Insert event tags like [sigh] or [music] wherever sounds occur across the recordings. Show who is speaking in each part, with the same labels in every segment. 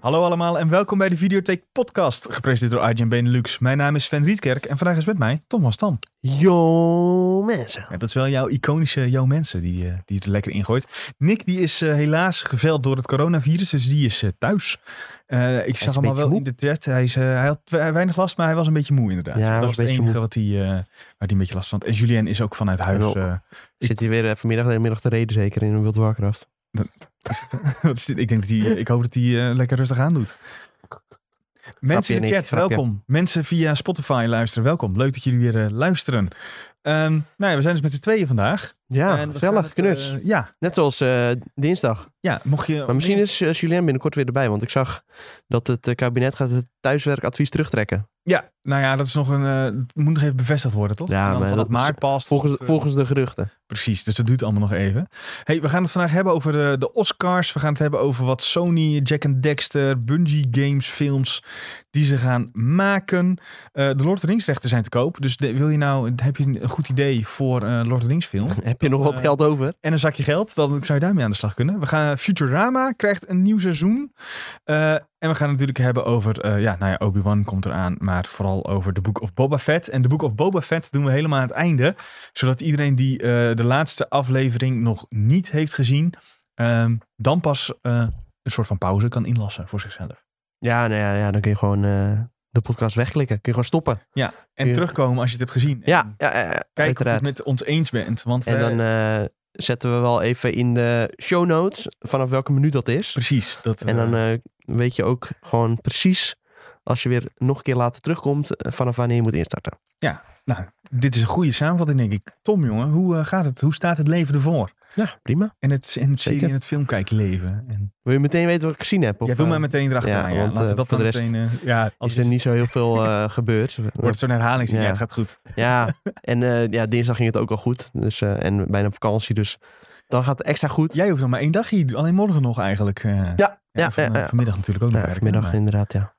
Speaker 1: Hallo allemaal en welkom bij de Videotheek Podcast, gepresenteerd door IGN Benelux. Mijn naam is Sven Rietkerk en vandaag is met mij Tom van Stam.
Speaker 2: Yo mensen.
Speaker 1: Ja, dat is wel jouw iconische Yo Mensen die, eh, die het er lekker ingooit. Nick die is eh, helaas geveld door het coronavirus, dus die is eh, thuis. Eh, ik zag
Speaker 2: een
Speaker 1: hem al
Speaker 2: beetje
Speaker 1: wel
Speaker 2: moe.
Speaker 1: in de chat. Hij, is, eh, hij had we- weinig last, maar hij was een beetje moe inderdaad.
Speaker 2: Ja, hij
Speaker 1: dat
Speaker 2: was
Speaker 1: was
Speaker 2: een
Speaker 1: het
Speaker 2: beetje
Speaker 1: enige wat hij, eh, waar hij een beetje last van had. En Julien is ook vanuit huis.
Speaker 2: Hallo.
Speaker 1: eh, Ik-
Speaker 2: Zit hier weer eh, vanmiddag de hele middag te reden zeker in World of Warcraft.
Speaker 1: wat is [laughs] dit? Ik, denk dat hij, ik hoop dat hij eh, lekker rustig aan doet. Mensen in de
Speaker 2: Nick,
Speaker 1: chat,
Speaker 2: grapje.
Speaker 1: welkom. Mensen via Spotify luisteren, welkom. Leuk dat jullie weer eh, luisteren. Ehm, nou ja, we zijn dus met z'n tweeën vandaag.
Speaker 2: Ja,
Speaker 1: En we gaan
Speaker 2: gezellig,
Speaker 1: het,
Speaker 2: knuts.
Speaker 1: eh, Oh, ja,
Speaker 2: Net zoals eh, dinsdag.
Speaker 1: ja, mocht je...
Speaker 2: Maar misschien is eh, Julien binnenkort weer erbij. Want ik zag dat het eh, kabinet gaat het thuiswerkadvies terugtrekken.
Speaker 1: Ja, nou ja, dat is nog een. eh, moet nog even bevestigd worden, toch?
Speaker 2: Ja,
Speaker 1: En dan
Speaker 2: maar
Speaker 1: van
Speaker 2: dat
Speaker 1: het maart past.
Speaker 2: Volgens,
Speaker 1: tot, eh,
Speaker 2: volgens de geruchten. [laughs]
Speaker 1: Precies, dus dat duurt allemaal nog even. Hey, we gaan het vandaag hebben over eh, de Oscars. We gaan het hebben over wat Sony, Jack and Dexter, Bungie Games, films die ze gaan maken. Eh, de Lord of the Rings rechten zijn te koop. Dus de- wil je nou, heb je een goed idee voor eh Lord of the Rings film?
Speaker 2: Heb je nog wat
Speaker 1: eh,
Speaker 2: geld over?
Speaker 1: en een zakje geld, dan zou je daarmee aan de slag kunnen. We gaan Futurama krijgt een nieuw seizoen. Eh, en we gaan het natuurlijk hebben over, eh, ja, nou ja, Obi-Wan komt eraan, maar vooral over The Book of Boba Fett. En The Book of Boba Fett doen we helemaal aan het einde, zodat iedereen die eh, de laatste aflevering nog niet heeft gezien, ehm, dan pas eh, een soort van pauze kan inlassen voor zichzelf.
Speaker 2: Ja, nou ja, ja, dan kun je gewoon eh, de podcast wegklikken. Kun je gewoon stoppen.
Speaker 1: En
Speaker 2: Ja.
Speaker 1: terugkomen als je het hebt gezien. En
Speaker 2: Ja, ja, ja, ja,
Speaker 1: Kijk of je
Speaker 2: uiteraard.
Speaker 1: het met ons eens bent. Want
Speaker 2: En
Speaker 1: wij-
Speaker 2: dan eh, zetten we wel even in de show notes vanaf welke minuut dat is.
Speaker 1: precies. Dat,
Speaker 2: En dan
Speaker 1: eh,
Speaker 2: eh, weet je ook gewoon precies, als je weer nog een keer later terugkomt, eh, vanaf wanneer je moet instarten.
Speaker 1: dit is een goede samenvatting, denk ik. Tom, jongen, hoe eh, gaat het? Hoe staat het leven ervoor?
Speaker 2: Ja, prima.
Speaker 1: En het, en het serie
Speaker 2: Zeker.
Speaker 1: en het filmkijken leven. En,
Speaker 2: Wil je meteen weten wat ik gezien heb? Of,
Speaker 1: ja, doe
Speaker 2: eh,
Speaker 1: maar meteen erachteraan. Ja,
Speaker 2: ja, want,
Speaker 1: Laten we
Speaker 2: eh,
Speaker 1: dat
Speaker 2: voor
Speaker 1: maar
Speaker 2: de rest
Speaker 1: meteen... eh, ja, als
Speaker 2: Is er
Speaker 1: het
Speaker 2: niet zo heel
Speaker 1: [laughs]
Speaker 2: veel eh, gebeurd.
Speaker 1: wordt zo'n herhaling. Ja.
Speaker 2: Ja.
Speaker 1: het gaat goed.
Speaker 2: Ja, en eh, ja, dinsdag ging het ook al goed. Dus, eh, en bijna op vakantie, dus dan gaat het extra goed.
Speaker 1: Jij hoeft nog maar één dagje. Alleen morgen nog eigenlijk. eh.
Speaker 2: Ja,
Speaker 1: En
Speaker 2: ja,
Speaker 1: van-
Speaker 2: ja, ja.
Speaker 1: Vanmiddag natuurlijk ook nog
Speaker 2: Ja,
Speaker 1: werken.
Speaker 2: vanmiddag
Speaker 1: maar
Speaker 2: inderdaad, ja.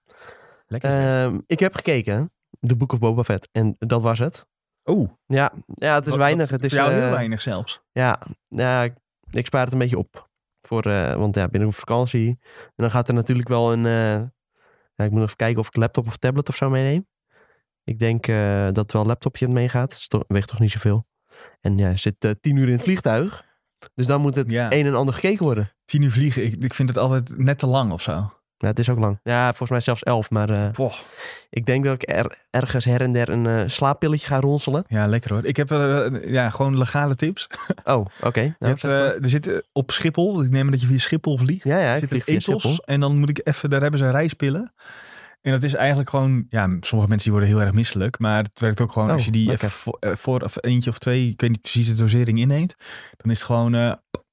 Speaker 1: Lekker.
Speaker 2: Ehm, ik heb gekeken, The Book of Boba Fett, en dat was het.
Speaker 1: Oeh.
Speaker 2: Ja, ja het is
Speaker 1: Oh, Wat-
Speaker 2: weinig.
Speaker 1: wat-
Speaker 2: het is
Speaker 1: voor jou
Speaker 2: eh,
Speaker 1: heel weinig zelfs.
Speaker 2: Ja, ja, ik- ik spaar het een beetje op. Voor, eh, want ja, ik ben op vakantie. En dan gaat er natuurlijk wel een... eh, ja, ik moet nog even kijken of ik laptop of tablet of zo meeneem. Ik denk eh, dat wel een laptopje meegaat. Het is toch- weegt toch niet zoveel. En ja, je zit eh, tien uur in het vliegtuig. Dus dan moet het
Speaker 1: Ja.
Speaker 2: een en ander gekeken worden.
Speaker 1: Tien uur vliegen. Ik, ik vind het altijd net te lang of zo.
Speaker 2: Ja, het is ook lang. Ja, volgens mij zelfs elf. Maar eh, ik denk dat ik er, ergens her en der een eh, slaappilletje ga ronselen.
Speaker 1: Ja, lekker hoor. Ik heb eh, ja, gewoon legale tips.
Speaker 2: Oh, oké. Nou,
Speaker 1: Je hebt,
Speaker 2: zeg maar.
Speaker 1: eh, er zit eh, op Schiphol. Ik neem aan dat je via Schiphol vliegt.
Speaker 2: ja, ja, ik
Speaker 1: zit een
Speaker 2: vlieg via Schiphol.
Speaker 1: ethos en dan moet ik even, daar hebben ze reispillen. En dat is eigenlijk gewoon, ja, sommige mensen die worden heel erg misselijk, maar het werkt ook gewoon
Speaker 2: Oh,
Speaker 1: als je die
Speaker 2: oké.
Speaker 1: even vo- eh, voor of eentje of twee, ik weet niet precies de dosering inneemt, dan is het gewoon, eh,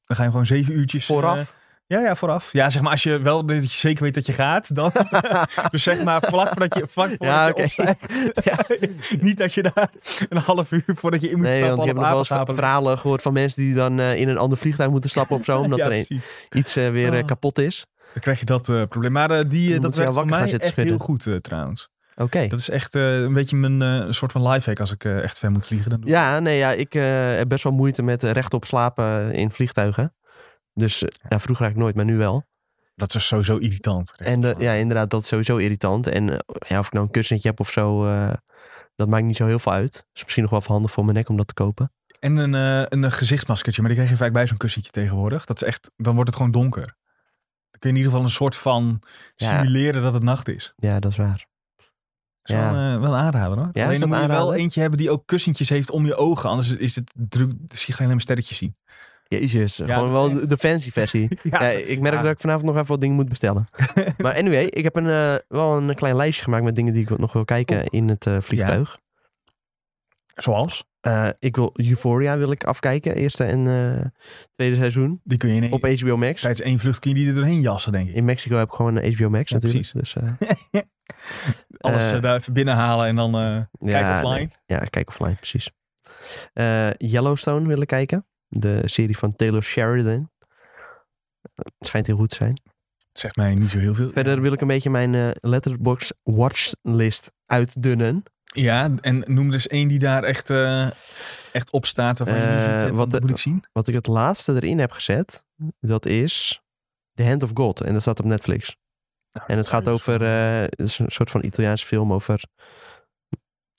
Speaker 1: dan ga je gewoon zeven uurtjes. eh,
Speaker 2: Vooraf.
Speaker 1: ja, ja, vooraf. Ja, zeg maar, als je wel dat je zeker weet dat je gaat,
Speaker 2: [laughs]
Speaker 1: dan, [laughs] dus zeg maar, vlak voordat je, vlak voordat
Speaker 2: Ja,
Speaker 1: je
Speaker 2: oké.
Speaker 1: opstijgt.
Speaker 2: [laughs] Ja.
Speaker 1: [laughs] niet dat je daar een half uur voordat je in moet
Speaker 2: Nee,
Speaker 1: stappen
Speaker 2: want
Speaker 1: al
Speaker 2: ik heb
Speaker 1: op
Speaker 2: nog wel eens
Speaker 1: apenstapen ligt.
Speaker 2: verhalen gehoord van mensen die dan eh, in een ander vliegtuig moeten stappen
Speaker 1: [laughs]
Speaker 2: of zo. Omdat
Speaker 1: Ja,
Speaker 2: er een-
Speaker 1: precies.
Speaker 2: iets eh, weer eh,
Speaker 1: Oh.
Speaker 2: kapot is.
Speaker 1: Dan krijg je dat eh, probleem. Maar eh, die, eh,
Speaker 2: moet
Speaker 1: dat
Speaker 2: je
Speaker 1: werkt
Speaker 2: wakker
Speaker 1: voor
Speaker 2: gaan
Speaker 1: mij
Speaker 2: zitten
Speaker 1: echt heel
Speaker 2: schudden.
Speaker 1: goed eh, trouwens.
Speaker 2: Oké.
Speaker 1: Dat is echt eh, een beetje mijn eh, soort van lifehack als ik eh, echt ver moet vliegen. Dan doe ik-
Speaker 2: Ja, nee, ja, ik eh, heb best wel moeite met eh, rechtop slapen in vliegtuigen. Dus eh, ja, vroeger eigenlijk nooit, maar nu wel.
Speaker 1: Dat is sowieso irritant.
Speaker 2: En eh, ja, inderdaad, dat is sowieso irritant. En eh, ja, of ik nou een kussentje heb of zo, eh, dat maakt niet zo heel veel uit. Is misschien nog wel even handig voor mijn nek om dat te kopen.
Speaker 1: En een, eh, een eh, gezichtsmaskertje, maar die krijg je vaak bij zo'n kussentje tegenwoordig. Dat is echt, dan wordt het gewoon donker. Dan kun je in ieder geval een soort van
Speaker 2: Ja.
Speaker 1: simuleren dat het nacht is.
Speaker 2: Ja, dat is waar.
Speaker 1: Dat is
Speaker 2: Ja.
Speaker 1: wel, eh, wel een aanrader hoor.
Speaker 2: is
Speaker 1: Alleen
Speaker 2: dat
Speaker 1: dan moet je wel
Speaker 2: aanrader?
Speaker 1: eentje hebben die ook kussentjes heeft om je ogen. Anders is het druk, dus je ga je alleen maar sterretjes zien.
Speaker 2: Jezus,
Speaker 1: Ja,
Speaker 2: gewoon
Speaker 1: dat is
Speaker 2: wel
Speaker 1: echt.
Speaker 2: de fancy versie. Ja, ik merk
Speaker 1: Ja.
Speaker 2: dat ik vanavond nog even wat dingen moet
Speaker 1: [laughs]
Speaker 2: bestellen. maar anyway, ik heb een, eh, wel een klein lijstje gemaakt met dingen die ik nog wil kijken
Speaker 1: Oeh.
Speaker 2: in het eh, vliegtuig.
Speaker 1: Zoals?
Speaker 2: Eh, ik wil Euphoria wil ik afkijken, eerste en eh, tweede seizoen.
Speaker 1: Die kun je in één,
Speaker 2: Op HBO Max.
Speaker 1: tijdens één vlucht kun je die er doorheen jassen, denk ik.
Speaker 2: In Mexico heb ik gewoon eh, een HBO Max
Speaker 1: Ja,
Speaker 2: natuurlijk. Dus, eh,
Speaker 1: Alles
Speaker 2: eh,
Speaker 1: eh, daar even binnenhalen en dan eh
Speaker 2: ja,
Speaker 1: [laughs] kijk offline.
Speaker 2: nee. Ja, kijk offline, precies. Eh, Yellowstone willen kijken. De serie van Taylor Sheridan. Het Schijnt heel goed te zijn.
Speaker 1: Zegt mij niet zo heel veel.
Speaker 2: Verder wil ik een beetje mijn eh Letterboxd watchlist uitdunnen.
Speaker 1: Ja, en noem dus één die daar echt, eh, echt op staat. Waarvan je nu
Speaker 2: Eh,
Speaker 1: ziet, hè,
Speaker 2: wat
Speaker 1: wat
Speaker 2: de-
Speaker 1: moet ik zien? Nou,
Speaker 2: Wat ik het laatste erin heb gezet, dat is The Hand of God. En dat staat op Netflix. En
Speaker 1: Oh,
Speaker 2: het
Speaker 1: dus
Speaker 2: gaat over, eh, het is een soort van Italiaanse film over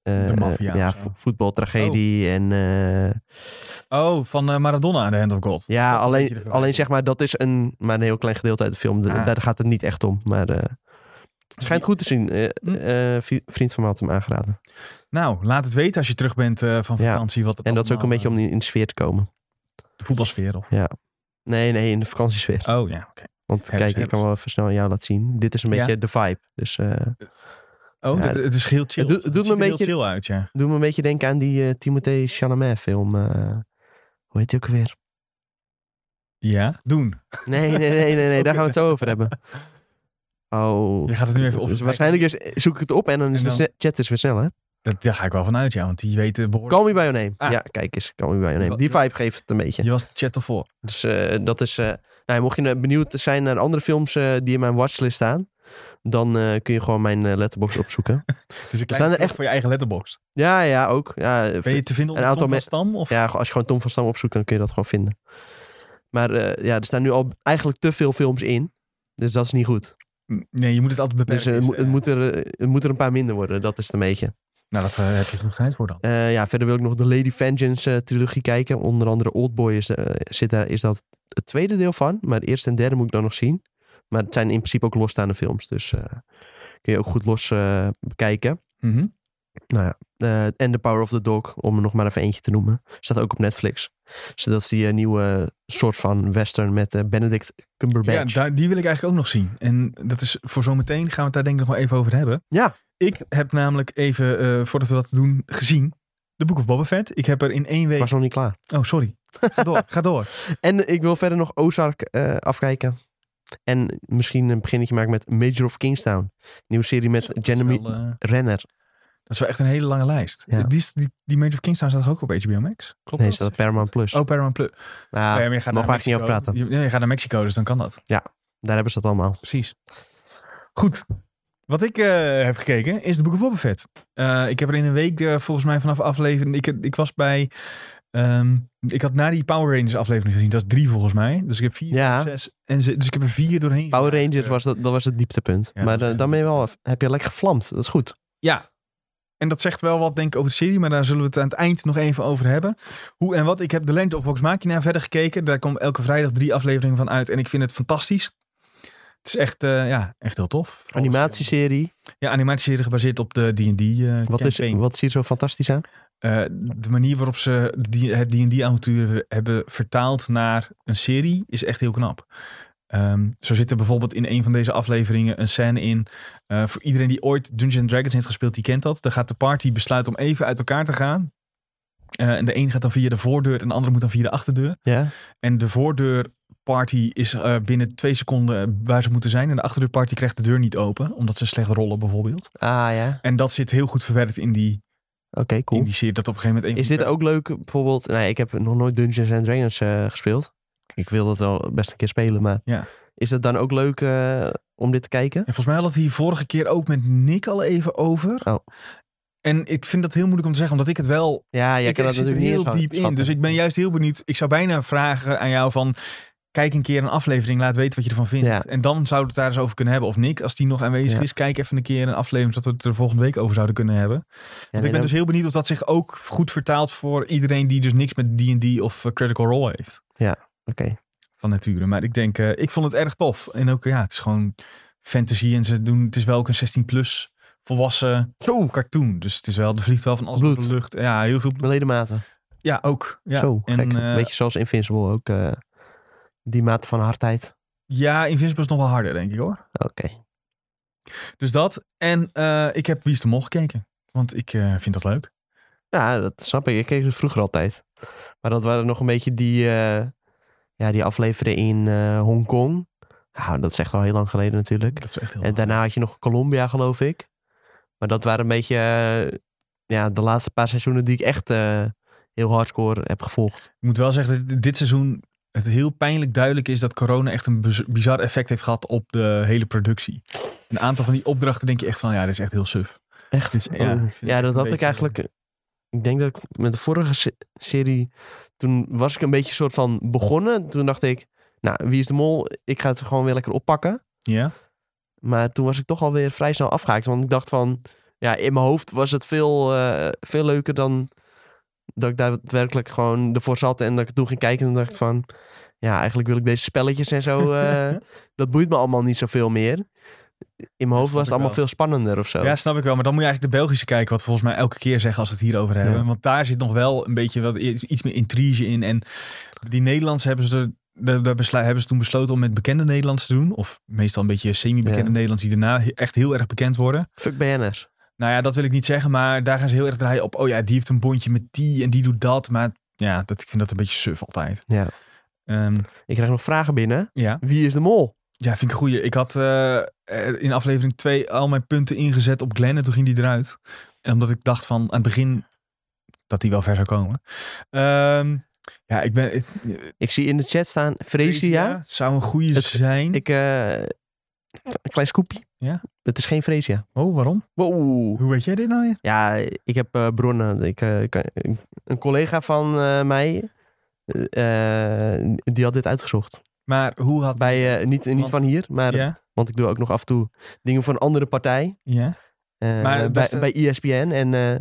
Speaker 2: eh,
Speaker 1: De maffia
Speaker 2: ja,
Speaker 1: of zo.
Speaker 2: voetbaltragedie en eh,
Speaker 1: Oh, van eh, Maradona aan de Hand of God. Is dat
Speaker 2: ja,
Speaker 1: een beetje de
Speaker 2: alleen,
Speaker 1: verwijzing?
Speaker 2: alleen zeg maar dat is een, maar een heel klein gedeelte uit de film. Da-
Speaker 1: Ah. Hm.
Speaker 2: Daar gaat het niet echt om, maar eh, het schijnt goed te zien. Eh, eh, vi- vriend van mij had hem aangeraden.
Speaker 1: Nou, laat het weten als je terug bent eh, van
Speaker 2: Ja.
Speaker 1: vakantie. Wat het
Speaker 2: En dat is ook een
Speaker 1: allemaal,
Speaker 2: beetje om in de sfeer te komen.
Speaker 1: eh, De voetbalsfeer of...
Speaker 2: Nee, nee, in de vakantiesfeer.
Speaker 1: Oh ja, oké.
Speaker 2: Want
Speaker 1: heb-
Speaker 2: kijk,
Speaker 1: heb-
Speaker 2: ik kan wel even snel aan jou laten zien. Dit is een
Speaker 1: Ja.
Speaker 2: beetje de vibe. Dus eh
Speaker 1: Oh,
Speaker 2: Ja,
Speaker 1: het, het is heel chill.
Speaker 2: het doet- het doet
Speaker 1: ziet
Speaker 2: me
Speaker 1: er
Speaker 2: een
Speaker 1: heel
Speaker 2: beetje-
Speaker 1: chill uit, ja.
Speaker 2: doe me een beetje denken aan die eh Timothée Chalamet film. eh, hoe heet die ook weer?
Speaker 1: Ja, doen.
Speaker 2: Nee, nee, nee, nee, nee. daar gaan we het zo
Speaker 1: [laughs]
Speaker 2: over hebben. Oh.
Speaker 1: Je gaat het nu even
Speaker 2: Dus
Speaker 1: opzoeken.
Speaker 2: waarschijnlijk is, zoek ik het op en dan is
Speaker 1: En dan-
Speaker 2: de chat is weer sneller.
Speaker 1: Dat, daar ga ik wel van uit, ja. Want die weten behoorlijk...
Speaker 2: Call me by your name.
Speaker 1: Ah.
Speaker 2: Ja, kijk eens. Call me by your name.
Speaker 1: Wat-
Speaker 2: Die vibe geeft het een beetje.
Speaker 1: Je was de chat al voor.
Speaker 2: Dus eh, dat is... eh, nou, mocht je nou benieuwd zijn naar andere films eh, die in mijn watchlist staan... dan eh, kun je gewoon mijn eh,
Speaker 1: [laughs]
Speaker 2: letterbox opzoeken.
Speaker 1: Dus ik
Speaker 2: zijn
Speaker 1: klein
Speaker 2: er
Speaker 1: er echt
Speaker 2: echt-
Speaker 1: voor je eigen letterbox.
Speaker 2: ja, ja, ook. Ja, eh,
Speaker 1: Ben je te vinden
Speaker 2: Een
Speaker 1: onder een
Speaker 2: aantal
Speaker 1: Tom van
Speaker 2: me-
Speaker 1: Stam? Of...
Speaker 2: Ja, als je gewoon Tom van Stam opzoekt, dan kun je dat gewoon vinden. Maar eh, ja, er staan nu al eigenlijk te veel films in. Dus dat is niet goed.
Speaker 1: Nee, je moet het altijd
Speaker 2: Dus
Speaker 1: beperken.
Speaker 2: eh, het,
Speaker 1: is-
Speaker 2: moet- het, moet er, eh, het moet er een paar minder worden. Dat is het een beetje.
Speaker 1: Nou, dat eh, heb je genoeg tijd voor dan.
Speaker 2: Eh, ja, verder wil ik nog de Lady Vengeance eh, trilogie kijken. Onder andere Oldboy is, eh, zit daar, is dat het tweede deel van. Maar het eerste en derde moet ik dan nog zien. Maar het zijn in principe ook losstaande films. Dus eh, kun je ook goed los eh, bekijken.
Speaker 1: Mhm.
Speaker 2: Eh, en The Power of the Dog, om er nog maar even eentje te noemen. Staat ook op Netflix. Dus dat is die eh, nieuwe soort van western met eh, Benedict
Speaker 1: Ja,
Speaker 2: Cumberbatch.
Speaker 1: daar- die wil ik eigenlijk ook nog zien. En dat is voor zometeen gaan we het daar denk ik nog wel even over hebben.
Speaker 2: Ja.
Speaker 1: Ik heb namelijk even, eh, voordat we dat doen, gezien. De Boek of Boba Fett. Ik heb er in één week...
Speaker 2: was nog niet klaar.
Speaker 1: Oh, sorry. Ga door, ga
Speaker 2: [laughs]
Speaker 1: door.
Speaker 2: En ik wil verder nog Ozark eh, afkijken. En misschien een beginnetje maken met Major of Kingstown. Nieuwe serie met
Speaker 1: Dat is
Speaker 2: Jeremy
Speaker 1: wel, eh,
Speaker 2: Renner.
Speaker 1: Dat is wel echt een hele lange lijst.
Speaker 2: Ja.
Speaker 1: Die, die, die Major of Kingstown staat toch ook op HBO Max? Klopt
Speaker 2: Nee, is dat Paramount Plus.
Speaker 1: Oh, Paramount Plus.
Speaker 2: Nou,
Speaker 1: Nee, maar je gaat
Speaker 2: mogen
Speaker 1: naar
Speaker 2: we eigenlijk niet over
Speaker 1: Mexico.
Speaker 2: praten.
Speaker 1: Je, nee, je gaat naar Mexico, dus dan kan dat.
Speaker 2: Daar hebben ze dat allemaal.
Speaker 1: Precies. Goed. Wat ik eh, heb gekeken is de Boek of Boba Fett. Eh, ik heb er in een week eh, volgens mij vanaf aflevering... Ik, ik was bij... ehm, ik had na die Power Rangers aflevering gezien. Dat is drie volgens mij. Dus ik heb vier,
Speaker 2: Ja.
Speaker 1: zes en ze, Dus ik heb er vier doorheen.
Speaker 2: Power
Speaker 1: gemaakt.
Speaker 2: Rangers was, dat, dat was het dieptepunt.
Speaker 1: eh, Ja, dat
Speaker 2: maar
Speaker 1: was
Speaker 2: eh,
Speaker 1: echt
Speaker 2: dan ben je
Speaker 1: het
Speaker 2: wel, heb je lekker gevlamd. Dat is goed.
Speaker 1: En dat zegt wel wat, denk ik, over de serie. Maar daar zullen we het aan het eind nog even over hebben. Hoe en wat. Ik heb The Land of Vox Machina verder gekeken. Daar komen elke vrijdag drie afleveringen van uit. En ik vind het fantastisch. Het is echt, eh, ja, echt heel tof. Vooral als je-
Speaker 2: Animatieserie.
Speaker 1: Ja, animatieserie gebaseerd op de D&D eh,
Speaker 2: Wat is,
Speaker 1: campaign.
Speaker 2: wat is hier zo fantastisch aan?
Speaker 1: Eh, de manier waarop ze die, het D&D-avontuur hebben vertaald naar een serie is echt heel knap. Ehm, zo zit er bijvoorbeeld in een van deze afleveringen een scène in. eh, voor iedereen die ooit Dungeons Dragons heeft gespeeld, die kent dat. Dan gaat de party besluiten om even uit elkaar te gaan. Eh, en de een gaat dan via de voordeur en de andere moet dan via de achterdeur.
Speaker 2: Ja.
Speaker 1: En de voordeurparty is eh, binnen twee seconden eh, waar ze moeten zijn. En de achterdeurparty krijgt de deur niet open, omdat ze slecht rollen bijvoorbeeld.
Speaker 2: Ah ja.
Speaker 1: En dat zit heel goed verwerkt in die,
Speaker 2: Oké, cool.
Speaker 1: in die serie. Dat op een gegeven moment... een
Speaker 2: Is
Speaker 1: van
Speaker 2: dit
Speaker 1: die-
Speaker 2: ook leuk, bijvoorbeeld... Nou, ik heb nog nooit Dungeons and Dragons eh, gespeeld. Ik wil dat wel best een keer spelen, maar...
Speaker 1: Ja.
Speaker 2: Is dat dan ook leuk eh, om dit te kijken?
Speaker 1: En volgens mij hadden we het hier vorige keer ook met Nick al even over.
Speaker 2: Oh.
Speaker 1: En ik vind dat heel moeilijk om te zeggen, omdat ik het wel...
Speaker 2: Ja, jij
Speaker 1: ik
Speaker 2: kan dat
Speaker 1: zit er
Speaker 2: natuurlijk niet
Speaker 1: heel
Speaker 2: inscha-
Speaker 1: diep in,
Speaker 2: schatten.
Speaker 1: dus ik ben juist heel benieuwd. Ik zou bijna vragen aan jou van... Kijk een keer een aflevering, laat weten wat je ervan vindt.
Speaker 2: Ja.
Speaker 1: En dan zouden we het daar eens over kunnen hebben. Of Nick, als die nog aanwezig
Speaker 2: Ja.
Speaker 1: is, kijk even een keer een aflevering... zodat we het er volgende week over zouden kunnen hebben.
Speaker 2: Ja,
Speaker 1: Want
Speaker 2: nee,
Speaker 1: ik ben
Speaker 2: dan-
Speaker 1: dus heel benieuwd of dat zich ook goed vertaalt... voor iedereen die dus niks met D&D of eh, Critical Role heeft
Speaker 2: Oké.
Speaker 1: van nature. Maar ik denk, eh, ik vond het erg tof. En ook, ja, het is gewoon fantasy. En ze doen, het is wel ook een 16 plus volwassen
Speaker 2: Zo,
Speaker 1: cartoon. Dus het is wel, er vliegt wel van alles
Speaker 2: Bloed.
Speaker 1: door de lucht. Ja, heel veel bloed.
Speaker 2: mijn ledematen.
Speaker 1: Ja, ook. Ja.
Speaker 2: Zo,
Speaker 1: en,
Speaker 2: gek.
Speaker 1: eh,
Speaker 2: Beetje zoals Invincible ook. eh, die mate van hardheid.
Speaker 1: ja, Invincible is nog wel harder, denk ik hoor.
Speaker 2: Oké.
Speaker 1: Dus dat. En eh, ik heb Wie is de Mol gekeken. Want ik eh, vind dat leuk.
Speaker 2: Ja, dat snap ik. Ik keek het vroeger altijd. Maar dat waren nog een beetje die, eh ja, die afleveringen in eh, Hongkong. Ja, dat is echt al heel lang geleden natuurlijk.
Speaker 1: Dat is echt heel
Speaker 2: En
Speaker 1: leuk.
Speaker 2: daarna had je nog Colombia, geloof ik. Maar dat waren een beetje eh, ja, de laatste paar seizoenen die ik echt eh, heel hardcore heb gevolgd.
Speaker 1: Ik moet wel zeggen dat dit seizoen het heel pijnlijk duidelijk is dat corona echt een biz- bizar effect heeft gehad op de hele productie. Een aantal van die opdrachten denk je echt van, ja, dit is echt heel suf.
Speaker 2: Echt?
Speaker 1: Dit is- Dus, ja,
Speaker 2: Oh.
Speaker 1: vind ik
Speaker 2: ja,
Speaker 1: echt
Speaker 2: dat
Speaker 1: een
Speaker 2: had ik
Speaker 1: beetje-
Speaker 2: eigenlijk... eh, Ik denk dat ik met de vorige se- serie... Toen was ik een beetje soort van begonnen. Toen dacht ik, nou, wie is de mol? Ik ga het gewoon weer lekker oppakken.
Speaker 1: Ja?
Speaker 2: Maar toen was ik toch alweer vrij snel afgehaakt. Want ik dacht van, ja, in mijn hoofd was het veel, eh, veel leuker dan dat ik daadwerkelijk gewoon ervoor zat en dat ik het toen ging kijken. En dacht ik van, ja, eigenlijk wil ik deze spelletjes en
Speaker 1: [laughs]
Speaker 2: zo, eh, dat boeit me allemaal niet zoveel meer. In mijn
Speaker 1: snap
Speaker 2: hoofd was het
Speaker 1: ik
Speaker 2: allemaal
Speaker 1: wel.
Speaker 2: veel spannender of zo.
Speaker 1: Ja, snap ik wel. Maar dan moet je eigenlijk de Belgische kijken, wat we volgens mij elke keer zeggen als we het hierover hebben.
Speaker 2: Ja.
Speaker 1: Want daar zit nog wel een beetje wat, iets meer intrige in. En die Nederlandse hebben ze, er, de- de beslu- hebben ze toen besloten om met bekende Nederlands te doen. Of meestal een beetje semi-bekende
Speaker 2: Ja.
Speaker 1: Nederlands die daarna he- echt heel erg bekend worden.
Speaker 2: Fuck BN'ers.
Speaker 1: Nou ja, dat wil ik niet zeggen, maar daar gaan ze heel erg draaien op. Oh ja, die heeft een bondje met die en die doet dat. Maar ja, dat, ik vind dat een beetje suf altijd.
Speaker 2: Ja.
Speaker 1: Ehm,
Speaker 2: Ik krijg nog vragen binnen.
Speaker 1: ja.
Speaker 2: Wie is de mol?
Speaker 1: ja, vind ik een goeie. Ik had eh, er in aflevering 2 al mijn punten ingezet op Glenn en toen ging die eruit. En Omdat ik dacht van aan het begin dat die wel ver zou komen. Ehm, ja, ik ben... ik-
Speaker 2: Ik zie in de chat staan
Speaker 1: Freesia
Speaker 2: Fresia.
Speaker 1: zou een goeie
Speaker 2: Het-
Speaker 1: zijn.
Speaker 2: Ik, eh, een klein scoopje.
Speaker 1: Ja.
Speaker 2: Het is geen Fresia.
Speaker 1: Oh, waarom?
Speaker 2: Wow.
Speaker 1: Hoe weet jij dit nou weer?
Speaker 2: Ja, ik heb eh, bronnen. Ik, eh, kan- een collega van eh, mij, eh, eh, die had dit uitgezocht.
Speaker 1: Maar hoe had...
Speaker 2: Bij, eh, niet, niet
Speaker 1: Want-
Speaker 2: van hier, maar,
Speaker 1: ja,
Speaker 2: want ik doe ook nog af en toe dingen voor een andere partij.
Speaker 1: ja.
Speaker 2: eh,
Speaker 1: Maar dat
Speaker 2: bij,
Speaker 1: is de-
Speaker 2: bij ESPN. En eh,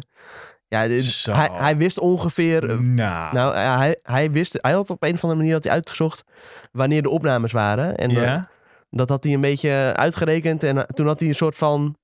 Speaker 2: ja, dit-
Speaker 1: Zo.
Speaker 2: hij, hij wist ongeveer...
Speaker 1: Nou,
Speaker 2: Nou, eh, hij, hij, wist, hij had op een of andere manier had hij uitgezocht wanneer de opnames waren. En eh,
Speaker 1: ja.
Speaker 2: dat had hij een beetje uitgerekend. En eh, toen had hij een soort van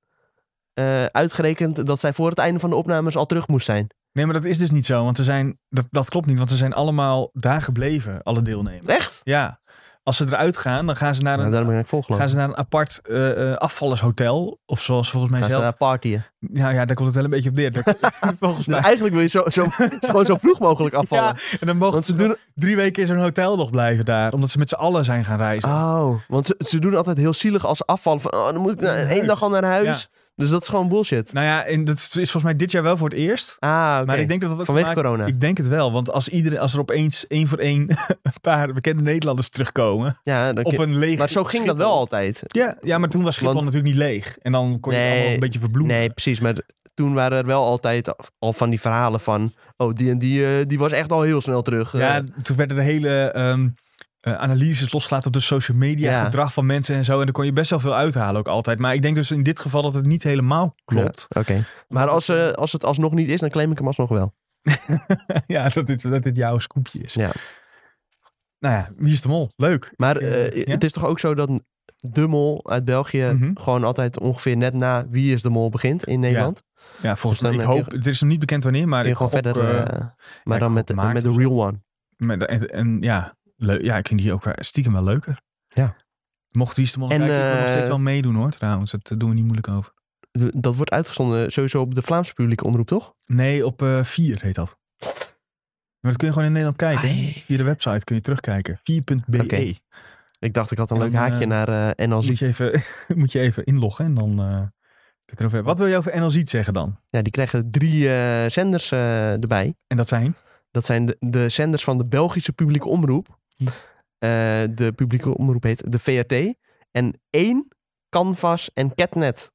Speaker 2: eh, uitgerekend dat zij voor het einde van de opnames al terug moest zijn.
Speaker 1: Nee, maar dat is dus niet zo, want ze zijn... Dat, dat klopt niet, want ze zijn allemaal daar gebleven, alle deelnemers.
Speaker 2: Echt?
Speaker 1: Ja. Als ze eruit gaan, dan gaan ze naar
Speaker 2: nou,
Speaker 1: een
Speaker 2: daarom ben ik volgelopen.
Speaker 1: Gaan ze naar een apart eh, eh, afvallershotel? Of zoals volgens mij
Speaker 2: Gaan ze
Speaker 1: zelf.
Speaker 2: naar partyen.
Speaker 1: Nou ja, daar komt het wel een beetje op neer.
Speaker 2: [laughs]
Speaker 1: Daar- [laughs] volgens
Speaker 2: Dus
Speaker 1: mij.
Speaker 2: eigenlijk wil je zo,
Speaker 1: [laughs]
Speaker 2: zo, gewoon zo vroeg mogelijk afvallen.
Speaker 1: Ja, en dan mogen
Speaker 2: want
Speaker 1: ze
Speaker 2: ze doen,
Speaker 1: drie weken in zo'n hotel nog blijven daar. Omdat ze met z'n allen zijn gaan reizen.
Speaker 2: oh, want ze, ze doen altijd heel zielig als ze afvallen. Van, oh, dan moet ik na-
Speaker 1: Naar
Speaker 2: één
Speaker 1: huis.
Speaker 2: dag al naar huis. Dus dat is gewoon bullshit.
Speaker 1: Nou ja, en dat is volgens mij dit jaar wel voor het eerst.
Speaker 2: Ah, oké.
Speaker 1: Maar ik denk dat dat ook
Speaker 2: Vanwege
Speaker 1: te maken-
Speaker 2: corona.
Speaker 1: Ik denk het wel, want als, iedereen, als er opeens één voor één [laughs] een paar bekende Nederlanders terugkomen
Speaker 2: Ja, dan-
Speaker 1: op een leeg
Speaker 2: maar zo ging dat
Speaker 1: Schiphol.
Speaker 2: wel altijd.
Speaker 1: Ja, ja, maar toen was Schiphol
Speaker 2: Want-
Speaker 1: natuurlijk niet leeg. En dan kon je het
Speaker 2: Nee,
Speaker 1: allemaal een beetje verbloemen.
Speaker 2: Nee, precies. Maar toen waren er wel altijd al van die verhalen van... Oh, die en die, eh, die was echt al heel snel terug. eh.
Speaker 1: Ja, toen werden de hele ehm, eh, analyses losgelaten op de social media,
Speaker 2: Ja.
Speaker 1: gedrag van mensen en zo. En daar kon je best wel veel uithalen ook altijd. Maar ik denk dus in dit geval dat het niet helemaal klopt.
Speaker 2: Ja, Oké. Maar als, eh, als het alsnog niet is, dan claim ik hem alsnog wel.
Speaker 1: [laughs] Ja, dat, dit, dat dit jouw scoopje is.
Speaker 2: Ja.
Speaker 1: Nou ja, wie is de mol? Leuk.
Speaker 2: Maar
Speaker 1: Ik,
Speaker 2: eh,
Speaker 1: eh, ja?
Speaker 2: het is toch ook zo dat de mol uit België
Speaker 1: Mhm.
Speaker 2: gewoon altijd ongeveer net na wie is de mol begint in Nederland.
Speaker 1: Ja, volgens
Speaker 2: dan
Speaker 1: mij. Ik
Speaker 2: heb je-
Speaker 1: hoop, het is nog niet bekend wanneer, maar
Speaker 2: Kun je
Speaker 1: ik
Speaker 2: gewoon
Speaker 1: gok,
Speaker 2: verder,
Speaker 1: eh,
Speaker 2: eh, maar
Speaker 1: ik dus
Speaker 2: dan met,
Speaker 1: gok maart
Speaker 2: met de
Speaker 1: of zo.
Speaker 2: real one.
Speaker 1: met- en, en ja, leuk. ja, ik vind die ook wel- stiekem wel leuker.
Speaker 2: Ja.
Speaker 1: Mocht wie is de mol
Speaker 2: En,
Speaker 1: kijken, ik wil nog steeds
Speaker 2: eh,
Speaker 1: wel meedoen hoor trouwens. Dat eh, doen we niet moeilijk over.
Speaker 2: D- Dat wordt uitgezonden sowieso op de Vlaamse publieke omroep, toch?
Speaker 1: Nee, op eh, vier heet dat. Maar dat kun je gewoon in Nederland kijken.
Speaker 2: Ai.
Speaker 1: Via de website kun je terugkijken. 4.be.
Speaker 2: Ah, Oké. Ik dacht, ik had een
Speaker 1: En
Speaker 2: leuk
Speaker 1: dan,
Speaker 2: haakje
Speaker 1: eh,
Speaker 2: naar eh NL
Speaker 1: Moet,
Speaker 2: Ziet.
Speaker 1: je even, [laughs] moet je even inloggen en dan... eh, kun je het erover hebben. Wat wil je over NL Ziet zeggen dan?
Speaker 2: Ja, die krijgen drie eh, zenders eh, erbij.
Speaker 1: En dat zijn?
Speaker 2: Dat zijn de, de zenders van de Belgische publieke omroep.
Speaker 1: Ja.
Speaker 2: Eh, de publieke omroep heet de VRT. En één Canvas en Catnet.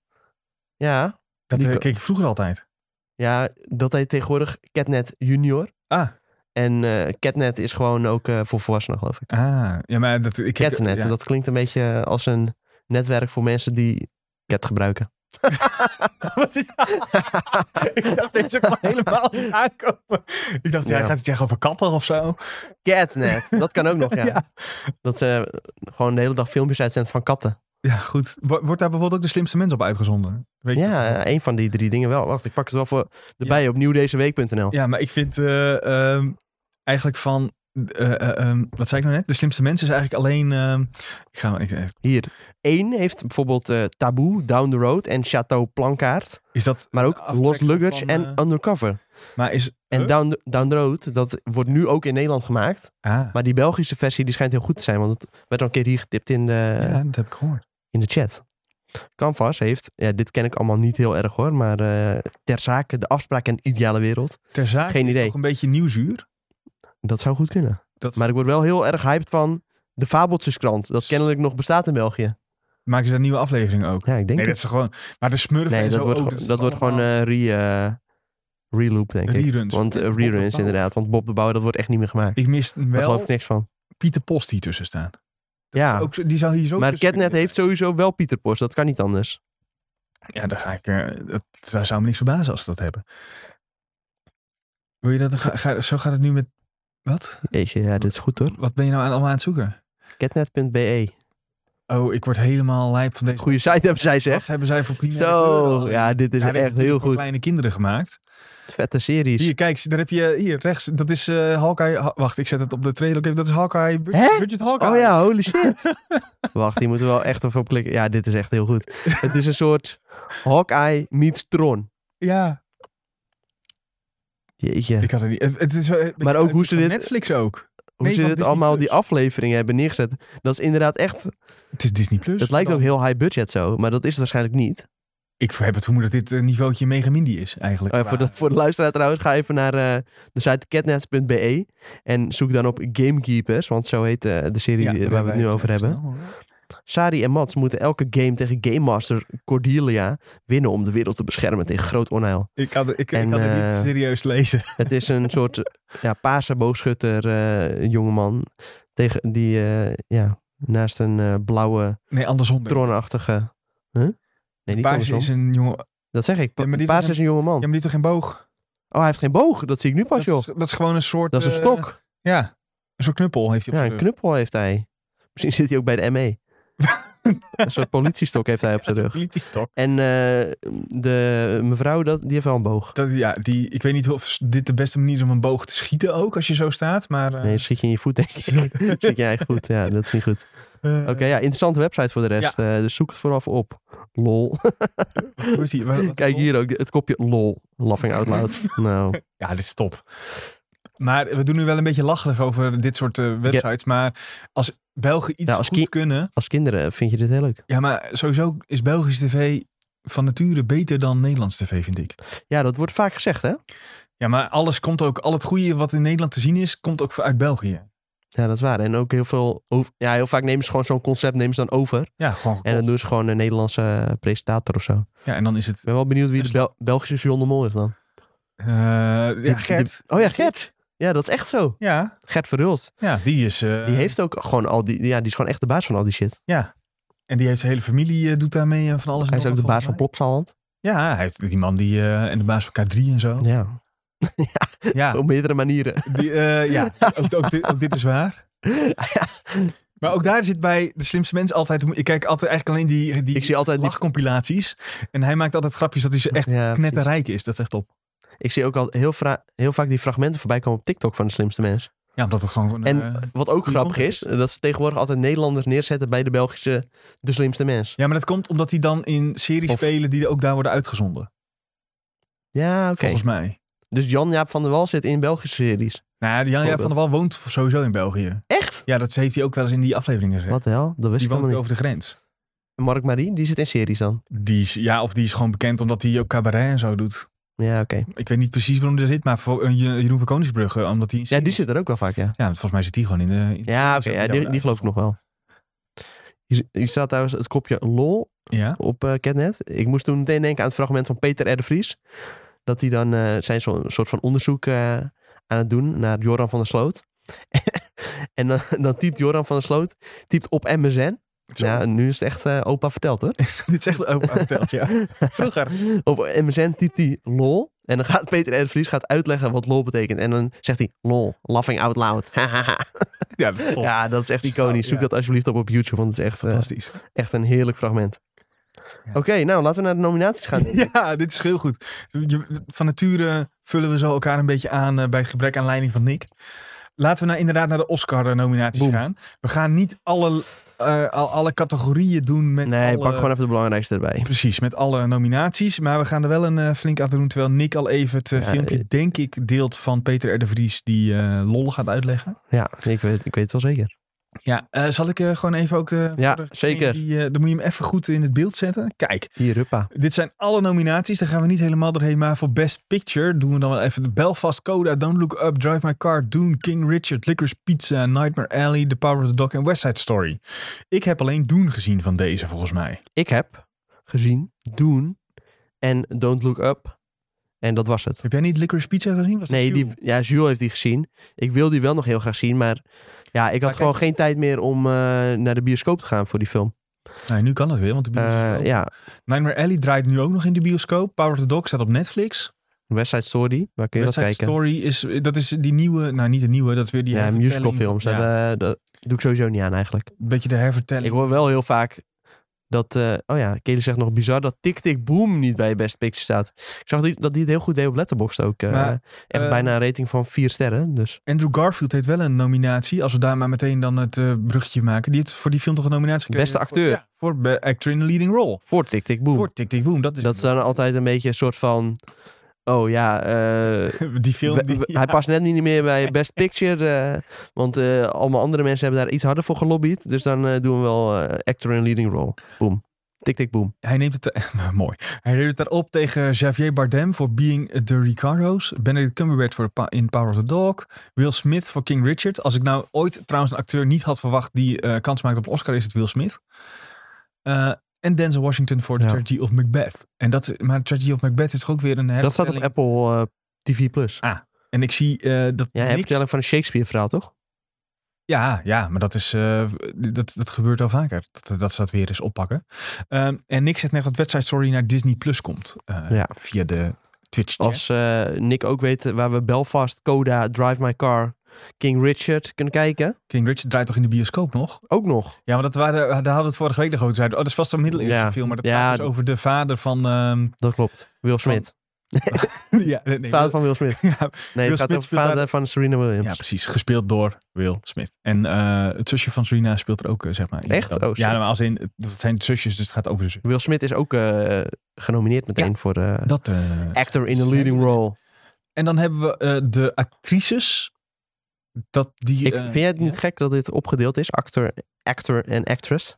Speaker 2: Ja,
Speaker 1: Dat
Speaker 2: Die
Speaker 1: eh,
Speaker 2: ko-
Speaker 1: keek ik vroeger altijd.
Speaker 2: ja, dat heet tegenwoordig Catnet Junior.
Speaker 1: Ah,
Speaker 2: En eh Catnet is gewoon ook eh, voor volwassenen, geloof ik.
Speaker 1: ah. Ja, maar dat... Ik, ik-
Speaker 2: Catnet,
Speaker 1: ja.
Speaker 2: dat klinkt een beetje eh, als een netwerk voor mensen die cat gebruiken.
Speaker 1: [laughs] Wat is [laughs] Ik dacht deze kwam helemaal niet aankomen. Ik dacht, ja,
Speaker 2: Ja.
Speaker 1: gaat het zeggen over katten of zo?
Speaker 2: Catnet, [laughs] dat kan ook nog, ja.
Speaker 1: [laughs] Ja.
Speaker 2: Dat ze gewoon de hele dag filmpjes uitzenden van katten.
Speaker 1: Ja, goed. Wo- Wordt daar bijvoorbeeld ook de slimste mens op uitgezonden? Weet je dat
Speaker 2: Ja,
Speaker 1: toevallig?
Speaker 2: één van die drie dingen wel. Wacht, ik pak het wel voor erbij op nieuwdezeweek.nl.
Speaker 1: Ja, maar ik vind eh, ehm, eigenlijk van. eh, eh, ehm, wat zei ik nou net? De slimste mensen is eigenlijk alleen. ehm, ik ga, maar- ik,
Speaker 2: Hier. Eén heeft bijvoorbeeld eh Taboe, Down the Road en Chateau Plankaart.
Speaker 1: is dat.
Speaker 2: Maar ook
Speaker 1: Aftrekken
Speaker 2: Lost Luggage
Speaker 1: van,
Speaker 2: en
Speaker 1: eh,
Speaker 2: Undercover.
Speaker 1: Maar is.
Speaker 2: En
Speaker 1: Huh?
Speaker 2: Down, the, Down the Road, dat wordt nu ook in Nederland gemaakt.
Speaker 1: Ah,
Speaker 2: Maar die Belgische versie die schijnt heel goed te zijn. Want het werd al een keer hier getipt in de,
Speaker 1: ja, dat heb ik gehoord.
Speaker 2: in de chat. Canvas heeft, ja, dit ken ik allemaal niet heel erg hoor. Maar eh, ter zake, de afspraak en de ideale wereld.
Speaker 1: Ter zake
Speaker 2: Geen
Speaker 1: is
Speaker 2: idee.
Speaker 1: toch een beetje nieuwzuur.
Speaker 2: Dat zou goed kunnen.
Speaker 1: Dat
Speaker 2: Maar ik word wel heel erg hyped van de Fabeltjeskrant. Dat kennelijk nog bestaat in België.
Speaker 1: maken ze daar een nieuwe aflevering ook.
Speaker 2: Ja, ik denk
Speaker 1: Nee, dat
Speaker 2: het.
Speaker 1: is gewoon. Maar de smurfen
Speaker 2: Nee,
Speaker 1: en
Speaker 2: dat
Speaker 1: zo
Speaker 2: wordt,
Speaker 1: ook,
Speaker 2: gewoon-
Speaker 1: is
Speaker 2: dat wordt gewoon
Speaker 1: allemaal
Speaker 2: eh re, eh, reloop, denk ik.
Speaker 1: reruns.
Speaker 2: Want eh, reruns
Speaker 1: Bob de Bouw.
Speaker 2: inderdaad. Want Bob de Bouw, dat wordt echt niet meer gemaakt.
Speaker 1: Ik mis
Speaker 2: Daar geloof
Speaker 1: wel
Speaker 2: ik niks van.
Speaker 1: Pieter Post hier tussen staan. Dat
Speaker 2: Ja.
Speaker 1: is ook, zo- die zou hier zo
Speaker 2: maar
Speaker 1: tussen
Speaker 2: Catnet
Speaker 1: kunnen
Speaker 2: heeft sowieso wel Pieter Post. Dat kan niet anders.
Speaker 1: zitten. Ja, daar ga ik... eh, dat, daar zou me niks verbazen als ze dat hebben. Wil je dat... Ga, ga- zo gaat het nu met... Wat?
Speaker 2: Jeetje, ja, dit is goed hoor.
Speaker 1: Wat ben je nou aan, allemaal aan het zoeken?
Speaker 2: Catnet.be.
Speaker 1: Oh, ik word helemaal lijp van deze...
Speaker 2: Goede E. site hebben zij
Speaker 1: Wat
Speaker 2: zeg.
Speaker 1: hebben zij voor primaire kleuren
Speaker 2: Zo,
Speaker 1: al?
Speaker 2: ja, dit is
Speaker 1: Ja, dit
Speaker 2: echt
Speaker 1: natuurlijk
Speaker 2: heel
Speaker 1: voor
Speaker 2: goed.
Speaker 1: kleine kinderen gemaakt.
Speaker 2: Vette series.
Speaker 1: Hier, kijk, daar heb je... Hier, rechts. Dat is eh Hawkeye... Ha- wacht, ik zet het op de trailer. ook even. Dat is Hawkeye... Bud-
Speaker 2: Hè?
Speaker 1: Budget Hawkeye.
Speaker 2: Oh ja,
Speaker 1: [laughs]
Speaker 2: holy shit. Wacht, hier moeten we wel echt even op klikken. Ja, dit is echt heel goed. Het is een soort Hawkeye meets Tron.
Speaker 1: Ja.
Speaker 2: Jeetje.
Speaker 1: Ik had het niet. Het, het is, wel- het-
Speaker 2: Maar ook hoe ze
Speaker 1: van
Speaker 2: dit-
Speaker 1: Netflix ook.
Speaker 2: Hoe
Speaker 1: nee,
Speaker 2: ze
Speaker 1: van
Speaker 2: dit
Speaker 1: Disney
Speaker 2: allemaal, die
Speaker 1: Plus.
Speaker 2: afleveringen hebben neergezet. Dat is inderdaad echt...
Speaker 1: Het is Disney Plus.
Speaker 2: Het lijkt
Speaker 1: Dan-
Speaker 2: ook heel high budget zo, maar dat is het waarschijnlijk niet.
Speaker 1: Ik heb het vermoeden dat dit een niveautje Mega Mindy is eigenlijk.
Speaker 2: Oh ja, voor, de, voor de luisteraar trouwens, ga even naar eh, de site catnet.be E en zoek dan op Gamekeepers, want zo heet eh, de serie
Speaker 1: Ja,
Speaker 2: die-
Speaker 1: daar
Speaker 2: waar we het nu
Speaker 1: even
Speaker 2: over hebben.
Speaker 1: snel, hoor.
Speaker 2: Sari en Mats moeten elke game tegen Game Master Cordelia winnen om de wereld te beschermen tegen groot onheil.
Speaker 1: Ik kan, ik, ik
Speaker 2: En,
Speaker 1: kan het
Speaker 2: eh,
Speaker 1: niet serieus lezen.
Speaker 2: Het
Speaker 1: [laughs]
Speaker 2: is een soort eh, ja, paarse boogschutter eh, jongeman tegen, die eh, ja, naast een eh, blauwe
Speaker 1: Nee, andersom.
Speaker 2: tronachtige... Huh? Nee, niet
Speaker 1: Paars
Speaker 2: andersom.
Speaker 1: is een jongen.
Speaker 2: Dat zeg ik.
Speaker 1: Ja, maar die
Speaker 2: Paars
Speaker 1: heeft
Speaker 2: is een jongeman.
Speaker 1: Ja, maar die heeft toch geen boog?
Speaker 2: Oh, hij heeft geen boog. Dat zie ik nu pas, joh.
Speaker 1: dat, is, dat is gewoon een soort.
Speaker 2: Dat is een
Speaker 1: eh,
Speaker 2: stok.
Speaker 1: ja, een soort knuppel heeft hij op
Speaker 2: Ja,
Speaker 1: zijn
Speaker 2: een
Speaker 1: rug.
Speaker 2: knuppel heeft hij. Misschien zit hij ook bij
Speaker 1: [laughs]
Speaker 2: de ME. een soort politiestok heeft hij op zijn rug.
Speaker 1: Politiestok.
Speaker 2: En eh, de mevrouw, dat, die heeft wel een boog.
Speaker 1: Dat, ja, die, ik weet niet of dit de beste manier is om een boog te schieten ook, als je zo staat. Maar, eh,
Speaker 2: Nee, schiet je in je voet, denk
Speaker 1: [laughs]
Speaker 2: ik. [laughs] schiet je in je eigen voet. Ja, dat is niet goed.
Speaker 1: eh,
Speaker 2: Oké, ja, interessante website voor de rest. Eh, dus zoek het vooraf op.
Speaker 1: Oh,
Speaker 2: Lol.
Speaker 1: wat wordt
Speaker 2: [laughs]
Speaker 1: hier? Wat- wat-
Speaker 2: Kijk hier ook, het kopje lol. Laughing out
Speaker 1: [laughs]
Speaker 2: loud. Nou,
Speaker 1: Ja, dit is top. Maar we doen nu wel een beetje lacherig over dit soort eh, websites. Maar als Belgen iets
Speaker 2: Ja, als
Speaker 1: goed
Speaker 2: ki-
Speaker 1: kunnen...
Speaker 2: als kinderen eh, vind je dit heel leuk.
Speaker 1: Ja, maar sowieso is Belgische tv van nature beter dan Nederlands tv, vind ik.
Speaker 2: Ja, dat wordt vaak gezegd, hè?
Speaker 1: Ja, maar alles komt ook... Al het goede wat in Nederland te zien is, komt ook uit België.
Speaker 2: Ja, dat is waar. En ook heel veel... over- Ja, heel vaak nemen ze gewoon zo'n concept nemen ze dan over.
Speaker 1: Ja, gewoon
Speaker 2: En dan doen ze gewoon een Nederlandse eh, presentator of zo.
Speaker 1: Ja, en dan is het...
Speaker 2: Ik ben wel benieuwd wie de Bel- Belgische John de Mol is dan.
Speaker 1: eh, ja,
Speaker 2: Die-
Speaker 1: Gert.
Speaker 2: die- oh ja, Gert. Ja, dat is echt zo.
Speaker 1: Ja,
Speaker 2: Gert Verhulst.
Speaker 1: ja, die is... eh,
Speaker 2: Die heeft ook gewoon al die... Ja, die is gewoon echt de baas van al die shit.
Speaker 1: Ja. En die heeft zijn hele familie, eh, doet daarmee en van alles. en
Speaker 2: Hij is
Speaker 1: nog
Speaker 2: ook de
Speaker 1: wat,
Speaker 2: baas van
Speaker 1: volgens
Speaker 2: Plopsaland.
Speaker 1: mij. Ja, hij heeft die man die... eh, en de baas van K3 en
Speaker 2: [laughs]
Speaker 1: zo.
Speaker 2: Ja,
Speaker 1: Ja,
Speaker 2: op meerdere manieren.
Speaker 1: die, eh,
Speaker 2: [laughs]
Speaker 1: ja. Ook, ook, dit, ook dit is waar. Maar ook daar zit bij de slimste mens altijd. Ik kijk altijd eigenlijk alleen die, die
Speaker 2: Ik zie altijd die-
Speaker 1: lachcompilaties. En hij maakt altijd grapjes dat hij ze echt
Speaker 2: Ja, precies.
Speaker 1: knetterrijk is. Dat is echt top.
Speaker 2: Ik zie ook al heel, fra- heel vaak die fragmenten voorbij komen op TikTok van de slimste mens.
Speaker 1: Ja, omdat het gewoon.
Speaker 2: En
Speaker 1: eh,
Speaker 2: wat ook
Speaker 1: goede
Speaker 2: grappig is,
Speaker 1: context.
Speaker 2: dat ze tegenwoordig altijd Nederlanders neerzetten bij de Belgische de slimste mens.
Speaker 1: ja, maar dat komt omdat hij dan in series
Speaker 2: Of-
Speaker 1: spelen die ook daar worden uitgezonden.
Speaker 2: Ja, oké.
Speaker 1: Volgens mij.
Speaker 2: Dus Jan-Jaap van der Wal zit in Belgische series.
Speaker 1: Nou, Jan Jaap van der Wal woont sowieso in België.
Speaker 2: Echt?
Speaker 1: Ja, dat heeft hij ook wel eens in die afleveringen gezegd.
Speaker 2: Wat de hel? Dat wist
Speaker 1: Die
Speaker 2: ik
Speaker 1: woont
Speaker 2: helemaal niet.
Speaker 1: over de grens.
Speaker 2: Mark Marie, die zit in series dan.
Speaker 1: Die is, ja, of die is gewoon bekend omdat hij ook cabaret en zo doet.
Speaker 2: Ja, oké.
Speaker 1: Ik weet niet precies waarom hij er zit, maar voor, eh, Je- Jeroen van Koningsbrugge, omdat hij... in
Speaker 2: Ja, die
Speaker 1: series-
Speaker 2: zit er ook wel vaak, ja.
Speaker 1: Ja, volgens mij zit hij gewoon in de... in de
Speaker 2: Ja,
Speaker 1: series
Speaker 2: oké,
Speaker 1: ook
Speaker 2: ja,
Speaker 1: die
Speaker 2: die,
Speaker 1: daar
Speaker 2: die geloof ik nog wel. Hier hier staat trouwens het kopje lol
Speaker 1: Ja?
Speaker 2: op eh Catnet. Ik moest toen meteen denken aan het fragment van Peter R. de Vries. Dat hij dan eh, zijn zo'n soort van onderzoek eh, aan het doen naar Joran van der Sloot. [laughs] en dan, dan typt Joran van der Sloot, typt op MSN.
Speaker 1: Zo.
Speaker 2: Ja, nu is het echt eh, opa verteld hoor.
Speaker 1: [laughs] Dit is echt open verteld,
Speaker 2: [laughs]
Speaker 1: ja. Vroeger.
Speaker 2: Op MSN typt hij lol. En dan gaat Peter R. de Vries gaat uitleggen wat lol betekent. En dan zegt hij lol, laughing out loud. [laughs]
Speaker 1: Ja, dat is top.
Speaker 2: ja, dat is echt
Speaker 1: Goud,
Speaker 2: iconisch. Zoek
Speaker 1: ja.
Speaker 2: dat alsjeblieft op op YouTube, want het is echt, eh,
Speaker 1: Fantastisch.
Speaker 2: echt een heerlijk fragment.
Speaker 1: Ja.
Speaker 2: Oké, nou laten we naar de nominaties
Speaker 1: [laughs]
Speaker 2: gaan.
Speaker 1: Ja, dit is heel goed. Je- Van nature vullen we zo elkaar een beetje aan eh, bij gebrek aan leiding van Nick. Laten we nou inderdaad naar de Oscar-nominaties
Speaker 2: Boem.
Speaker 1: gaan. We gaan niet alle, eh, al- alle categorieën doen met
Speaker 2: Nee,
Speaker 1: alle...
Speaker 2: pak gewoon even de belangrijkste erbij.
Speaker 1: Precies, met alle nominaties. Maar we gaan er wel een eh, flink aan doen. Terwijl Nick al even het eh,
Speaker 2: Ja,
Speaker 1: filmpje, denk ik, deelt van Peter R. de Vries. Die eh, lol gaat uitleggen.
Speaker 2: Ja, ik weet, ik weet het wel zeker.
Speaker 1: Ja, eh, zal ik eh, gewoon even ook... eh, voor
Speaker 2: Ja,
Speaker 1: degene
Speaker 2: zeker.
Speaker 1: Die, eh, dan moet je hem even goed in het beeld zetten. Kijk,
Speaker 2: Hier, Ruppa.
Speaker 1: Dit zijn alle nominaties. Daar gaan we niet helemaal doorheen. Maar voor Best Picture doen we dan wel even de Belfast Coda, Don't Look Up, Drive My Car, Dune, King Richard, Licorice Pizza, Nightmare Alley, The Power of the Dog en West Side Story. Ik heb alleen Dune gezien van deze, volgens mij.
Speaker 2: Ik heb gezien, doen en Don't Look Up. En dat was het.
Speaker 1: Heb jij niet Licorice Pizza gezien? Was dat
Speaker 2: Nee,
Speaker 1: Jules?
Speaker 2: die, ja, Jules heeft die gezien. Ik wil die wel nog heel graag zien, maar Ja, ik had
Speaker 1: kijk-
Speaker 2: gewoon geen tijd meer om eh, naar de bioscoop te gaan voor die film.
Speaker 1: Nou, nu kan dat weer, want de bioscoop...
Speaker 2: Eh, ja,
Speaker 1: Nightmare Alley draait nu ook nog in de bioscoop. Power of the Dog staat op Netflix.
Speaker 2: West Side Story, daar kun je
Speaker 1: West
Speaker 2: dat
Speaker 1: Side
Speaker 2: kijken.
Speaker 1: Story is, dat is die nieuwe, nou niet de nieuwe, dat is weer die
Speaker 2: ja,
Speaker 1: hervertelling
Speaker 2: musicalfilms,
Speaker 1: van- ja,
Speaker 2: daar, eh, dat doe ik sowieso niet aan eigenlijk.
Speaker 1: Een beetje de hervertelling.
Speaker 2: Ik hoor wel heel vaak dat, eh, oh ja, Kelly zegt nog bizar dat Tik Tik Boom niet bij Best Picture staat. Ik zag die, dat die het heel goed deed op Letterboxd ook. eh,
Speaker 1: Maar,
Speaker 2: echt
Speaker 1: eh,
Speaker 2: bijna een rating van vier sterren, dus...
Speaker 1: Andrew Garfield heeft wel een nominatie. Als we daar maar meteen dan het eh bruggetje maken. Die heeft voor die film toch een nominatie gekregen?
Speaker 2: Beste
Speaker 1: Voor-
Speaker 2: acteur.
Speaker 1: ja, Voor, be- actor in a leading role.
Speaker 2: Voor Tik Tik Boom.
Speaker 1: Voor Tick Tick Boom. Dat is,
Speaker 2: Dat is dan altijd een beetje een soort van... Oh ja, eh,
Speaker 1: [laughs] die film.
Speaker 2: we-
Speaker 1: die,
Speaker 2: we- hij past net niet meer
Speaker 1: [laughs]
Speaker 2: bij Best Picture. eh, want eh, allemaal andere mensen hebben daar iets harder voor gelobbyd. Dus dan eh, doen we wel eh, actor in leading role. Boom. Tik Tik Boom.
Speaker 1: Hij neemt het, eh, [laughs] mooi. Hij neemt het daarop tegen Xavier Bardem voor Being the Ricardos. Benedict Cumberbatch voor Pa- in Power of the Dog. Will Smith voor King Richard. Als ik nou ooit trouwens een acteur niet had verwacht die eh, kans maakt op een Oscar, is het Will Smith. Eh, en Denzel Washington voor The
Speaker 2: Ja.
Speaker 1: Tragedy of Macbeth. En dat, maar The Tragedy of Macbeth is toch ook weer een
Speaker 2: Dat staat
Speaker 1: hervertelling.
Speaker 2: op Apple eh, TV+. Plus.
Speaker 1: En ik zie eh, dat
Speaker 2: Ja,
Speaker 1: niks-
Speaker 2: een vertelling van een Shakespeare verhaal, toch?
Speaker 1: Ja, ja, maar dat, is, eh, dat, dat gebeurt al vaker. Dat, dat ze dat weer eens oppakken. Ehm, en Nick zegt net dat wedstrijd Story naar Disney Plus komt. eh,
Speaker 2: Ja.
Speaker 1: Via de Twitch chat.
Speaker 2: Als eh, Nick ook weet waar we Belfast, Coda, Drive My Car, King Richard kunnen kijken.
Speaker 1: King Richard draait toch in de bioscoop nog?
Speaker 2: Ook nog.
Speaker 1: Ja, want dat waren, daar hadden we het vorige week nog over. Zeiden, oh, dat is vast een middeleeuwse
Speaker 2: Ja.
Speaker 1: film. Maar dat
Speaker 2: Ja.
Speaker 1: gaat dus over de vader van... ehm, [laughs]
Speaker 2: Dat klopt. Will Smith.
Speaker 1: ja, nee, nee,
Speaker 2: Vader van Will Smith.
Speaker 1: [laughs] ja,
Speaker 2: Nee,
Speaker 1: Will
Speaker 2: het gaat
Speaker 1: Smith
Speaker 2: over
Speaker 1: speelt
Speaker 2: vader van Serena Williams.
Speaker 1: ja, precies. Gespeeld door Will Smith. En eh, het zusje van Serena speelt er ook, eh, zeg maar. in.
Speaker 2: Echt? Oh,
Speaker 1: ja,
Speaker 2: shit.
Speaker 1: maar als in, dat zijn zusjes, dus het gaat over de zus.
Speaker 2: Will Smith is ook eh, genomineerd meteen voor eh,
Speaker 1: Dat, eh,
Speaker 2: actor in a leading role.
Speaker 1: En dan hebben we eh, de actrices. Dat die.
Speaker 2: Ik,
Speaker 1: eh,
Speaker 2: vind jij het niet gek dat dit opgedeeld is? Actor, actor en actress?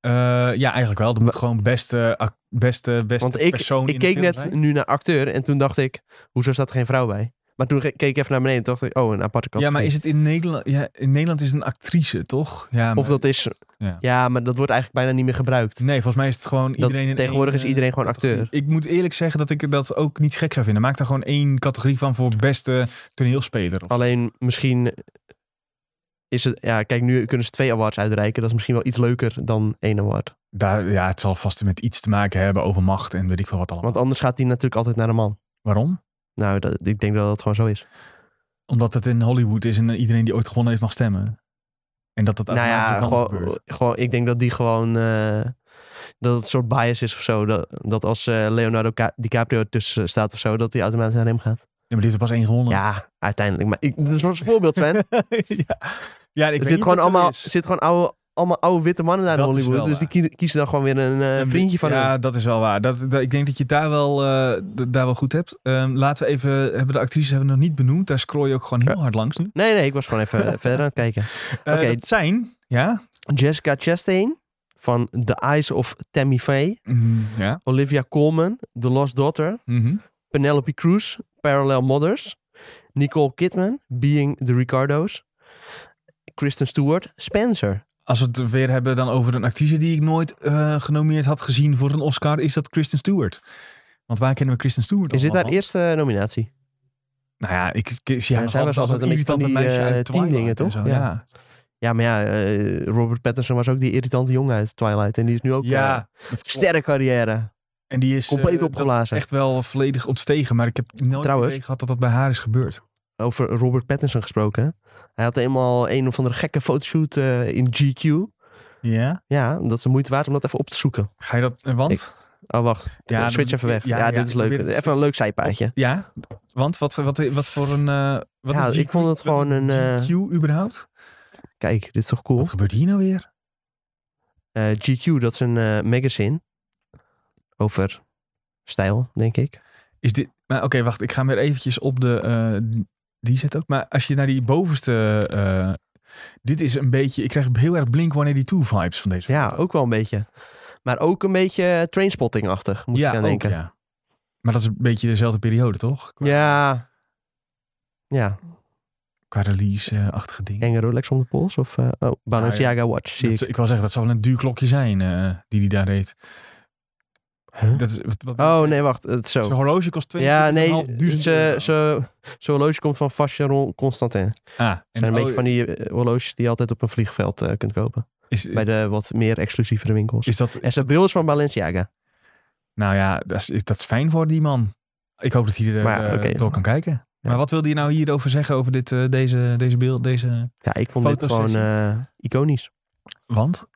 Speaker 1: eh, ja, eigenlijk wel. Dat moet gewoon beste, ac- beste, beste
Speaker 2: Want ik,
Speaker 1: persoon
Speaker 2: ik
Speaker 1: in de
Speaker 2: keek
Speaker 1: film
Speaker 2: net
Speaker 1: zijn.
Speaker 2: nu naar acteur en toen dacht ik, hoezo staat er geen vrouw bij? Maar toen ge- keek ik even naar beneden en dacht ik, oh, een aparte kant.
Speaker 1: Ja, maar is het in Nederland? Ja, in Nederland is het een actrice, toch? Ja,
Speaker 2: Of
Speaker 1: maar-
Speaker 2: dat is...
Speaker 1: Ja.
Speaker 2: Ja. maar dat wordt eigenlijk bijna niet meer gebruikt.
Speaker 1: Nee, volgens mij is het gewoon iedereen. in
Speaker 2: tegenwoordig
Speaker 1: één,
Speaker 2: is iedereen
Speaker 1: eh,
Speaker 2: gewoon
Speaker 1: categorie.
Speaker 2: acteur.
Speaker 1: Ik moet eerlijk zeggen dat ik dat ook niet gek zou vinden. Maak daar gewoon één categorie van voor beste toneelspeler. Of...
Speaker 2: Alleen misschien is het... Ja, kijk, nu kunnen ze twee awards uitreiken. Dat is misschien wel iets leuker dan één award.
Speaker 1: Daar, ja, het zal vast met iets te maken hebben over macht en weet ik veel wat allemaal.
Speaker 2: Want anders gaat die natuurlijk altijd naar een man.
Speaker 1: Waarom?
Speaker 2: Nou, dat, ik denk dat dat gewoon zo is.
Speaker 1: Omdat het in Hollywood is en eh, iedereen die ooit gewonnen heeft mag stemmen. En dat dat
Speaker 2: nou
Speaker 1: automatisch
Speaker 2: ja,
Speaker 1: dan
Speaker 2: gewoon,
Speaker 1: gebeurt.
Speaker 2: gewoon, ik denk dat die gewoon... eh, dat het een soort bias is of zo. Dat, dat als eh, Leonardo Ca- DiCaprio tussen staat of zo... dat die automatisch naar hem gaat.
Speaker 1: Ja, maar die heeft er pas één gewonnen.
Speaker 2: Ja, uiteindelijk. Maar ik, dat is maar een voorbeeld, Sven.
Speaker 1: [laughs] ja. ja, ik
Speaker 2: Er
Speaker 1: weet
Speaker 2: zit
Speaker 1: niet
Speaker 2: gewoon
Speaker 1: wat er
Speaker 2: allemaal,
Speaker 1: is.
Speaker 2: er zit gewoon oude, allemaal oude witte mannen naar
Speaker 1: Dat is
Speaker 2: Hollywood.
Speaker 1: wel
Speaker 2: Dus die kie- kiezen dan gewoon weer een eh, vriendje van
Speaker 1: Ehm, Ja,
Speaker 2: hun.
Speaker 1: dat is wel waar. Dat, dat- ik denk dat je het daar wel, eh, d- daar wel goed hebt. Ehm, laten we even, hebben we de actrices hebben we nog niet benoemd. Daar scroll je ook gewoon heel hard langs nu.
Speaker 2: Nee, nee, ik was gewoon even verder aan het kijken.
Speaker 1: Eh,
Speaker 2: Oké.
Speaker 1: Dat zijn, ja.
Speaker 2: Jessica Chastain van The Eyes of Tammy Faye.
Speaker 1: Mhm, ja.
Speaker 2: Olivia Colman, The Lost Daughter.
Speaker 1: Mhm.
Speaker 2: Penelope Cruz, Parallel Mothers. Nicole Kidman, Being the Ricardos. Kristen Stewart, Spencer.
Speaker 1: Als we het weer hebben dan over een actrice die ik nooit eh, genomineerd had gezien voor een Oscar, is dat Kristen Stewart. Want waar kennen we Kristen Stewart
Speaker 2: Is dit
Speaker 1: allemaal
Speaker 2: haar
Speaker 1: van?
Speaker 2: eerste eh, nominatie?
Speaker 1: Nou ja, ik, ik zie haar
Speaker 2: Ja,
Speaker 1: nog
Speaker 2: zij
Speaker 1: altijd als
Speaker 2: was altijd
Speaker 1: een
Speaker 2: een beetje van
Speaker 1: irritante
Speaker 2: die,
Speaker 1: meisje
Speaker 2: eh,
Speaker 1: uit Twilight
Speaker 2: tienlingen,
Speaker 1: en
Speaker 2: toch?
Speaker 1: zo.
Speaker 2: Ja.
Speaker 1: ja.
Speaker 2: Ja, maar ja, eh, Robert Pattinson was ook die irritante jongen uit Twilight. En die is nu ook eh,
Speaker 1: Ja,
Speaker 2: sterre carrière.
Speaker 1: en die is eh,
Speaker 2: Compleet
Speaker 1: dat-
Speaker 2: opgeblazen.
Speaker 1: echt wel volledig ontstegen. Maar ik heb nooit
Speaker 2: Trouwens.
Speaker 1: idee gehad dat dat bij haar is gebeurd.
Speaker 2: over Robert Pattinson gesproken. Hij had eenmaal een of andere gekke fotoshoot eh, in GQ.
Speaker 1: Ja.
Speaker 2: Ja, dat is de moeite waard om dat even op te zoeken.
Speaker 1: Ga je dat, eh, want?
Speaker 2: Oh, wacht.
Speaker 1: Ja,
Speaker 2: Ja, switch
Speaker 1: dan-
Speaker 2: even weg.
Speaker 1: ja,
Speaker 2: Ja,
Speaker 1: ja,
Speaker 2: dit is
Speaker 1: ik
Speaker 2: leuk.
Speaker 1: probeer het-
Speaker 2: Even een leuk zijpaadje.
Speaker 1: Ja, want wat, wat, wat voor een... eh, wat
Speaker 2: Ja,
Speaker 1: is
Speaker 2: ik vond het
Speaker 1: wat is
Speaker 2: gewoon een, eh,
Speaker 1: GQ überhaupt?
Speaker 2: Kijk, dit is toch cool?
Speaker 1: Wat gebeurt hier nou weer?
Speaker 2: Eh, GQ, dat is een eh, magazine. Over stijl, denk ik.
Speaker 1: Is dit... Maar oké, wacht. Ik ga weer eventjes op de... eh, die zit ook. Maar als je naar die bovenste... eh, dit is een beetje... Ik krijg heel erg Blink-182-vibes van deze.
Speaker 2: Ja, ook wel een beetje. Maar ook een beetje trainspotting-achtig, moet ik aan
Speaker 1: ook,
Speaker 2: denken. Ja.
Speaker 1: ja. Maar dat is een beetje dezelfde periode, toch? Qua,
Speaker 2: ja. Ja,
Speaker 1: qua release-achtige dingen.
Speaker 2: enge Rolex om de pols of eh, oh, Balenciaga watch zie
Speaker 1: Nou Dat-
Speaker 2: ik.
Speaker 1: ik. wil zeggen, dat zou wel een duurklokje zijn eh, die die daar deed.
Speaker 2: Huh?
Speaker 1: Dat is, wat, wat-
Speaker 2: Oh, nee, wacht. Het is
Speaker 1: Zijn
Speaker 2: zo.
Speaker 1: horloge kost 22.500
Speaker 2: Ja, nee. Ze,
Speaker 1: euro.
Speaker 2: ze, zijn horloge komt van Vacheron Constantin. Het
Speaker 1: Ah, en
Speaker 2: zijn een beetje
Speaker 1: oh,
Speaker 2: van die eh, horloges die je altijd op een vliegveld eh, kunt kopen.
Speaker 1: is, is,
Speaker 2: Bij de wat meer exclusievere winkels.
Speaker 1: is dat...
Speaker 2: En zijn bril is van Balenciaga.
Speaker 1: Nou ja, dat is, dat is fijn voor die man. Ik hoop dat hij er
Speaker 2: Maar,
Speaker 1: eh,
Speaker 2: oké.
Speaker 1: door kan kijken. Maar wat wilde je nou hierover zeggen over dit, eh, deze, deze beeld? Deze...
Speaker 2: Ja, ik vond dit gewoon
Speaker 1: Fotosessie.
Speaker 2: eh, iconisch.
Speaker 1: Want?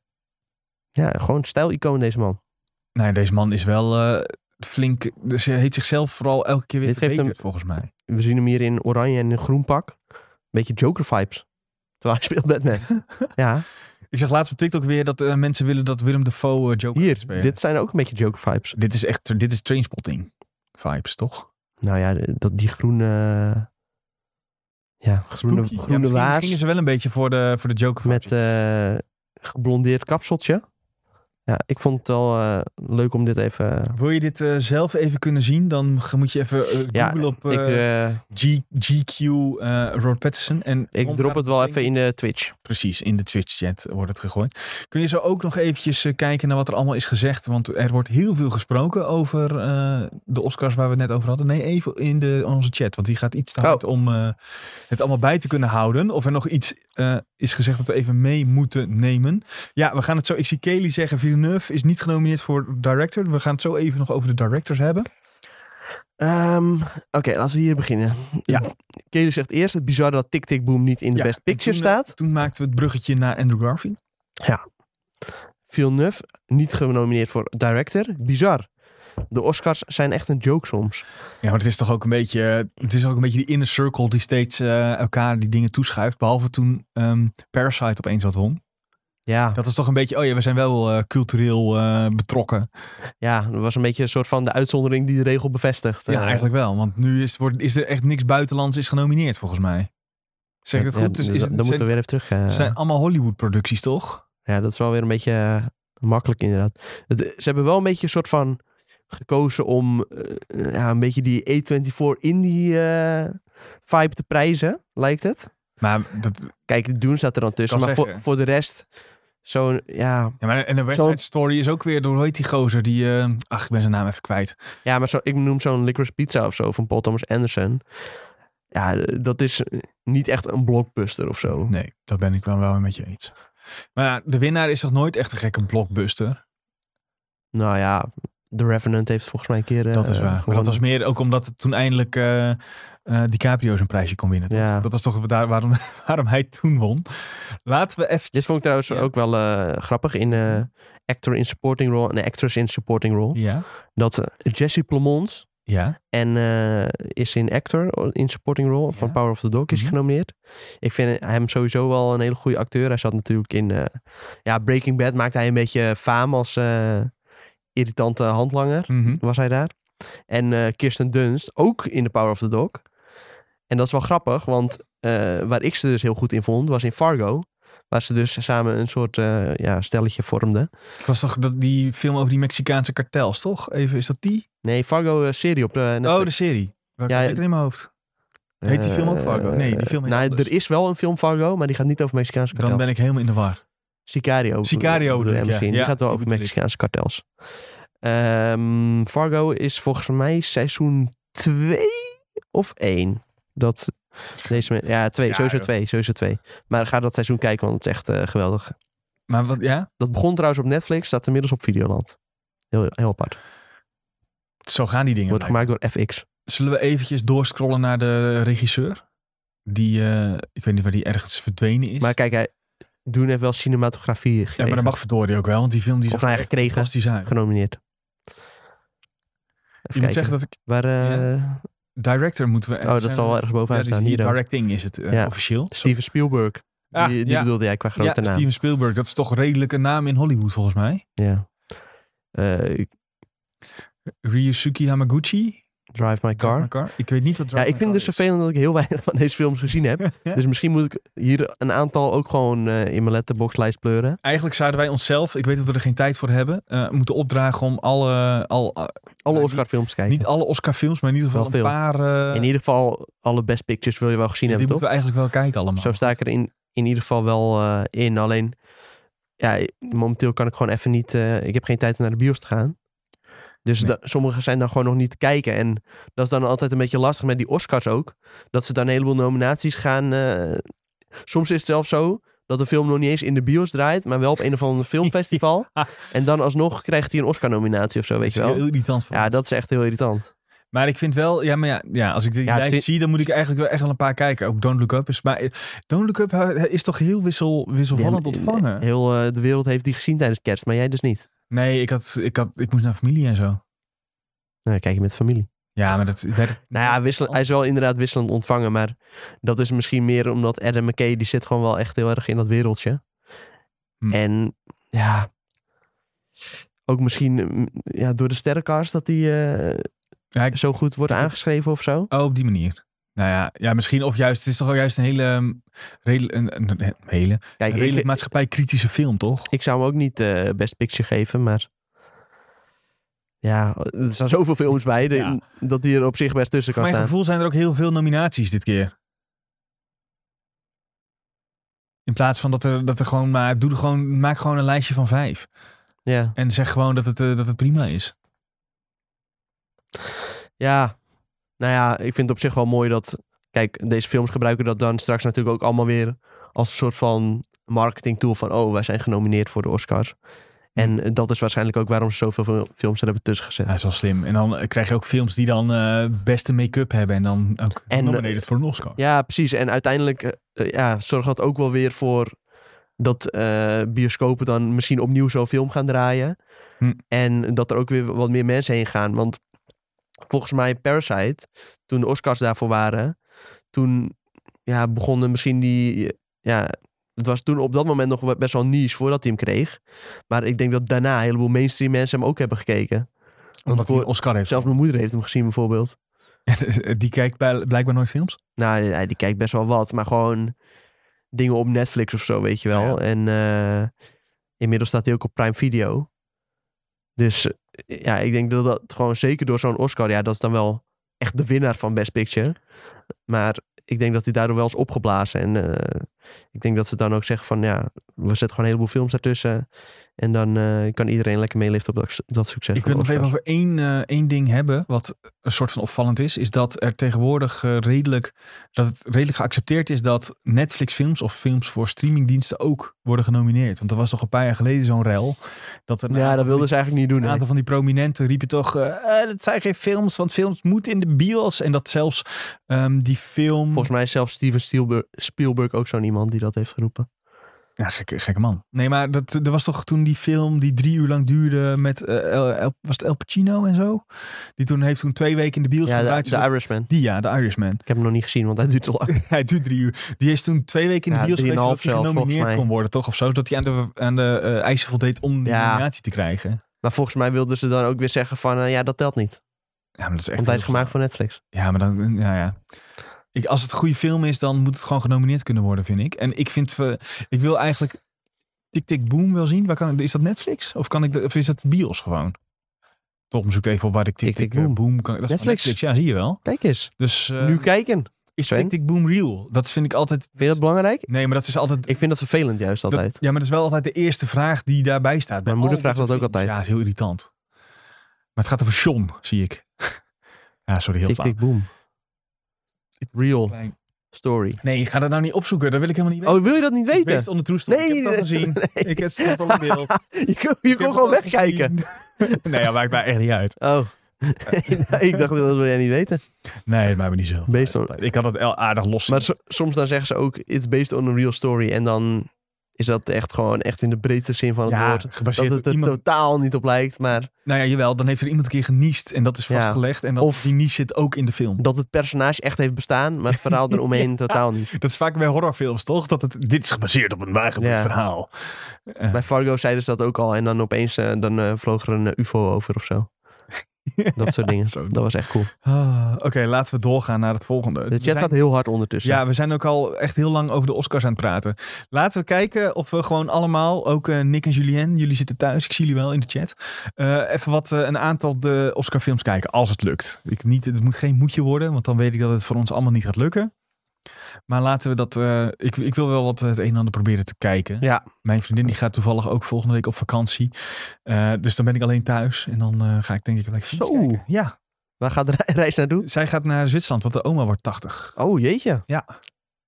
Speaker 2: Ja, gewoon stijlicoon deze man.
Speaker 1: Nou, ja, deze man is wel eh, flink... Ze heet zichzelf vooral elke keer weer
Speaker 2: Dit
Speaker 1: dit
Speaker 2: geeft hem-
Speaker 1: volgens mij.
Speaker 2: We zien hem hier in oranje en een groen pak. Beetje Joker vibes. Terwijl hij speelt Batman.
Speaker 1: [laughs]
Speaker 2: ja,
Speaker 1: Ik zag laatst op TikTok weer dat eh, mensen willen dat Willem Dafoe eh, Joker gaat
Speaker 2: hier.
Speaker 1: spelen.
Speaker 2: Dit zijn ook een beetje Joker vibes.
Speaker 1: Dit is echt, dit is trainspotting vibes, toch?
Speaker 2: Nou ja, dat, die groene... Ja, groene,
Speaker 1: Spooky. Ja,
Speaker 2: groene
Speaker 1: misschien
Speaker 2: waas
Speaker 1: gingen ze wel een beetje voor de, voor de Joker
Speaker 2: met
Speaker 1: vibes.
Speaker 2: eh geblondeerd kapseltje. Ja, ik vond het wel eh, leuk om dit even...
Speaker 1: Wil je dit eh, zelf even kunnen zien? Dan ge- moet je even eh,
Speaker 2: Ja,
Speaker 1: googlen op
Speaker 2: ik,
Speaker 1: eh,
Speaker 2: eh,
Speaker 1: G, GQ eh Ron Patterson. En
Speaker 2: ik
Speaker 1: Tom
Speaker 2: drop
Speaker 1: gaat
Speaker 2: het wel
Speaker 1: link-
Speaker 2: even in de Twitch.
Speaker 1: Precies, in de Twitch-chat wordt het gegooid. Kun je zo ook nog eventjes eh, kijken naar wat er allemaal is gezegd? Want er wordt heel veel gesproken over eh, de Oscars waar we het net over hadden. Nee, even in de, onze chat, want die gaat iets te
Speaker 2: Oh.
Speaker 1: hard om eh, het allemaal bij te kunnen houden. Of er nog iets eh, is gezegd dat we even mee moeten nemen. Ja, we gaan het zo. Ik zie Kelly zeggen, Villeneuve is niet genomineerd voor director. We gaan het zo even nog over de directors hebben.
Speaker 2: Ehm, Oké, laten we hier beginnen.
Speaker 1: Ja.
Speaker 2: Kelly zegt eerst het bizar dat Tick Tick Boom niet in de
Speaker 1: Ja,
Speaker 2: Best
Speaker 1: en
Speaker 2: Picture
Speaker 1: toen, eh,
Speaker 2: staat.
Speaker 1: Toen maakten we het bruggetje naar Andrew Garfield.
Speaker 2: Villeneuve niet genomineerd voor Director. Bizar. De Oscars zijn echt een joke soms.
Speaker 1: Ja, maar het is toch ook een beetje, het is ook een beetje die inner circle die steeds eh, elkaar die dingen toeschuift. Behalve toen ehm, Parasite opeens wat won.
Speaker 2: Ja,
Speaker 1: Dat is toch een beetje, oh ja, we zijn wel eh, cultureel eh, betrokken.
Speaker 2: ja, dat was een beetje een soort van de uitzondering die de regel bevestigt.
Speaker 1: ja,
Speaker 2: Eh,
Speaker 1: eigenlijk wel. Want nu is, wordt, is er echt niks buitenlands is genomineerd volgens mij. Zeg ik dat
Speaker 2: ja,
Speaker 1: goed? Dus is,
Speaker 2: dan
Speaker 1: het-
Speaker 2: moeten
Speaker 1: zijn,
Speaker 2: we weer even terug. eh,
Speaker 1: het zijn allemaal Hollywood producties toch?
Speaker 2: Ja, dat is wel weer een beetje eh, makkelijk inderdaad. Het- eh, ze hebben wel een beetje een soort van gekozen om eh, eh, ja, een beetje die A24 indie eh, vibe te prijzen, lijkt het.
Speaker 1: Maar, dat,
Speaker 2: Kijk, Doen staat er dan tussen.
Speaker 1: Kan
Speaker 2: Maar voor,
Speaker 1: zeggen.
Speaker 2: voor de rest, zo'n, ja,
Speaker 1: ja, maar en de West
Speaker 2: Zo-
Speaker 1: Side Story is ook weer door, hoe heet die gozer? Die, eh, ach, ik ben zijn naam even kwijt.
Speaker 2: ja maar zo, ik noem zo'n Licorice Pizza of zo van Paul Thomas Anderson. Ja, eh, dat is niet echt een blockbuster of zo.
Speaker 1: Nee, dat ben ik dan wel met je eens. Maar ja, de winnaar is toch nooit echt een gekke blockbuster?
Speaker 2: Nou ja, The Revenant heeft volgens mij een keer eh,
Speaker 1: Dat is waar. Maar dat
Speaker 2: gewonnen.
Speaker 1: was meer ook omdat het toen eindelijk eh eh, DiCaprio zijn prijsje kon winnen. toch?
Speaker 2: Ja.
Speaker 1: Dat was toch daar, waarom, [laughs] waarom hij toen won. Laten we even...
Speaker 2: Dit vond ik trouwens
Speaker 1: Ja.
Speaker 2: ook wel eh, grappig in eh, actor in supporting role en actress in supporting role.
Speaker 1: Ja,
Speaker 2: Dat eh, Jesse Plemons
Speaker 1: ja.
Speaker 2: en eh, is in actor oh, in supporting role van
Speaker 1: Ja.
Speaker 2: Power of the Dog is
Speaker 1: Mhm.
Speaker 2: genomineerd. Ik vind hem sowieso wel een hele goede acteur. Hij zat natuurlijk in eh, ja, Breaking Bad maakte hij een beetje faam als eh, irritante handlanger.
Speaker 1: Mhm.
Speaker 2: Was hij daar. En eh, Kirsten Dunst ook in The Power of the Dog. En dat is wel grappig, want eh, waar ik ze dus heel goed in vond, was in Fargo. Waar ze dus samen een soort eh, ja, stelletje vormden.
Speaker 1: Het was toch dat, die film over die Mexicaanse kartels, toch? Even, is dat die?
Speaker 2: Nee, Fargo eh, serie op de Netflix.
Speaker 1: Oh, de serie. Welke
Speaker 2: Ja,
Speaker 1: ja, in mijn hoofd? heet die film ook Fargo? Nee, die film heet
Speaker 2: Eh, nou,
Speaker 1: anders.
Speaker 2: er is wel een film Fargo, maar die gaat niet over Mexicaanse kartels.
Speaker 1: Dan ben ik helemaal in de war.
Speaker 2: Sicario.
Speaker 1: Sicario bedoel
Speaker 2: bedoel jij
Speaker 1: ik, ja.
Speaker 2: misschien. Die
Speaker 1: Ja,
Speaker 2: gaat wel
Speaker 1: die
Speaker 2: over
Speaker 1: bedoel ik.
Speaker 2: Mexicaanse kartels. Ehm, Fargo is volgens mij seizoen 2 of 1. Dat deze men- ja, twee,
Speaker 1: Ja,
Speaker 2: sowieso
Speaker 1: joh.
Speaker 2: twee, sowieso twee. Maar ga dat seizoen kijken, want het is echt eh, geweldig.
Speaker 1: Maar wat, ja,
Speaker 2: Dat begon trouwens op Netflix, staat inmiddels op Videoland. Heel, heel apart.
Speaker 1: zo gaan die dingen.
Speaker 2: Wordt
Speaker 1: blijkbaar.
Speaker 2: gemaakt door FX.
Speaker 1: Zullen we eventjes doorscrollen naar de regisseur? Die, eh, ik weet niet waar die ergens verdwenen is.
Speaker 2: Maar kijk, hij doen heeft wel cinematografie
Speaker 1: ja,
Speaker 2: gekregen,
Speaker 1: maar dat mag verdorie ook wel, want die film die zag
Speaker 2: Of nou,
Speaker 1: er echt
Speaker 2: gekregen.
Speaker 1: fantastisch uit.
Speaker 2: genomineerd. Even
Speaker 1: Je moet
Speaker 2: kijken.
Speaker 1: zeggen dat ik
Speaker 2: Waar, eh,
Speaker 1: director moeten we.
Speaker 2: Oh,
Speaker 1: ergens
Speaker 2: dat zal
Speaker 1: zijn.
Speaker 2: wel ergens bovenaan
Speaker 1: Ja,
Speaker 2: staan.
Speaker 1: die-
Speaker 2: Hier
Speaker 1: die
Speaker 2: ook.
Speaker 1: directing is het eh,
Speaker 2: Ja.
Speaker 1: officieel.
Speaker 2: Steven Spielberg.
Speaker 1: Ah,
Speaker 2: die die
Speaker 1: ja.
Speaker 2: bedoelde jij qua grote
Speaker 1: ja,
Speaker 2: naam.
Speaker 1: Steven Spielberg, dat is toch redelijk een naam in Hollywood volgens mij.
Speaker 2: Ja. Eh,
Speaker 1: Ryusuke Hamaguchi.
Speaker 2: Drive My Car.
Speaker 1: Ik weet niet wat
Speaker 2: Ja,
Speaker 1: Drive
Speaker 2: ik
Speaker 1: My
Speaker 2: vind het dus
Speaker 1: Car is.
Speaker 2: vervelend dat ik heel [laughs] weinig van deze films gezien
Speaker 1: [laughs]
Speaker 2: heb.
Speaker 1: Ja.
Speaker 2: Dus misschien moet ik hier een aantal ook gewoon eh, in mijn letterboxlijst pleuren.
Speaker 1: Eigenlijk zouden wij onszelf, ik weet dat we er geen tijd voor hebben, eh, moeten opdragen om alle, al, eh,
Speaker 2: Alle
Speaker 1: Ja,
Speaker 2: Oscar-films te kijken.
Speaker 1: niet alle Oscar-films, maar in ieder geval
Speaker 2: Wel
Speaker 1: een paar. eh,
Speaker 2: in ieder geval, alle Best Pictures wil je wel gezien
Speaker 1: die
Speaker 2: hebben,
Speaker 1: moeten
Speaker 2: toch?
Speaker 1: we eigenlijk wel kijken allemaal.
Speaker 2: Zo sta ik er in, in ieder geval wel eh, in. Alleen, ja, momenteel kan ik gewoon even niet... eh, ik heb geen tijd om naar de bios te gaan. Dus
Speaker 1: Nee.
Speaker 2: da- sommige zijn dan gewoon nog niet te kijken. En dat is dan altijd een beetje lastig met die Oscars ook. Dat ze dan een heleboel nominaties gaan. eh, soms is het zelfs zo dat de film nog niet eens in de bios draait, maar wel op een
Speaker 1: [laughs]
Speaker 2: of ander filmfestival. En dan alsnog krijgt hij een Oscar-nominatie of zo, weet je
Speaker 1: Dat is
Speaker 2: wel.
Speaker 1: heel irritant voor
Speaker 2: Ja, dat is echt heel irritant.
Speaker 1: Maar ik vind wel, ja, maar ja, ja als ik die
Speaker 2: Ja,
Speaker 1: lijst
Speaker 2: twi-
Speaker 1: zie, dan moet ik eigenlijk wel echt wel een paar kijken. Ook Don't Look Up is, maar eh, Don't Look Up eh, is toch heel wissel, wisselvallend
Speaker 2: Ja,
Speaker 1: ontvangen?
Speaker 2: Heel eh, de wereld heeft die gezien tijdens kerst, maar jij dus niet.
Speaker 1: Nee, ik, had, ik, had, ik moest naar familie en zo.
Speaker 2: Nou, dan kijk je met familie.
Speaker 1: Ja, maar dat werkt.
Speaker 2: Nou ja, wissel, hij is wel inderdaad wisselend ontvangen, maar dat is misschien meer omdat Adam McKay, die zit gewoon wel echt heel erg in dat wereldje.
Speaker 1: Hm.
Speaker 2: En ja, ook misschien mm, ja, door de sterrencast dat die eh,
Speaker 1: Ja, ik-
Speaker 2: zo goed wordt aangeschreven of zo.
Speaker 1: Oh, op die manier. Nou ja, ja, misschien of juist. Het is toch wel juist een hele, ehm, redel- een, een, een hele, een
Speaker 2: Kijk,
Speaker 1: redelijk
Speaker 2: ik,
Speaker 1: maatschappijkritische film, toch?
Speaker 2: ik zou hem ook niet eh, best picture geven, maar ja, er staan zoveel films bij de-
Speaker 1: Ja.
Speaker 2: dat die er op zich best tussen
Speaker 1: Voor
Speaker 2: kan
Speaker 1: mijn
Speaker 2: staan.
Speaker 1: gevoel zijn er ook heel veel nominaties dit keer. In plaats van dat er, dat er gewoon maar, doe er gewoon, maak gewoon een lijstje van vijf.
Speaker 2: Ja.
Speaker 1: En zeg gewoon dat het, eh, dat het prima is.
Speaker 2: Ja, nou ja, ik vind het op zich wel mooi dat. Kijk, deze films gebruiken dat dan straks natuurlijk ook allemaal weer als een soort van marketing tool van oh, wij zijn genomineerd voor de Oscars. En eh, dat is waarschijnlijk ook waarom ze zoveel fil- films er hebben tussen gezet.
Speaker 1: Ja, dat is wel slim. En dan eh, krijg je ook films die dan eh, beste make-up hebben. En dan ook
Speaker 2: En, eh,
Speaker 1: nominated voor een Oscar.
Speaker 2: Ja, precies. En uiteindelijk eh, eh, ja, zorgt dat ook wel weer voor dat eh, bioscopen dan misschien opnieuw zo'n film gaan draaien.
Speaker 1: Hm.
Speaker 2: En dat er ook weer wat meer mensen heen gaan. Want volgens mij Parasite, toen de Oscars daarvoor waren, toen ja, begonnen misschien die... eh, Ja, het was toen op dat moment nog wel best wel niche voordat hij hem kreeg. Maar ik denk dat daarna een heleboel mainstream mensen hem ook hebben gekeken.
Speaker 1: Omdat hij
Speaker 2: voor-
Speaker 1: een Oscar heeft.
Speaker 2: Zelfs mijn moeder heeft hem gezien bijvoorbeeld.
Speaker 1: [laughs] die kijkt bij- blijkbaar nooit films.
Speaker 2: Nou, ja, die kijkt best wel wat. Maar gewoon dingen op Netflix of zo, weet je wel.
Speaker 1: Ja.
Speaker 2: En eh, inmiddels staat hij ook op Prime Video. Dus eh, ja, ik denk dat dat gewoon zeker door zo'n Oscar... Ja, dat is dan wel echt de winnaar van Best Picture. Maar ik denk dat hij daardoor wel is opgeblazen. En eh, ik denk dat ze dan ook zeggen van... Ja, we zetten gewoon een heleboel films daartussen. En dan eh, kan iedereen lekker meeliften op dat, dat succes
Speaker 1: Ik
Speaker 2: van
Speaker 1: wil
Speaker 2: de
Speaker 1: nog even
Speaker 2: Oscars.
Speaker 1: over één, eh, één ding hebben. Wat een soort van opvallend is. Is dat er tegenwoordig eh, redelijk, dat het redelijk geaccepteerd is dat Netflix films of films voor streamingdiensten ook worden genomineerd. Want er was toch een paar jaar geleden zo'n rel. Dat er een
Speaker 2: Ja, dat
Speaker 1: aantal
Speaker 2: wilden ze eigenlijk niet doen.
Speaker 1: Een
Speaker 2: hè.
Speaker 1: aantal van die prominenten riepen toch, eh, eh, dat zijn geen films, want films moeten in de bios. En dat zelfs ehm, die film...
Speaker 2: Volgens mij is zelfs Steven Spielberg, Spielberg ook zo'n iemand die dat heeft geroepen.
Speaker 1: Ja, gekke, gekke man. Nee, maar dat, er was toch toen die film die drie uur lang duurde met, eh, El- El- was het El Pacino en zo? Die toen heeft toen twee weken in de bios
Speaker 2: Ja, de,
Speaker 1: gedraaid.
Speaker 2: de
Speaker 1: zodat-
Speaker 2: Irishman.
Speaker 1: die ja, de Irishman. [laughs]
Speaker 2: Ik heb hem nog niet gezien, want hij duurt te [laughs] lang.
Speaker 1: hij duurt drie uur. Die is toen twee weken in de
Speaker 2: Ja,
Speaker 1: bios geweest
Speaker 2: drieënhalf
Speaker 1: zodat hij
Speaker 2: zelfs, volgens
Speaker 1: genomineerd
Speaker 2: mij.
Speaker 1: kon worden, toch? Of zo, zodat hij aan de, aan de eh, eisen voldeed om die
Speaker 2: Ja.
Speaker 1: nominatie te krijgen.
Speaker 2: Maar volgens mij wilden ze dan ook weer zeggen van... eh, ja, dat telt niet.
Speaker 1: Ja, maar dat is echt
Speaker 2: Want hij is
Speaker 1: heel-
Speaker 2: gemaakt voor Netflix.
Speaker 1: Ja, maar dan, eh, ja, ja. Ik, als het een goede film is, dan moet het gewoon genomineerd kunnen worden, vind ik. En ik vind, eh, ik wil eigenlijk Tik Tik Boom wel zien. Waar kan, ik- is dat Netflix? Of, kan ik, dat- of is dat bios gewoon? Toch zoek even op waar ik Tik Tik,
Speaker 2: Tik Tik
Speaker 1: eh,
Speaker 2: Boom.
Speaker 1: Boom kan. Dat is van
Speaker 2: Netflix.
Speaker 1: Netflix, ja, zie je wel.
Speaker 2: Kijk eens.
Speaker 1: Dus eh,
Speaker 2: nu kijken. Vind
Speaker 1: is
Speaker 2: Sven?
Speaker 1: Tik Tik Boom real? Dat vind ik altijd.
Speaker 2: je dat belangrijk?
Speaker 1: Nee, maar dat is altijd.
Speaker 2: Ik vind dat vervelend juist
Speaker 1: dat-
Speaker 2: altijd.
Speaker 1: ja, maar dat is wel altijd de eerste vraag die daarbij staat. oh, Bij
Speaker 2: Mijn moeder
Speaker 1: al
Speaker 2: vraagt
Speaker 1: soort
Speaker 2: dat ook
Speaker 1: films.
Speaker 2: altijd.
Speaker 1: Ja, is heel irritant. Maar het gaat over Sean, zie ik. [laughs] ja, sorry, heel
Speaker 2: Tik,
Speaker 1: flauw.
Speaker 2: tik, boom. Real
Speaker 1: Klein.
Speaker 2: story.
Speaker 1: Nee, ga dat nou niet opzoeken. Dat wil ik helemaal niet weten.
Speaker 2: Oh, wil je dat niet
Speaker 1: Ik
Speaker 2: weten?
Speaker 1: wist onder toestand.
Speaker 2: Nee,
Speaker 1: ik heb het al gezien.
Speaker 2: nee.
Speaker 1: Ik heb het al in beeld.
Speaker 2: [laughs] je kon,
Speaker 1: Ik heb
Speaker 2: je kon
Speaker 1: het
Speaker 2: gewoon
Speaker 1: al
Speaker 2: wegkijken.
Speaker 1: gezien. [laughs] nee, dat maakt mij echt niet uit.
Speaker 2: Oh. [laughs] ik dacht, dat wil jij niet weten.
Speaker 1: Nee, dat maakt me niet zo.
Speaker 2: Based on-
Speaker 1: Ik had het al aardig los.
Speaker 2: Maar so- soms dan zeggen ze ook, it's based on a real story. En dan is dat echt gewoon echt in de breedste zin van het
Speaker 1: ja,
Speaker 2: woord. Dat
Speaker 1: gebaseerd
Speaker 2: het
Speaker 1: op
Speaker 2: er
Speaker 1: iemand.
Speaker 2: totaal niet op lijkt, maar
Speaker 1: Nou ja, jawel. Dan heeft er iemand een keer geniest. En dat is
Speaker 2: Ja.
Speaker 1: vastgelegd. En dat,
Speaker 2: Of-
Speaker 1: die nies zit ook in de film.
Speaker 2: dat het personage echt heeft bestaan, maar het
Speaker 1: [laughs]
Speaker 2: verhaal eromheen totaal niet.
Speaker 1: Dat is vaak bij horrorfilms, toch? Dat het, dit is gebaseerd op een waargebeurd
Speaker 2: Ja.
Speaker 1: verhaal.
Speaker 2: Bij Fargo zeiden ze dat ook al en dan opeens eh, dan, eh, vloog er een eh, ufo over of
Speaker 1: [laughs]
Speaker 2: zo. Dat soort dingen.
Speaker 1: zo.
Speaker 2: Dat was echt cool.
Speaker 1: Ah, Oké, laten we doorgaan naar het volgende.
Speaker 2: De
Speaker 1: We
Speaker 2: chat
Speaker 1: zijn-
Speaker 2: Dus gaat heel hard ondertussen.
Speaker 1: Ja, we zijn ook al echt heel lang over de Oscars aan het praten. Laten we kijken of we gewoon allemaal, ook eh, Nick en Julien, jullie zitten thuis, ik zie jullie wel in de chat. eh, even wat eh, een aantal de Oscarfilms kijken, als het lukt. Ik niet, het moet geen moedje worden, want dan weet ik dat het voor ons allemaal niet gaat lukken. Maar laten we dat... eh, ik, ik wil wel wat het een en ander proberen te kijken.
Speaker 2: Ja.
Speaker 1: Mijn vriendin die gaat toevallig ook volgende week op vakantie. Eh, dus dan ben ik alleen thuis. En dan eh, ga ik denk ik lekker
Speaker 2: Zo.
Speaker 1: filmpjes kijken. Ja,
Speaker 2: Waar gaat de re- [laughs] reis naartoe?
Speaker 1: zij gaat naar Zwitserland, want de oma wordt 80.
Speaker 2: Oh, jeetje.
Speaker 1: Ja.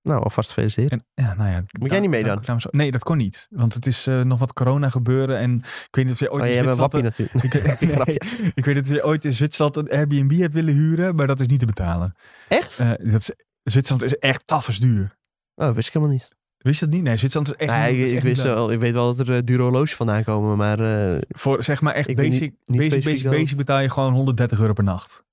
Speaker 2: Nou, alvast gefeliciteerd.
Speaker 1: En, ja, nou ja,
Speaker 2: Moet jij niet mee dan?
Speaker 1: daarom- nee, dat kon niet. Want het is eh, nog wat corona gebeuren. En ik weet niet of jij ooit
Speaker 2: Oh,
Speaker 1: in
Speaker 2: jij hebt een
Speaker 1: Zwitserland-
Speaker 2: wappie natuurlijk.
Speaker 1: [laughs] Ik, weet-
Speaker 2: [laughs] Grapje.
Speaker 1: nee, ik weet dat we ooit in Zwitserland een Airbnb hebt willen huren, maar dat is niet te betalen.
Speaker 2: Echt?
Speaker 1: Eh, dat is, Zwitserland is echt tafels duur.
Speaker 2: Oh, wist ik helemaal niet.
Speaker 1: Wist je dat niet? Nee, Zwitserland is echt.
Speaker 2: Nou,
Speaker 1: niet-
Speaker 2: ik,
Speaker 1: is
Speaker 2: ik
Speaker 1: echt
Speaker 2: wist
Speaker 1: niet leuk.
Speaker 2: wel, ik weet wel dat er eh, dure horloges vandaan komen, maar eh,
Speaker 1: Voor zeg maar echt
Speaker 2: Ik weet
Speaker 1: basic,
Speaker 2: niet- niet
Speaker 1: basic,
Speaker 2: specifiek
Speaker 1: basic,
Speaker 2: wel.
Speaker 1: basic betaal je gewoon 130 euro per nacht.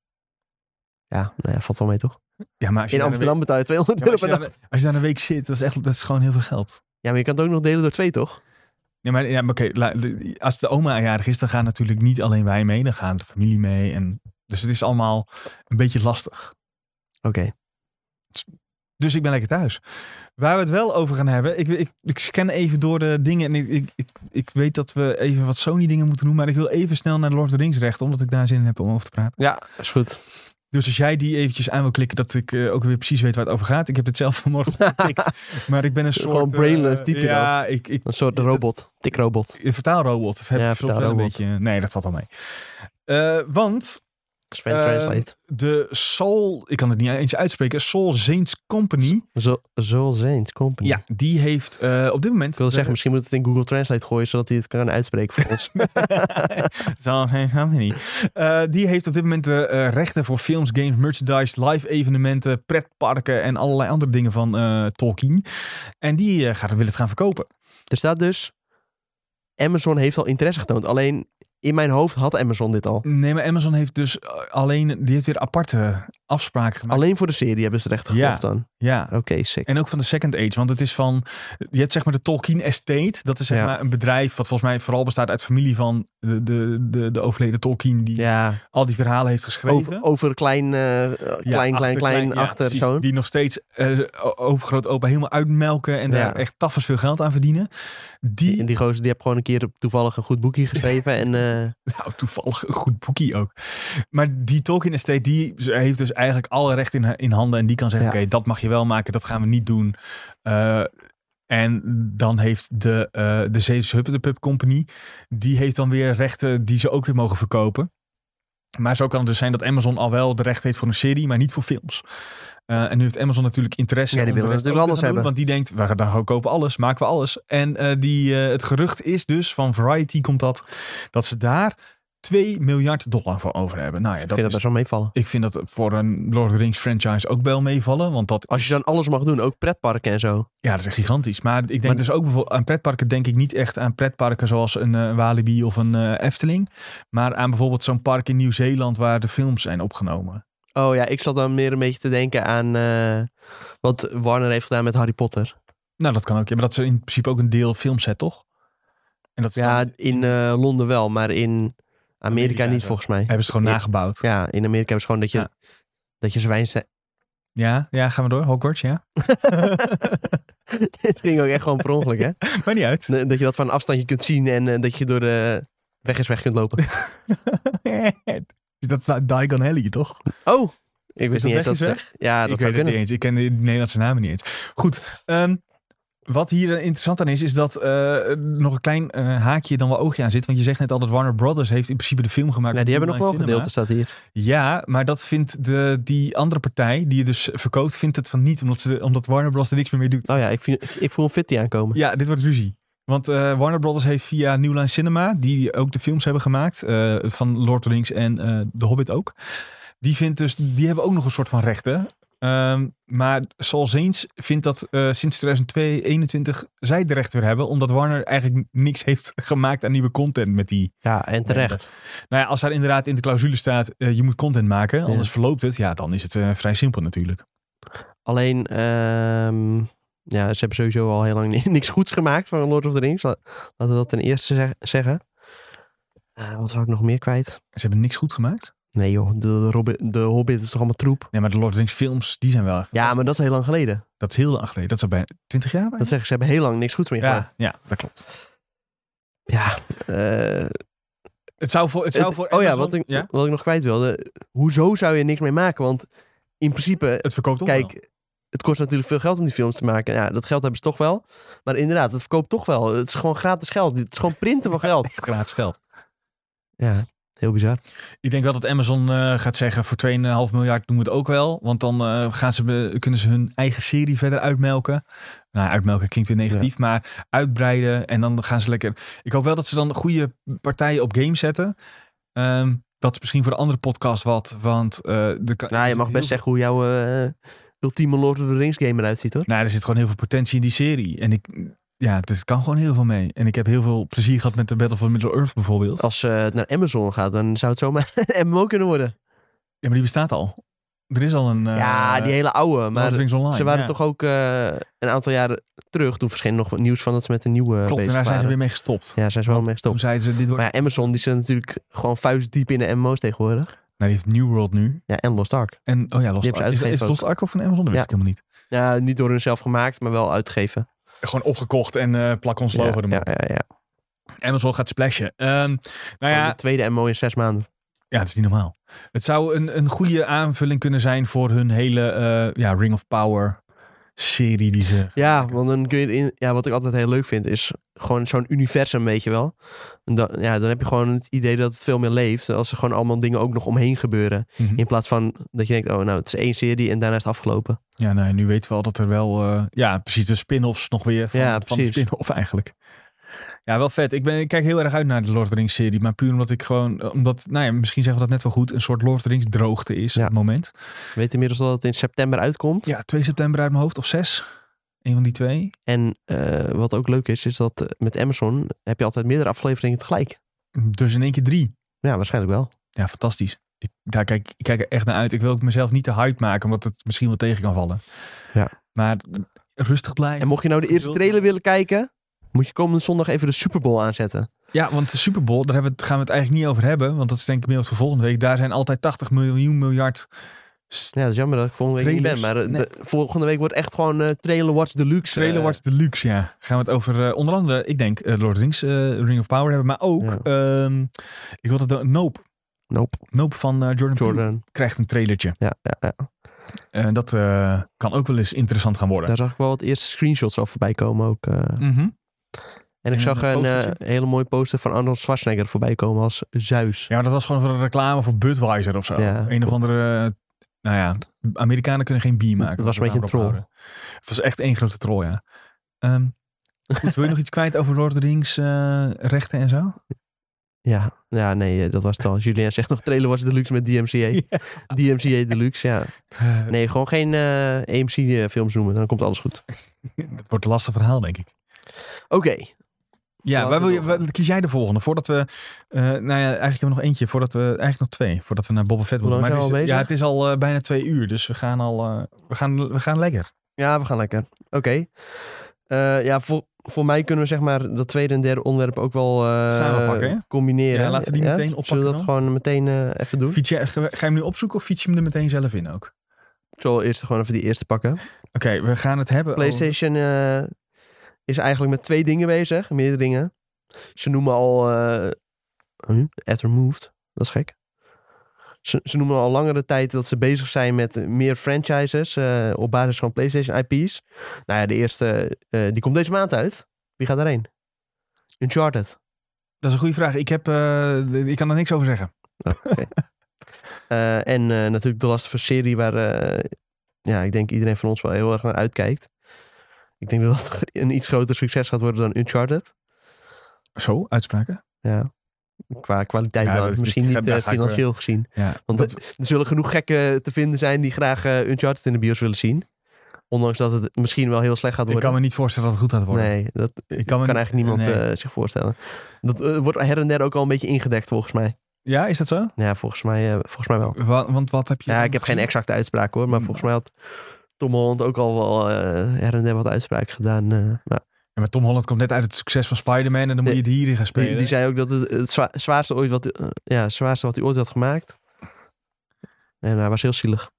Speaker 2: ja, nou ja, valt wel mee toch?
Speaker 1: Ja, maar als je,
Speaker 2: In
Speaker 1: daar een
Speaker 2: Amsterdam betaal je 200
Speaker 1: week, ja, maar
Speaker 2: euro
Speaker 1: als je
Speaker 2: [laughs] per
Speaker 1: daar-
Speaker 2: nacht.
Speaker 1: als je daar een week zit, dat is, echt, dat is gewoon heel veel geld.
Speaker 2: Ja, maar je kan het ook nog delen door twee, toch?
Speaker 1: Ja, maar, ja, maar oké, la- de- als de oma jarig is, dan gaan natuurlijk niet alleen wij mee, dan gaan de familie mee. En, dus het is allemaal een beetje lastig.
Speaker 2: Oké.
Speaker 1: Dus ik ben lekker thuis. Waar we het wel over gaan hebben, ik, ik, ik scan even door de dingen en ik, ik, ik, ik weet dat we even wat Sony dingen moeten doen, maar ik wil even snel naar de Lord of the Rings rechten, omdat ik daar zin in heb om over te praten.
Speaker 2: Ja, is goed.
Speaker 1: Dus als jij die eventjes aan wil klikken, dat ik eh, ook weer precies weet waar het over gaat. Ik heb dit zelf
Speaker 2: [laughs]
Speaker 1: vanmorgen geklikt, maar ik ben een soort...
Speaker 2: Gewoon
Speaker 1: eh,
Speaker 2: brainless type
Speaker 1: Ja, ik, ik,
Speaker 2: Een soort
Speaker 1: Ja, dat-
Speaker 2: robot, tikrobot.
Speaker 1: Een vertaalrobot. Of heb
Speaker 2: Ja,
Speaker 1: ik soms wel een
Speaker 2: vertaalrobot.
Speaker 1: beetje... Nee, dat valt al mee. Eh, want
Speaker 2: Sven
Speaker 1: Ehm,
Speaker 2: Translate.
Speaker 1: de Soul... Ik kan het niet eens uitspreken. Soul Saints Company.
Speaker 2: Zo, zo zijn company.
Speaker 1: Ja, die heeft eh, op dit moment...
Speaker 2: Ik wil
Speaker 1: de-
Speaker 2: zeggen, misschien moet het in Google Translate gooien, zodat hij het kan uitspreken voor [laughs] ons.
Speaker 1: [laughs] Soul Saints Company. Eh, die heeft op dit moment de eh, rechten voor films, games, merchandise, live evenementen, pretparken en allerlei andere dingen van eh, Tolkien. En die eh, gaat, wil het gaan verkopen.
Speaker 2: er staat dus, Amazon heeft al interesse getoond. Alleen, in mijn hoofd had Amazon dit al.
Speaker 1: Nee, maar Amazon heeft dus eh, alleen... Die heeft weer aparte afspraken gemaakt.
Speaker 2: Alleen voor de serie hebben ze het recht
Speaker 1: Ja.
Speaker 2: gekocht dan.
Speaker 1: Ja.
Speaker 2: Oké, sick.
Speaker 1: En ook van de Second Age, want het is van... Je hebt zeg maar de Tolkien Estate. Dat is zeg
Speaker 2: Ja.
Speaker 1: maar een bedrijf wat volgens mij vooral bestaat uit familie van de, de, de, de overleden Tolkien. Die
Speaker 2: Ja,
Speaker 1: al die verhalen heeft geschreven.
Speaker 2: Over, over klein, eh, klein,
Speaker 1: Ja,
Speaker 2: klein, klein,
Speaker 1: ja,
Speaker 2: achter
Speaker 1: precies.
Speaker 2: zo'n.
Speaker 1: Die nog steeds eh overgroot opa helemaal uitmelken. En daar
Speaker 2: Ja.
Speaker 1: echt tafels veel geld aan verdienen. Die,
Speaker 2: Die, die gozer die heb gewoon een keer toevallig een goed boekje geschreven. en eh,
Speaker 1: [laughs] nou toevallig een goed boekie ook. Maar die Tolkien Estate, die heeft dus eigenlijk alle recht in, in handen. En die kan zeggen,
Speaker 2: Ja.
Speaker 1: oké, dat mag je wel maken. Dat gaan we niet doen. Eh, en dan heeft de, eh de Zeeuwse Huppen, de Pub Company, die heeft dan weer rechten die ze ook weer mogen verkopen. Maar zo kan het dus zijn dat Amazon al wel de recht heeft voor een serie, maar niet voor films. Eh, en nu heeft Amazon natuurlijk interesse
Speaker 2: Ja, die
Speaker 1: om de
Speaker 2: willen
Speaker 1: rest
Speaker 2: natuurlijk
Speaker 1: ook te gaan
Speaker 2: alles
Speaker 1: doen, want die denkt, we gaan daar kopen alles, maken we alles. En eh, die, eh, het gerucht is dus, van Variety komt dat, dat ze daar 2 miljard dollar voor over hebben. Nou ja,
Speaker 2: ik
Speaker 1: dat
Speaker 2: vind dat
Speaker 1: is,
Speaker 2: best wel meevallen.
Speaker 1: ik vind dat voor een Lord of the Rings franchise ook wel meevallen, want dat
Speaker 2: Als je dan alles mag doen, ook pretparken en zo.
Speaker 1: ja, dat is echt gigantisch. Maar ik denk
Speaker 2: Maar-
Speaker 1: dus ook bijvoorbeeld aan pretparken denk ik niet echt aan pretparken zoals een eh, Walibi of een eh, Efteling. Maar aan bijvoorbeeld zo'n park in Nieuw-Zeeland waar de films zijn opgenomen.
Speaker 2: Oh ja, ik zat dan meer een beetje te denken aan eh, wat Warner heeft gedaan met Harry Potter.
Speaker 1: Nou, dat kan ook. Ja, maar dat is in principe ook een deel filmset, toch? En dat is dan-
Speaker 2: Ja, in eh, Londen wel, maar in Amerika,
Speaker 1: Amerika
Speaker 2: niet
Speaker 1: zo.
Speaker 2: volgens mij.
Speaker 1: hebben ze het gewoon
Speaker 2: Ja.
Speaker 1: nagebouwd. Ja.
Speaker 2: Ja, in Amerika is gewoon dat je,
Speaker 1: Ja.
Speaker 2: dat je zwijn... sta- [laughs]
Speaker 1: Ja, gaan we door. Hogwarts, ja. [laughs]
Speaker 2: Dit ging ook echt gewoon per ongeluk,
Speaker 1: [laughs]
Speaker 2: hè?
Speaker 1: Maar niet uit.
Speaker 2: Dat je dat van een afstandje kunt zien en eh, dat je door de weg is weg kunt lopen.
Speaker 1: dat staat Diagon Alley, toch?
Speaker 2: Oh, ik wist
Speaker 1: dat
Speaker 2: niet eens
Speaker 1: weg
Speaker 2: dat
Speaker 1: is
Speaker 2: ze...
Speaker 1: weg?
Speaker 2: Ja, dat
Speaker 1: ik weet het
Speaker 2: zou kunnen.
Speaker 1: niet eens. Ik ken de Nederlandse namen niet eens. Goed. ehm, wat hier eh, interessant aan is, is dat eh, nog een klein eh, haakje dan wel oogje aan zit. Want je zegt net al dat Warner Brothers heeft in principe de film gemaakt.
Speaker 2: Nou, die hebben nog wel
Speaker 1: Moonlight
Speaker 2: gedeeld,
Speaker 1: Cinema.
Speaker 2: dat staat hier.
Speaker 1: Ja, maar dat vindt de, die andere partij, die je dus verkoopt, vindt het van niet. Omdat, ze, omdat Warner Bros. er niks meer mee doet.
Speaker 2: Oh ja, ik, vind- ik, ik voel een fitty aankomen.
Speaker 1: Ja, dit wordt ruzie. Want eh, Warner Brothers heeft via New Line Cinema, die ook de films hebben gemaakt, eh, van Lord of the Rings en eh The Hobbit ook. Die, vindt dus, die hebben ook nog een soort van rechten. Ehm, maar Saul Zanes vindt dat eh, sinds 2021 zij de rechten weer hebben. Omdat Warner eigenlijk niks heeft [laughs] gemaakt aan nieuwe content met die.
Speaker 2: Ja, en terecht.
Speaker 1: Nou ja, als daar inderdaad in de clausule staat, eh, je moet content maken.
Speaker 2: Ja.
Speaker 1: Anders verloopt het. Ja, dan is het eh, vrij simpel natuurlijk.
Speaker 2: Alleen, ehm, ja, ze hebben sowieso al heel lang [laughs] ni- niks goeds gemaakt van Lord of the Rings. La- Laten we dat ten eerste zeg- zeggen. Eh, wat zou ik nog meer kwijt?
Speaker 1: Ze hebben niks goed gemaakt.
Speaker 2: Nee joh, de, de, Robbi- de Hobbit is toch allemaal troep?
Speaker 1: Nee, maar de Lord of the Rings films, die zijn wel... echt
Speaker 2: Ja, maar dat is heel lang geleden.
Speaker 1: Dat is heel lang geleden. Dat is al bijna 20 jaar bijna.
Speaker 2: Dat zeggen ze hebben heel lang niks goeds meer gedaan.
Speaker 1: Mhm. Ja, ja, dat klopt.
Speaker 2: Ja, eh,
Speaker 1: Het zou voor, het zou
Speaker 2: het-
Speaker 1: voor
Speaker 2: oh ja
Speaker 1: Amazon-
Speaker 2: wat, ik, wat ik nog kwijt wilde. Hoezo zou je niks mee maken? Want in principe,
Speaker 1: Het verkoopt toch
Speaker 2: kijk,
Speaker 1: wel.
Speaker 2: het kost natuurlijk veel geld om die films te maken. Ja, dat geld hebben ze toch wel. Maar inderdaad, het verkoopt toch wel. Het is gewoon gratis geld. Het is gewoon printen van
Speaker 1: [laughs]
Speaker 2: geld.
Speaker 1: Echt gratis geld.
Speaker 2: Ja, heel bizar.
Speaker 1: Ik denk wel dat Amazon eh, gaat zeggen voor 2,5 miljard doen we het ook wel. Want dan eh, gaan ze, be- kunnen ze hun eigen serie verder uitmelken. Nou, uitmelken klinkt weer negatief, maar uitbreiden. En dan gaan ze lekker... Ik hoop wel dat ze dan goede partijen op game zetten. Ehm, dat is misschien voor de andere podcast wat, want... eh de, ka-
Speaker 2: Nou,
Speaker 1: er
Speaker 2: je
Speaker 1: zit heel
Speaker 2: mag best
Speaker 1: veel-
Speaker 2: zeggen hoe jouw eh, ultieme Lord of the Rings game eruit ziet, hoor.
Speaker 1: Nou, er zit gewoon heel veel potentie in die serie. En ik... Ja, het kan gewoon heel veel mee. En ik heb heel veel plezier gehad met de Battle for Middle-earth bijvoorbeeld.
Speaker 2: Als eh, het naar Amazon gaat, dan zou het zomaar [laughs] een MMO kunnen worden.
Speaker 1: Ja, maar die bestaat al. Er is al een...
Speaker 2: ja,
Speaker 1: eh,
Speaker 2: die hele oude.
Speaker 1: Lord of
Speaker 2: Maar
Speaker 1: the Rings Online.
Speaker 2: ze waren
Speaker 1: ja.
Speaker 2: toch ook eh, een aantal jaren terug. Toen verscheen nog wat nieuws van dat ze met een nieuwe
Speaker 1: Klopt, en
Speaker 2: bezig
Speaker 1: daar zijn ze
Speaker 2: waren.
Speaker 1: weer mee gestopt.
Speaker 2: Ja, zijn ze wel
Speaker 1: Want
Speaker 2: mee gestopt.
Speaker 1: Toen zeiden ze, dit wordt...
Speaker 2: Maar ja, Amazon die zit natuurlijk gewoon vuistdiep in de MMO's tegenwoordig.
Speaker 1: Nou, die heeft New World nu.
Speaker 2: Ja, en Lost Ark.
Speaker 1: En, oh ja, Lost
Speaker 2: Die hebben ze
Speaker 1: Ark. Is, is
Speaker 2: uitgegeven
Speaker 1: Lost Ark ook van Amazon? Dat wist
Speaker 2: Ja.
Speaker 1: ik helemaal niet.
Speaker 2: Ja, niet door hunzelf gemaakt, maar wel uitgegeven.
Speaker 1: Gewoon opgekocht en eh, plak ons logo
Speaker 2: ja,
Speaker 1: erop.
Speaker 2: ja, ja, ja.
Speaker 1: Amazon gaat splashen. Ehm, nou
Speaker 2: Gewoon
Speaker 1: ja,
Speaker 2: De tweede MMO in zes maanden.
Speaker 1: ja, dat is niet normaal. Het zou een, een goede aanvulling kunnen zijn voor hun hele eh, ja, Ring of Power serie die ze...
Speaker 2: Ja, want dan kun je erin, ja, wat ik altijd heel leuk vind is gewoon zo'n universum, weet je wel. En dan, ja, dan heb je gewoon het idee dat het veel meer leeft als er gewoon allemaal dingen ook nog omheen gebeuren.
Speaker 1: Mhm.
Speaker 2: In plaats van dat je denkt, oh nou, het is één serie en daarna is het afgelopen.
Speaker 1: Ja, nee, nu weten we al dat er wel... eh, ja, precies, de spin-offs nog weer van,
Speaker 2: Ja,
Speaker 1: van de
Speaker 2: precies.
Speaker 1: spin-off eigenlijk. Ja, wel vet. Ik, ben, ik kijk heel erg uit naar de Lord of the Rings serie. Maar puur omdat ik gewoon... Omdat, nou ja, misschien zeggen we dat net wel goed. Een soort Lord of the Rings droogte is
Speaker 2: Ja.
Speaker 1: op het moment.
Speaker 2: Je weet inmiddels dat het in september uitkomt.
Speaker 1: Ja, 2 september uit mijn hoofd of 6. Een van die twee.
Speaker 2: En eh, wat ook leuk is, is dat eh, met Amazon heb je altijd meerdere afleveringen tegelijk.
Speaker 1: Dus in één keer drie.
Speaker 2: Ja, waarschijnlijk wel.
Speaker 1: Ja, fantastisch. Ik, daar kijk, ik kijk er echt naar uit. Ik wil ook mezelf niet te hype maken, omdat het misschien wel tegen kan vallen.
Speaker 2: Ja.
Speaker 1: Maar rustig
Speaker 2: En
Speaker 1: blijven.
Speaker 2: mocht je nou de eerste trailer willen kijken, moet je komende zondag even de Super Bowl aanzetten.
Speaker 1: Ja, want de Super Bowl, daar hebben we het, gaan we het eigenlijk niet over hebben. Want dat is denk ik meer op de volgende week. Daar zijn altijd 80 miljoen miljard.
Speaker 2: Ja, dat is jammer dat ik volgende week
Speaker 1: Trailers?
Speaker 2: niet ben. Maar eh,
Speaker 1: Nee.
Speaker 2: de- volgende week wordt echt gewoon eh, Trailer Watch Deluxe.
Speaker 1: Trailer
Speaker 2: eh,
Speaker 1: Wars Deluxe, ja. Gaan we het over eh, onder andere, ik denk, eh, Lord of the Rings, eh, Ring of Power hebben. Maar ook, ehm, ik wilde de Nope.
Speaker 2: Nope.
Speaker 1: Nope van eh, Jordan, Peele
Speaker 2: Jordan.
Speaker 1: krijgt een trailertje.
Speaker 2: Ja, ja, ja.
Speaker 1: En dat eh, kan ook wel eens interessant gaan worden.
Speaker 2: Daar zag ik wel wat eerste screenshots al voorbij komen ook. eh.
Speaker 1: Mhm.
Speaker 2: En ik
Speaker 1: En
Speaker 2: zag
Speaker 1: een
Speaker 2: een eh,
Speaker 1: postertje?
Speaker 2: hele mooie poster van Arnold Schwarzenegger voorbij komen als Zeus.
Speaker 1: Ja, maar dat was gewoon voor een reclame voor Budweiser of zo.
Speaker 2: Ja,
Speaker 1: een of andere. eh, Nou ja, Amerikanen kunnen geen bier maken.
Speaker 2: Het was een
Speaker 1: Laten we
Speaker 2: beetje een
Speaker 1: daarop houden. Het was echt één grote troll, ja. Ehm, goed, wil je nog iets kwijt over Lord of the Rings eh, rechten en zo?
Speaker 2: Ja, ja nee, eh, dat was
Speaker 1: [laughs]
Speaker 2: het al. Julien zegt nog Trailer Watch Deluxe met DMCA.
Speaker 1: Ja.
Speaker 2: DMCA
Speaker 1: [laughs]
Speaker 2: Deluxe, ja. Eh, Nee, gewoon geen eh, AMC-films noemen. Dan komt alles goed.
Speaker 1: Het wordt een lastig verhaal, denk ik.
Speaker 2: Oké,
Speaker 1: Ja,
Speaker 2: Laten
Speaker 1: waar
Speaker 2: we
Speaker 1: wil je,
Speaker 2: doorgaan.
Speaker 1: waar- kies jij de volgende? Voordat we, eh, nou ja, eigenlijk hebben we nog eentje. Voordat we, eigenlijk nog twee. Voordat we naar Boba Fett
Speaker 2: Hoe
Speaker 1: moeten.
Speaker 2: lang
Speaker 1: het
Speaker 2: zijn we
Speaker 1: is,
Speaker 2: al
Speaker 1: ja,
Speaker 2: bezig?
Speaker 1: het is al eh, bijna twee uur. Dus we gaan al, eh, we, gaan, we gaan lekker.
Speaker 2: Ja, we gaan lekker. Oké. Eh, ja, voor, voor mij kunnen we zeg maar dat tweede en derde onderwerp ook wel eh,
Speaker 1: gaan we pakken, hè?
Speaker 2: combineren.
Speaker 1: Ja, laten we die meteen oppakken
Speaker 2: Zullen we
Speaker 1: dan?
Speaker 2: dat gewoon meteen eh, even doen?
Speaker 1: Fiets je, ga je hem nu opzoeken of fiets je hem er meteen zelf in ook?
Speaker 2: Ik zal eerst gewoon even die eerste pakken.
Speaker 1: Oké, we gaan het hebben. over-
Speaker 2: PlayStation eh, is eigenlijk met twee dingen bezig, meerdere dingen. Ze noemen al eh hm, At Removed, dat is gek. Ze, ze noemen al langere tijd dat ze bezig zijn met meer franchises eh, op basis van PlayStation IP's. Nou ja, de eerste, eh, die komt deze maand uit. Wie gaat daarheen? Uncharted.
Speaker 1: Dat is een goede vraag. Ik, heb, eh, ik kan er niks over zeggen.
Speaker 2: Eh, en eh, natuurlijk de Last of Us serie waar eh, ja, ik denk iedereen van ons wel heel erg naar uitkijkt. Ik denk dat [laughs] dat een iets groter succes gaat worden dan Uncharted.
Speaker 1: Zo, uitspraken.
Speaker 2: Ja. Qua kwaliteit
Speaker 1: Ja,
Speaker 2: wel.
Speaker 1: dat is
Speaker 2: Misschien
Speaker 1: niet-
Speaker 2: niet
Speaker 1: daar
Speaker 2: eh,
Speaker 1: ga ik
Speaker 2: financieel gezien.
Speaker 1: Ja,
Speaker 2: Want
Speaker 1: dat,
Speaker 2: Er zullen genoeg gekken te vinden zijn die graag eh, Uncharted in de bios willen zien. Ondanks dat het misschien wel heel slecht gaat
Speaker 1: ik
Speaker 2: worden.
Speaker 1: kan me niet voorstellen dat het goed gaat worden.
Speaker 2: nee, dat
Speaker 1: ik kan, me
Speaker 2: kan
Speaker 1: niet-
Speaker 2: eigenlijk niemand
Speaker 1: nee.
Speaker 2: eh, zich voorstellen. Dat eh, wordt her en der ook al een beetje ingedekt volgens mij.
Speaker 1: ja, is dat zo?
Speaker 2: Ja, volgens mij, eh, volgens mij wel.
Speaker 1: Wa- want wat heb je...
Speaker 2: Ja,
Speaker 1: dan
Speaker 2: ik heb geen
Speaker 1: gezien?
Speaker 2: exacte uitspraak hoor. Maar
Speaker 1: Hmm.
Speaker 2: volgens mij had Tom Holland ook al wel eh, her en der wat uitspraken gedaan. eh, nou,
Speaker 1: Ja, maar Tom Holland komt net uit het succes van Spider-Man en dan moet
Speaker 2: Nee,
Speaker 1: je het hierin gaan spelen.
Speaker 2: die, die zei ook dat het het zwa- zwaarste, ooit wat, eh, ja, zwaarste wat hij ooit had gemaakt. En hij was heel zielig.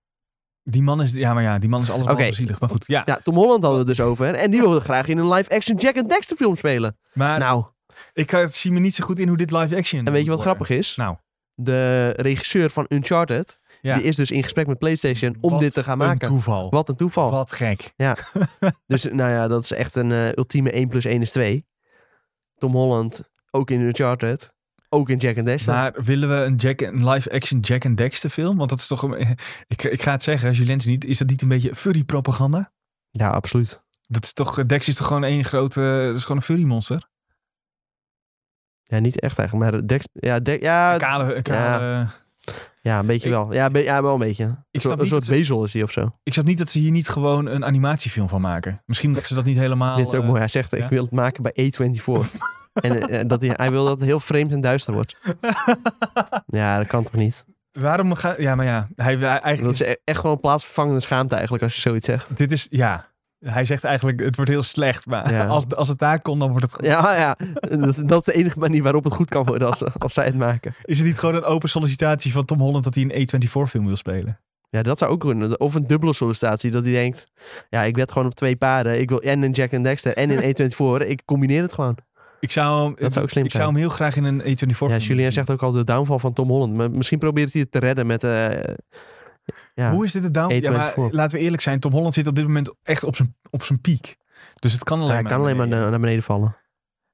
Speaker 1: Die man is... Ja, maar ja, die man is allemaal
Speaker 2: Oké.
Speaker 1: okay. zielig. Maar goed, ja.
Speaker 2: Ja, Tom Holland hadden we het dus over. En die wilde graag in een live-action Jack and Dexter film spelen.
Speaker 1: Maar
Speaker 2: nou,
Speaker 1: ik eh, zie me niet zo goed in hoe dit live action
Speaker 2: en weet je wat
Speaker 1: moet worden.
Speaker 2: grappig is?
Speaker 1: Nou.
Speaker 2: De regisseur van Uncharted
Speaker 1: Ja.
Speaker 2: Die is dus in gesprek met PlayStation om
Speaker 1: Wat
Speaker 2: dit te gaan
Speaker 1: Een
Speaker 2: maken.
Speaker 1: toeval.
Speaker 2: Wat een toeval.
Speaker 1: Wat gek.
Speaker 2: Dus nou ja, dat is echt een eh, ultieme 1 plus 1 is 2. Tom Holland, ook in Uncharted. Ook in Jack and Daxter.
Speaker 1: Maar willen we een, Jack, een live-action Jack and Dexter film? Want dat is toch... Een, [laughs] ik, ik ga het zeggen, als je lens niet... Is dat niet een beetje furry-propaganda?
Speaker 2: Ja, absoluut.
Speaker 1: Dat is toch... Dex is toch gewoon één grote... Dat is gewoon een furry-monster?
Speaker 2: Ja, niet echt eigenlijk. Maar Dex, ja, Dex- ja,
Speaker 1: Een kale... Een kale
Speaker 2: ja, een beetje
Speaker 1: Ik-
Speaker 2: wel. Ja, be- ja, wel een beetje.
Speaker 1: Ik
Speaker 2: Zo-
Speaker 1: snap
Speaker 2: een
Speaker 1: niet
Speaker 2: soort
Speaker 1: dat ze-
Speaker 2: wezel is die of zo.
Speaker 1: Ik snap niet dat ze hier niet gewoon een animatiefilm van maken. Misschien dat ze dat niet helemaal...
Speaker 2: Dit is ook
Speaker 1: eh,
Speaker 2: mooi. Hij zegt,
Speaker 1: ja.
Speaker 2: ik wil het maken bij
Speaker 1: [laughs]
Speaker 2: A24. en eh, dat hij, hij wil dat het heel vreemd en duister wordt. Ja, dat kan toch niet?
Speaker 1: Waarom ga... Ja, maar ja. Hij, hij-
Speaker 2: Dat
Speaker 1: eigenlijk
Speaker 2: is e- echt gewoon plaatsvervangende schaamte eigenlijk als je zoiets zegt.
Speaker 1: Dit is, ja. Hij zegt eigenlijk, het wordt heel slecht. Maar
Speaker 2: Ja.
Speaker 1: als, als het daar kon, dan wordt het...
Speaker 2: Ja, ja. Dat, dat is de enige manier waarop het goed kan worden als, eh, als zij het maken.
Speaker 1: Is het niet gewoon een open sollicitatie van Tom Holland dat hij een A24-film wil spelen?
Speaker 2: Ja, dat zou ook kunnen. Of een dubbele sollicitatie. Dat hij denkt, ja, ik wed gewoon op twee paarden. Ik wil en in Jack and Dexter en in A24. Ik combineer het gewoon.
Speaker 1: Ik zou hem,
Speaker 2: Dat zou ook slim
Speaker 1: ik
Speaker 2: zijn.
Speaker 1: zou hem heel graag in een E A24-film
Speaker 2: Ja, Julien zegt ook al de downval van Tom Holland. Maar misschien probeert hij het te redden met... eh, ja. E
Speaker 1: Hoe is dit de down? Ja, maar
Speaker 2: A24?
Speaker 1: laten we eerlijk zijn. Tom Holland zit op dit moment echt op zijn, op zijn piek. Dus het kan alleen
Speaker 2: Ja, hij
Speaker 1: maar.
Speaker 2: kan alleen maar
Speaker 1: beneden.
Speaker 2: naar, naar beneden vallen.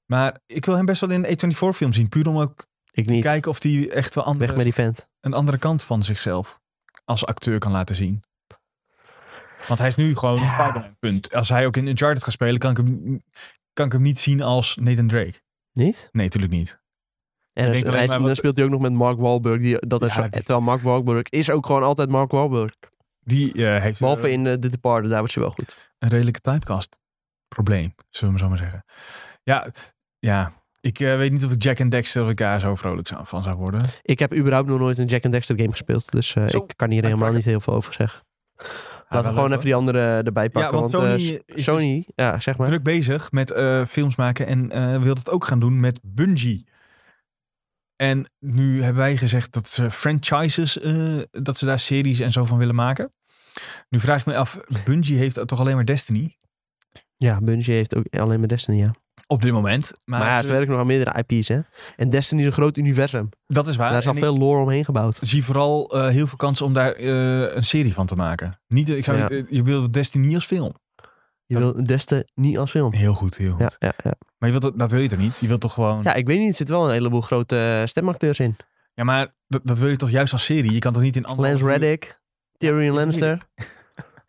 Speaker 1: Maar ik wil hem best wel in een A24-film zien. Puur om ook
Speaker 2: Ik
Speaker 1: te
Speaker 2: niet.
Speaker 1: kijken of hij echt wel
Speaker 2: Weg met
Speaker 1: andere,
Speaker 2: die vent.
Speaker 1: een andere kant van zichzelf als acteur kan laten zien. Want hij is nu gewoon
Speaker 2: Ja.
Speaker 1: Spider-Man, punt. Als hij ook in Uncharted gaat spelen, kan ik hem, kan ik hem niet zien als Nathan Drake.
Speaker 2: Niet?
Speaker 1: Nee, natuurlijk niet.
Speaker 2: En dan,
Speaker 1: denk alleen
Speaker 2: hij-
Speaker 1: maar wat-
Speaker 2: dan speelt hij ook nog met Mark Wahlberg. Die, dat
Speaker 1: Ja,
Speaker 2: is zo-
Speaker 1: die-
Speaker 2: Terwijl Mark Wahlberg is ook gewoon altijd Mark Wahlberg.
Speaker 1: Die eh, heeft
Speaker 2: Behalve
Speaker 1: eh,
Speaker 2: in eh, The Departed, daar wordt ze wel goed.
Speaker 1: een redelijke typecast probleem, zullen we maar zo maar zeggen. Ja, ja. ik eh, weet niet of ik Jack en Dexter of ik daar zo vrolijk zou- van zou worden.
Speaker 2: Ik heb überhaupt nog nooit een Jack and Dexter game gespeeld. Dus eh,
Speaker 1: Zo,
Speaker 2: ik kan hier helemaal
Speaker 1: pakken.
Speaker 2: niet heel veel over zeggen.
Speaker 1: wel
Speaker 2: Laten we gewoon
Speaker 1: leuk,
Speaker 2: even die andere erbij pakken.
Speaker 1: want
Speaker 2: eh,
Speaker 1: Sony
Speaker 2: S-
Speaker 1: is dus-
Speaker 2: Sony, ja, zeg maar.
Speaker 1: Druk bezig met eh, films maken en eh, wil dat ook gaan doen met Bungie. En nu hebben wij gezegd dat ze franchises, eh, dat ze daar series en zo van willen maken. Nu vraag ik me af, Bungie heeft toch alleen maar Destiny
Speaker 2: Ja, Bungie heeft ook alleen maar Destiny, ja.
Speaker 1: op dit moment. Maar,
Speaker 2: Maar ja,
Speaker 1: ze-
Speaker 2: ze werken nog aan meerdere IP's, hè. En Destiny is een groot universum.
Speaker 1: dat is waar.
Speaker 2: daar is al
Speaker 1: En ik-
Speaker 2: veel lore omheen gebouwd.
Speaker 1: zie vooral eh, heel veel kansen om daar eh, een serie van te maken. Niet, eh, ik zou,
Speaker 2: Ja.
Speaker 1: eh, je wil Destiny als film.
Speaker 2: Je
Speaker 1: Dat-
Speaker 2: wil Destiny niet als film.
Speaker 1: Heel goed, heel goed.
Speaker 2: Ja, ja, ja.
Speaker 1: Maar je wilt dat, dat wil je toch niet? Je wilt toch gewoon... Ja,
Speaker 2: ja, ik weet niet. Er zitten wel een heleboel grote eh, stemacteurs in.
Speaker 1: maar dat, dat wil je toch juist als serie? Je kan toch niet in andere...
Speaker 2: Lance Reddick, Tyrion Lannister.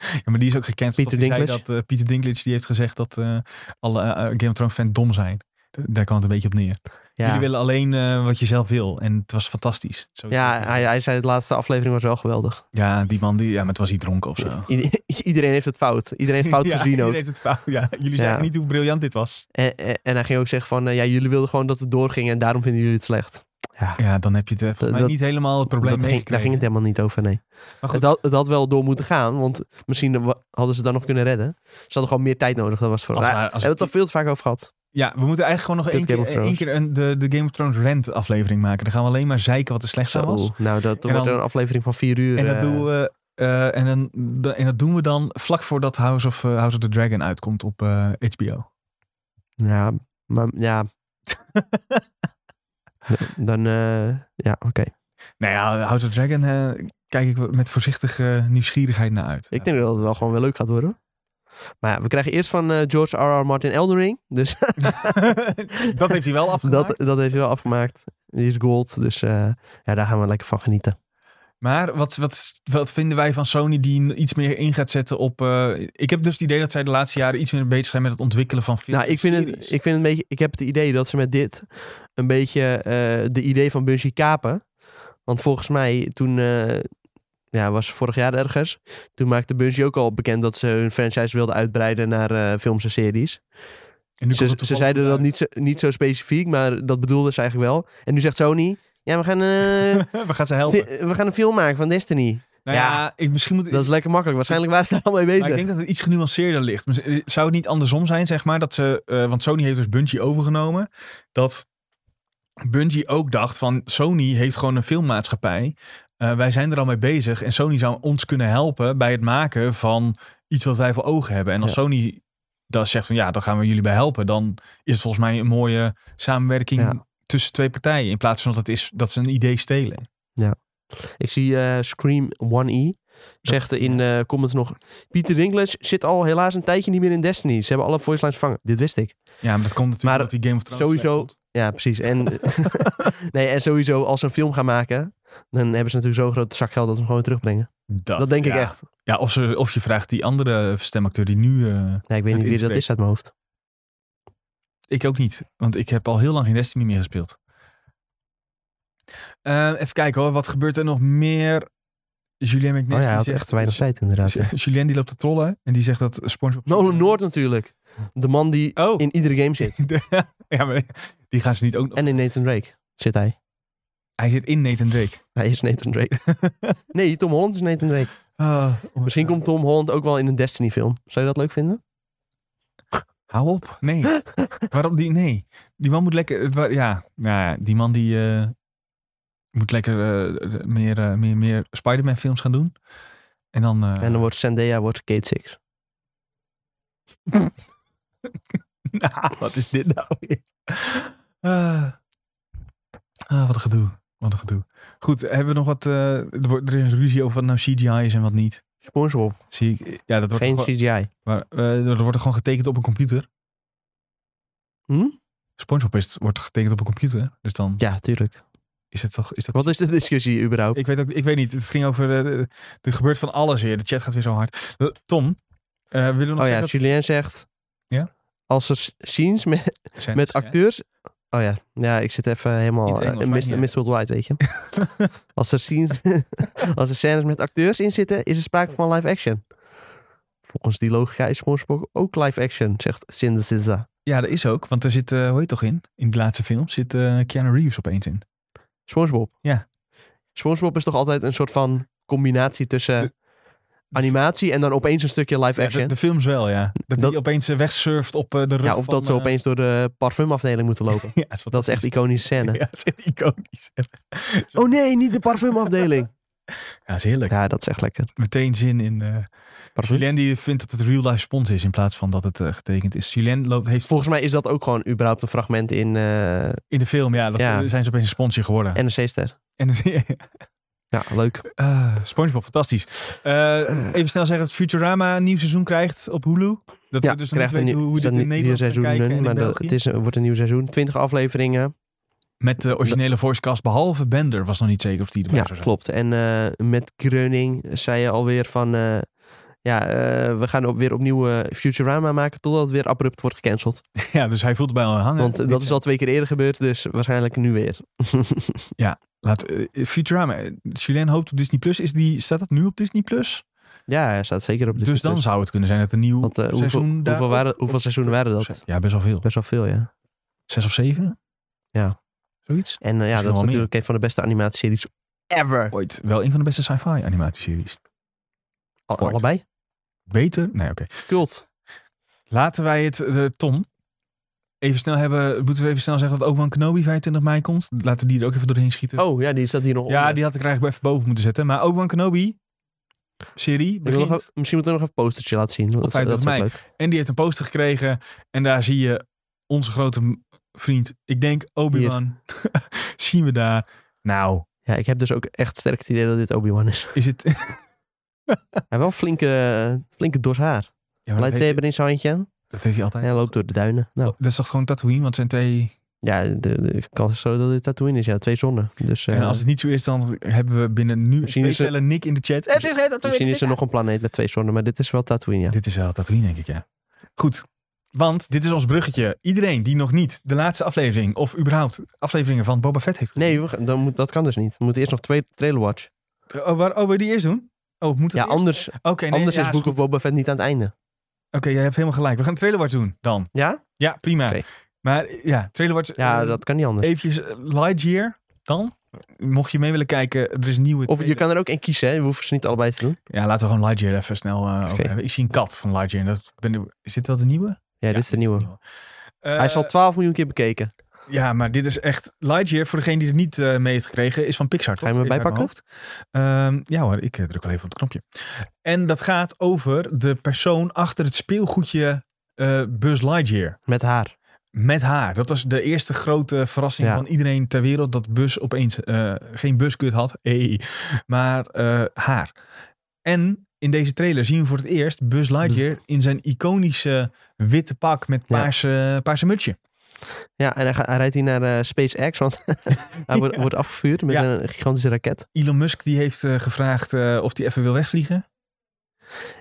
Speaker 1: Ja, maar die is ook gekend.
Speaker 2: Peter Dinklage.
Speaker 1: dat, eh, Peter Dinklage die heeft gezegd dat eh, alle eh, Game of Thrones fans dom zijn. Daar kwam het een beetje op neer. Jullie
Speaker 2: Ja,
Speaker 1: willen alleen eh, wat je zelf wil. En het was fantastisch. Zoiets
Speaker 2: ja
Speaker 1: heeft hij
Speaker 2: hij,
Speaker 1: gezegd.
Speaker 2: hij zei de laatste aflevering was wel geweldig.
Speaker 1: ja, die man, die, ja, maar het was hij dronken of zo.
Speaker 2: [laughs] Ieder- iedereen heeft het fout.
Speaker 1: [laughs]
Speaker 2: Iedereen heeft fout
Speaker 1: ja,
Speaker 2: gezien
Speaker 1: iedereen
Speaker 2: ook.
Speaker 1: heeft het fout. Ja, jullie
Speaker 2: Ja.
Speaker 1: zeggen niet hoe briljant dit was.
Speaker 2: En, en, en hij ging ook zeggen van, eh, ja, jullie wilden gewoon dat het doorging en daarom vinden jullie het slecht.
Speaker 1: Ja, dan heb je het eh, volgens mij
Speaker 2: Dat-
Speaker 1: niet helemaal het probleem
Speaker 2: Dat ging, daar
Speaker 1: meegekregen.
Speaker 2: ging het helemaal niet over, nee.
Speaker 1: Maar goed.
Speaker 2: Het had, het had wel door moeten gaan, want misschien wa- hadden ze dan nog kunnen redden. Ze hadden gewoon meer tijd nodig, dat was voor.
Speaker 1: Als
Speaker 2: Ah,
Speaker 1: hij-
Speaker 2: We
Speaker 1: als
Speaker 2: hebben het
Speaker 1: het-
Speaker 2: al veel te vaak over gehad.
Speaker 1: Ja, we moeten eigenlijk gewoon nog één
Speaker 2: Dit Game
Speaker 1: keer, eh,
Speaker 2: of Thrones.
Speaker 1: één keer een, de, de Game of Thrones rant aflevering maken. Dan gaan we alleen maar zeiken wat er slecht aan was.
Speaker 2: Zo, nou, dat
Speaker 1: En
Speaker 2: wordt
Speaker 1: dan-
Speaker 2: een aflevering van vier uur.
Speaker 1: En dat,
Speaker 2: eh,
Speaker 1: doen we, eh, en, dan, da- en dat doen we dan vlak voordat House of, eh, House of the Dragon uitkomt op eh, HBO.
Speaker 2: Ja, maar
Speaker 1: [laughs]
Speaker 2: ja. dan, eh, ja, oké.
Speaker 1: Nou ja, House of the Dragon eh, kijk ik wel met voorzichtige nieuwsgierigheid naar uit.
Speaker 2: Ik denk dat het wel gewoon wel leuk gaat worden. Maar ja, we krijgen eerst van eh, George R.R. Martin Elden Ring. Dus
Speaker 1: [laughs] dat heeft hij wel afgemaakt.
Speaker 2: dat, dat heeft hij wel afgemaakt. Die is gold, dus eh, ja, daar gaan we lekker van genieten.
Speaker 1: Maar wat, wat, wat vinden wij van Sony die iets meer in gaat zetten op... eh, ik heb dus het idee dat zij de laatste jaren iets meer bezig zijn met het ontwikkelen van films.
Speaker 2: nou, ik vind,
Speaker 1: en
Speaker 2: het,
Speaker 1: series.
Speaker 2: ik vind het een beetje... Ik heb het idee dat ze met dit een beetje eh, de idee van Bungie kapen. Want volgens mij toen... eh, ja, was vorig jaar ergens. Toen maakte Bungie ook al bekend dat ze hun franchise wilden uitbreiden naar eh, films en series.
Speaker 1: En nu komt
Speaker 2: Ze,
Speaker 1: het
Speaker 2: ze
Speaker 1: toevallig
Speaker 2: zeiden
Speaker 1: uit.
Speaker 2: dat niet zo, niet zo specifiek, maar dat bedoelden ze eigenlijk wel. En nu zegt Sony, ja, we gaan, eh,
Speaker 1: [laughs] we gaan ze helpen.
Speaker 2: fi- we gaan een film maken van Destiny.
Speaker 1: Nou ja, ik, misschien moet
Speaker 2: Dat is lekker makkelijk. Waarschijnlijk waren ze daar al mee bezig.
Speaker 1: maar ik denk dat het iets genuanceerder ligt. Maar z- Zou het niet andersom zijn, zeg maar, dat ze, eh, want Sony heeft dus Bungie overgenomen, dat Bungie ook dacht van Sony heeft gewoon een filmmaatschappij. Eh, wij zijn er al mee bezig en Sony zou ons kunnen helpen bij het maken van iets wat wij voor ogen hebben. En als
Speaker 2: Ja.
Speaker 1: Sony dat zegt van ja, dan gaan we jullie bij helpen, dan is het volgens mij een mooie samenwerking
Speaker 2: Ja.
Speaker 1: tussen twee partijen in plaats van dat het is dat ze een idee stelen.
Speaker 2: Ik zie eh, Scream 1E. Zegt er in eh, comments nog... Pieter Dinklage zit al helaas een tijdje niet meer in Destiny. Ze hebben alle voice lines vervangen. Dit wist ik.
Speaker 1: Ja, maar dat komt natuurlijk
Speaker 2: Maar
Speaker 1: omdat die Game of Thrones
Speaker 2: sowieso-
Speaker 1: slecht vond.
Speaker 2: Ja, precies. En,
Speaker 1: [laughs]
Speaker 2: nee, en sowieso, als ze een film gaan maken... dan hebben ze natuurlijk zo'n groot zak geld dat ze hem gewoon terugbrengen.
Speaker 1: Dat,
Speaker 2: dat denk ik
Speaker 1: ja.
Speaker 2: echt.
Speaker 1: Ja, of, ze, of je vraagt die andere stemacteur die nu... eh,
Speaker 2: Nee, ik
Speaker 1: Het
Speaker 2: weet niet wie dat
Speaker 1: inspreekt.
Speaker 2: is uit mijn hoofd.
Speaker 1: ik ook niet, want ik heb al heel lang geen Destiny meer gespeeld. Eh, even kijken hoor, wat gebeurt er nog meer? Julien McNasty
Speaker 2: oh ja, hij had
Speaker 1: zegt-
Speaker 2: echt te weinig tijd inderdaad.
Speaker 1: Ju- Julien die loopt te trollen en die zegt dat SpongeBob...
Speaker 2: Nolan Noord natuurlijk. De man die
Speaker 1: Oh, [laughs]
Speaker 2: in iedere game zit.
Speaker 1: ja, maar die gaan ze niet ook...
Speaker 2: En in Nathan Drake zit hij.
Speaker 1: Hij zit in Nathan Drake.
Speaker 2: Hij is Nathan [laughs] Drake. nee, Tom Holland is Nathan Drake.
Speaker 1: Ah, om-
Speaker 2: Misschien komt Tom Holland ook wel in een Destiny film. Zou je dat leuk vinden?
Speaker 1: Hou op, nee. Waarom die? Nee. Die man moet lekker. het wa- Ja, nou ja die man die. eh, moet lekker eh, meer, eh, meer, meer Spider-Man-films gaan doen. En dan. eh,
Speaker 2: En dan wordt Zendaya wordt Kate Six.
Speaker 1: [laughs] nou, wat is dit nou weer? Ah. Ah, wat een gedoe. Wat een gedoe. Goed, hebben we nog wat. eh, er, wordt, er is ruzie over wat nou CGI is en wat niet.
Speaker 2: SpongeBob.
Speaker 1: Zie ik. Ja, dat wordt,
Speaker 2: Geen
Speaker 1: gewoon,
Speaker 2: CGI.
Speaker 1: maar, eh, er wordt gewoon getekend op een computer.
Speaker 2: Hm?
Speaker 1: SpongeBob is, wordt getekend op een computer. Dus dan
Speaker 2: Ja, tuurlijk.
Speaker 1: is het toch. Is dat
Speaker 2: Wat is de discussie überhaupt?
Speaker 1: Ik weet, ook, ik weet niet. Het ging over. eh, de- er gebeurt van alles weer. De chat gaat weer zo hard. Eh, Tom, eh willen we nog
Speaker 2: oh ja,
Speaker 1: zeggen-
Speaker 2: Julien zegt...
Speaker 1: Ja?
Speaker 2: Als er s- scenes met,
Speaker 1: Zijn-
Speaker 2: met
Speaker 1: ja.
Speaker 2: acteurs... Oh ja, ja, ik zit even
Speaker 1: Niet
Speaker 2: helemaal...
Speaker 1: Engels,
Speaker 2: Uh,
Speaker 1: maakt
Speaker 2: Miss,
Speaker 1: niet
Speaker 2: Miss
Speaker 1: [laughs]
Speaker 2: Worldwide, weet je. als, er scenes, [laughs] als er scènes met acteurs in zitten, is er sprake van live action. Volgens die logica is SpongeBob ook live action, zegt Sinda
Speaker 1: Ja, dat is ook. Want er zit, eh hoe heet toch in? In de laatste film zit eh, Keanu Reeves opeens in.
Speaker 2: SpongeBob.
Speaker 1: Ja.
Speaker 2: SpongeBob is toch altijd een soort van combinatie tussen
Speaker 1: De-
Speaker 2: animatie en dan opeens een stukje live
Speaker 1: Ja, de,
Speaker 2: action.
Speaker 1: de films wel, ja. Dat,
Speaker 2: Dat-
Speaker 1: die opeens eh, wegsurft op eh, de rug
Speaker 2: ja, of
Speaker 1: van,
Speaker 2: dat ze
Speaker 1: eh,
Speaker 2: opeens door de parfumafdeling moeten lopen.
Speaker 1: [laughs] ja, het is
Speaker 2: dat is echt
Speaker 1: fantastisch.
Speaker 2: een iconische scène.
Speaker 1: [laughs] Ja, het is iconisch.
Speaker 2: Oh nee, niet de parfumafdeling.
Speaker 1: [laughs] Ja, is heerlijk.
Speaker 2: ja, dat is echt lekker.
Speaker 1: Meteen zin in... eh
Speaker 2: Parfum.
Speaker 1: Julien die vindt dat het real life spons is in plaats van dat het eh, getekend is. Julien loopt, heeft
Speaker 2: Volgens mij is dat ook gewoon überhaupt een fragment in eh
Speaker 1: in de film, ja, dat
Speaker 2: Ja.
Speaker 1: eh, zijn ze opeens een sponsje geworden.
Speaker 2: NRC-ster.
Speaker 1: En, [laughs]
Speaker 2: Ja, leuk.
Speaker 1: Ah, SpongeBob, fantastisch. Eh,
Speaker 2: Ah.
Speaker 1: even snel zeggen dat Futurama een nieuw seizoen krijgt op Hulu. Dat
Speaker 2: ja,
Speaker 1: we dus nog
Speaker 2: krijgt
Speaker 1: niet weten
Speaker 2: nieuw-
Speaker 1: hoe, hoe
Speaker 2: er
Speaker 1: dit
Speaker 2: zijn
Speaker 1: in Nederland
Speaker 2: nieuwe
Speaker 1: gaat kijken en
Speaker 2: seizoenen,
Speaker 1: in
Speaker 2: maar dat,
Speaker 1: België.
Speaker 2: het, is, een- wordt een nieuw seizoen. 20 afleveringen.
Speaker 1: Met de originele voicecast, behalve Bender, was nog niet zeker of die erbij
Speaker 2: Ja,
Speaker 1: zou zijn.
Speaker 2: klopt. En eh, met Kreuning zei je alweer van... eh, ja, eh, we gaan op, weer opnieuw eh, Futurama maken totdat het weer abrupt wordt gecanceld.
Speaker 1: Ja, dus hij voelt bij al hangen.
Speaker 2: Want eh,
Speaker 1: Dit-
Speaker 2: dat is al twee keer eerder gebeurd, dus waarschijnlijk nu weer. [laughs]
Speaker 1: Laat, eh, Futurama, eh, Julien hoopt op Disney+. Plus. Is die, staat dat nu op Disney+. Plus?
Speaker 2: ja, hij staat zeker op de
Speaker 1: Dus dan zou het kunnen zijn dat een nieuw
Speaker 2: Want, eh, hoeveel,
Speaker 1: seizoen daar
Speaker 2: hoeveel,
Speaker 1: op-
Speaker 2: waren, hoeveel seizoenen waren dat?
Speaker 1: Ja, best wel veel.
Speaker 2: Best wel veel, ja.
Speaker 1: Zes of zeven?
Speaker 2: Ja.
Speaker 1: Zoiets?
Speaker 2: En eh, ja,
Speaker 1: wel
Speaker 2: dat is
Speaker 1: meer.
Speaker 2: natuurlijk een van de beste animatieseries ever.
Speaker 1: Ooit wel een van de beste sci-fi animatieseries.
Speaker 2: Al-
Speaker 1: Ooit.
Speaker 2: allebei.
Speaker 1: Beter? Nee, oké.
Speaker 2: Cult.
Speaker 1: Laten wij het, eh, Tom, even snel hebben. Moeten we even snel zeggen dat Obi-Wan Kenobi 25 mei komt? Laten we die er ook even doorheen schieten.
Speaker 2: Oh, ja, die staat hier nog
Speaker 1: ja,
Speaker 2: onder.
Speaker 1: die had ik er eigenlijk even boven moeten zetten. Maar Obi-Wan Kenobi, serie,
Speaker 2: Ik wil nog
Speaker 1: begint.
Speaker 2: even- misschien moeten we nog even een postertje laten zien. Dat, dat
Speaker 1: 25
Speaker 2: is ook
Speaker 1: mei.
Speaker 2: leuk.
Speaker 1: En die heeft een poster gekregen. En daar zie je onze grote m- vriend, ik denk Obi-Wan, [laughs] zien we daar. Nou,
Speaker 2: Ja, ik heb dus ook echt sterk het idee dat dit Obi-Wan is.
Speaker 1: is het... [laughs] Ja,
Speaker 2: [laughs] Hij heeft wel een flinke, flinke dos haar.
Speaker 1: maar dat, heeft,
Speaker 2: Lightsaber in zijn handje. En
Speaker 1: dat heeft hij altijd.
Speaker 2: hij loopt door de duinen. Nou,
Speaker 1: Dat is toch gewoon Tatooine, want het zijn twee...
Speaker 2: ja, de, de kans is zo dat dit Tatooine is. Ja, twee zonnen. Dus eh,
Speaker 1: En als het niet zo is, dan hebben we binnen nu
Speaker 2: Misschien
Speaker 1: twee
Speaker 2: is er-
Speaker 1: cellen Nick in de chat. Het is geen Tatooine,
Speaker 2: misschien
Speaker 1: het
Speaker 2: is er nog een planeet met twee zonnen, maar dit is wel Tatooine, ja.
Speaker 1: Dit is wel Tatooine, denk ik, ja. Goed, want dit is ons bruggetje. Iedereen die nog niet de laatste aflevering, of überhaupt afleveringen van Boba Fett heeft
Speaker 2: Nee, we gaan- dan moet, dat kan dus niet. We moeten eerst nog twee trailerwatch.
Speaker 1: gezien. Oh, waar, oh, wil je die eerst doen? Oh, moet dat
Speaker 2: Ja,
Speaker 1: eerst?
Speaker 2: anders,
Speaker 1: Oké, nee,
Speaker 2: anders
Speaker 1: ja,
Speaker 2: is
Speaker 1: goed.
Speaker 2: Book of Boba Fett niet aan het einde.
Speaker 1: Oké, jij hebt helemaal gelijk. We gaan trailerwatch doen dan.
Speaker 2: Ja?
Speaker 1: Ja, prima.
Speaker 2: Oké.
Speaker 1: Maar ja, trailerwatch.
Speaker 2: Ja,
Speaker 1: eh,
Speaker 2: dat kan niet anders.
Speaker 1: Eventjes eh, Lightyear dan. Mocht je mee willen kijken, er is nieuwe...
Speaker 2: Of je
Speaker 1: trailer.
Speaker 2: kan er ook één kiezen, hè. We hoeven ze niet allebei te doen.
Speaker 1: Ja, laten we gewoon Lightyear even snel eh, over
Speaker 2: Oké.
Speaker 1: hebben. Ik zie een kat van Lightyear. en Dat ben... ik- Is dit wel de nieuwe? Ja,
Speaker 2: Ja, dit is de nieuwe.
Speaker 1: Eh,
Speaker 2: Hij is al 12 miljoen keer bekeken.
Speaker 1: Ja, maar dit is echt... Lightyear, voor degene die het niet eh, mee heeft gekregen, is van Pixar.
Speaker 2: Ga je
Speaker 1: toch?
Speaker 2: me
Speaker 1: Even uit mijn hoofd. Ehm, ja hoor, ik eh, druk wel even op het knopje. En dat gaat over de persoon achter het speelgoedje eh Buzz Lightyear.
Speaker 2: Met haar.
Speaker 1: Met haar. Dat was de eerste grote verrassing
Speaker 2: Ja.
Speaker 1: van iedereen ter wereld. Dat Bus opeens eh, geen buskut had. Hey. Maar eh, haar. En in deze trailer zien we voor het eerst Bus Lightyear in zijn iconische witte pak met
Speaker 2: Ja.
Speaker 1: paarse, paarse mutsje.
Speaker 2: Ja, en hij, gaat- hij rijdt hier naar eh, SpaceX, want [laughs] hij wordt, wordt afgevuurd met
Speaker 1: Ja.
Speaker 2: een gigantische raket.
Speaker 1: Elon Musk die heeft eh, gevraagd eh, of hij even wil wegvliegen.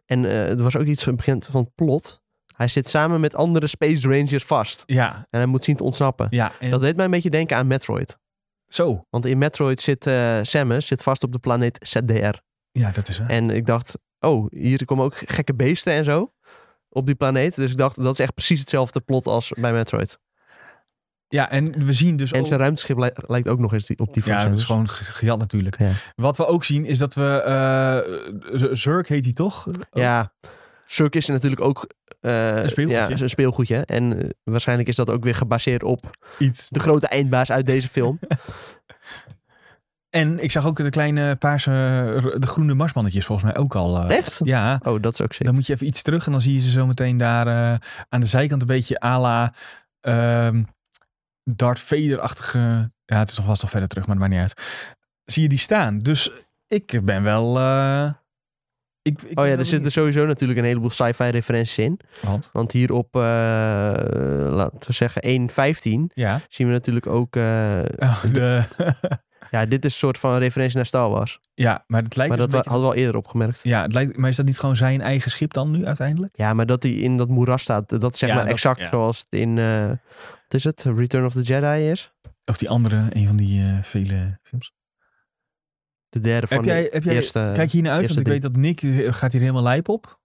Speaker 2: En eh, er was ook iets van het begin van het plot. Hij zit samen met andere Space Rangers vast.
Speaker 1: Ja,
Speaker 2: En hij moet zien te ontsnappen.
Speaker 1: ja. En
Speaker 2: Dat deed mij een beetje denken aan Metroid.
Speaker 1: Zo.
Speaker 2: Want in Metroid zit eh, Samus zit vast op de planeet ZDR.
Speaker 1: Ja, dat is waar.
Speaker 2: En ik dacht, oh, hier komen ook gekke beesten en zo op die planeet. Dus ik dacht, dat is echt precies hetzelfde plot als bij Metroid.
Speaker 1: Ja, en we zien dus
Speaker 2: En
Speaker 1: ook...
Speaker 2: zijn ruimteschip lij- lijkt ook nog eens die- op die van
Speaker 1: Ja, dat is
Speaker 2: Samus.
Speaker 1: gewoon ge- gejat natuurlijk.
Speaker 2: Ja.
Speaker 1: Wat we ook zien is dat we... eh, Z- Zurk heet hij toch? Eh,
Speaker 2: Ja, Cirque is natuurlijk ook eh,
Speaker 1: Een speelgoedje.
Speaker 2: Ja, is een speelgoedje. En eh, waarschijnlijk is dat ook weer gebaseerd op
Speaker 1: Iets.
Speaker 2: de grote eindbaas uit deze film.
Speaker 1: En ik zag ook de kleine paarse, de groene marsmannetjes volgens mij ook al. eh,
Speaker 2: Echt?
Speaker 1: [laughs] Ja,
Speaker 2: Oh, dat is ook zeker.
Speaker 1: dan moet je even iets terug en dan zie je ze zo meteen daar eh, aan de zijkant een beetje à la ehm, Darth Vader-achtige... Ja, het is nog vast nog verder terug, maar het maakt niet uit. Zie je die staan. Dus ik ben wel... eh, ik, ik ben
Speaker 2: Oh ja,
Speaker 1: wel
Speaker 2: er dus- zitten sowieso natuurlijk een heleboel sci-fi referenties in.
Speaker 1: benieuwd. Want,
Speaker 2: Want hier op, eh, laten we zeggen, 1.15
Speaker 1: ja.
Speaker 2: zien we natuurlijk ook... eh, [laughs]
Speaker 1: Oh, de- [laughs]
Speaker 2: ja, dit is een soort van referentie naar Star Wars.
Speaker 1: Ja, maar het lijkt
Speaker 2: Maar
Speaker 1: dus
Speaker 2: dat
Speaker 1: een beetje-
Speaker 2: wa- hadden we al eerder opgemerkt.
Speaker 1: Ja, het lijkt, maar is dat niet gewoon zijn eigen schip dan nu uiteindelijk?
Speaker 2: Ja, maar dat hij in dat moeras staat, dat is zeg
Speaker 1: Ja,
Speaker 2: maar
Speaker 1: dat-
Speaker 2: exact
Speaker 1: ja.
Speaker 2: zoals het in, eh, wat is het, Return of the Jedi is.
Speaker 1: Of die andere, een van die eh, vele films.
Speaker 2: De derde van
Speaker 1: Heb jij, heb
Speaker 2: de
Speaker 1: jij,
Speaker 2: eerste.
Speaker 1: kijk hier naar uit, want
Speaker 2: Eh, eerste
Speaker 1: ik weet dat Nick eh, gaat hier helemaal lijp op.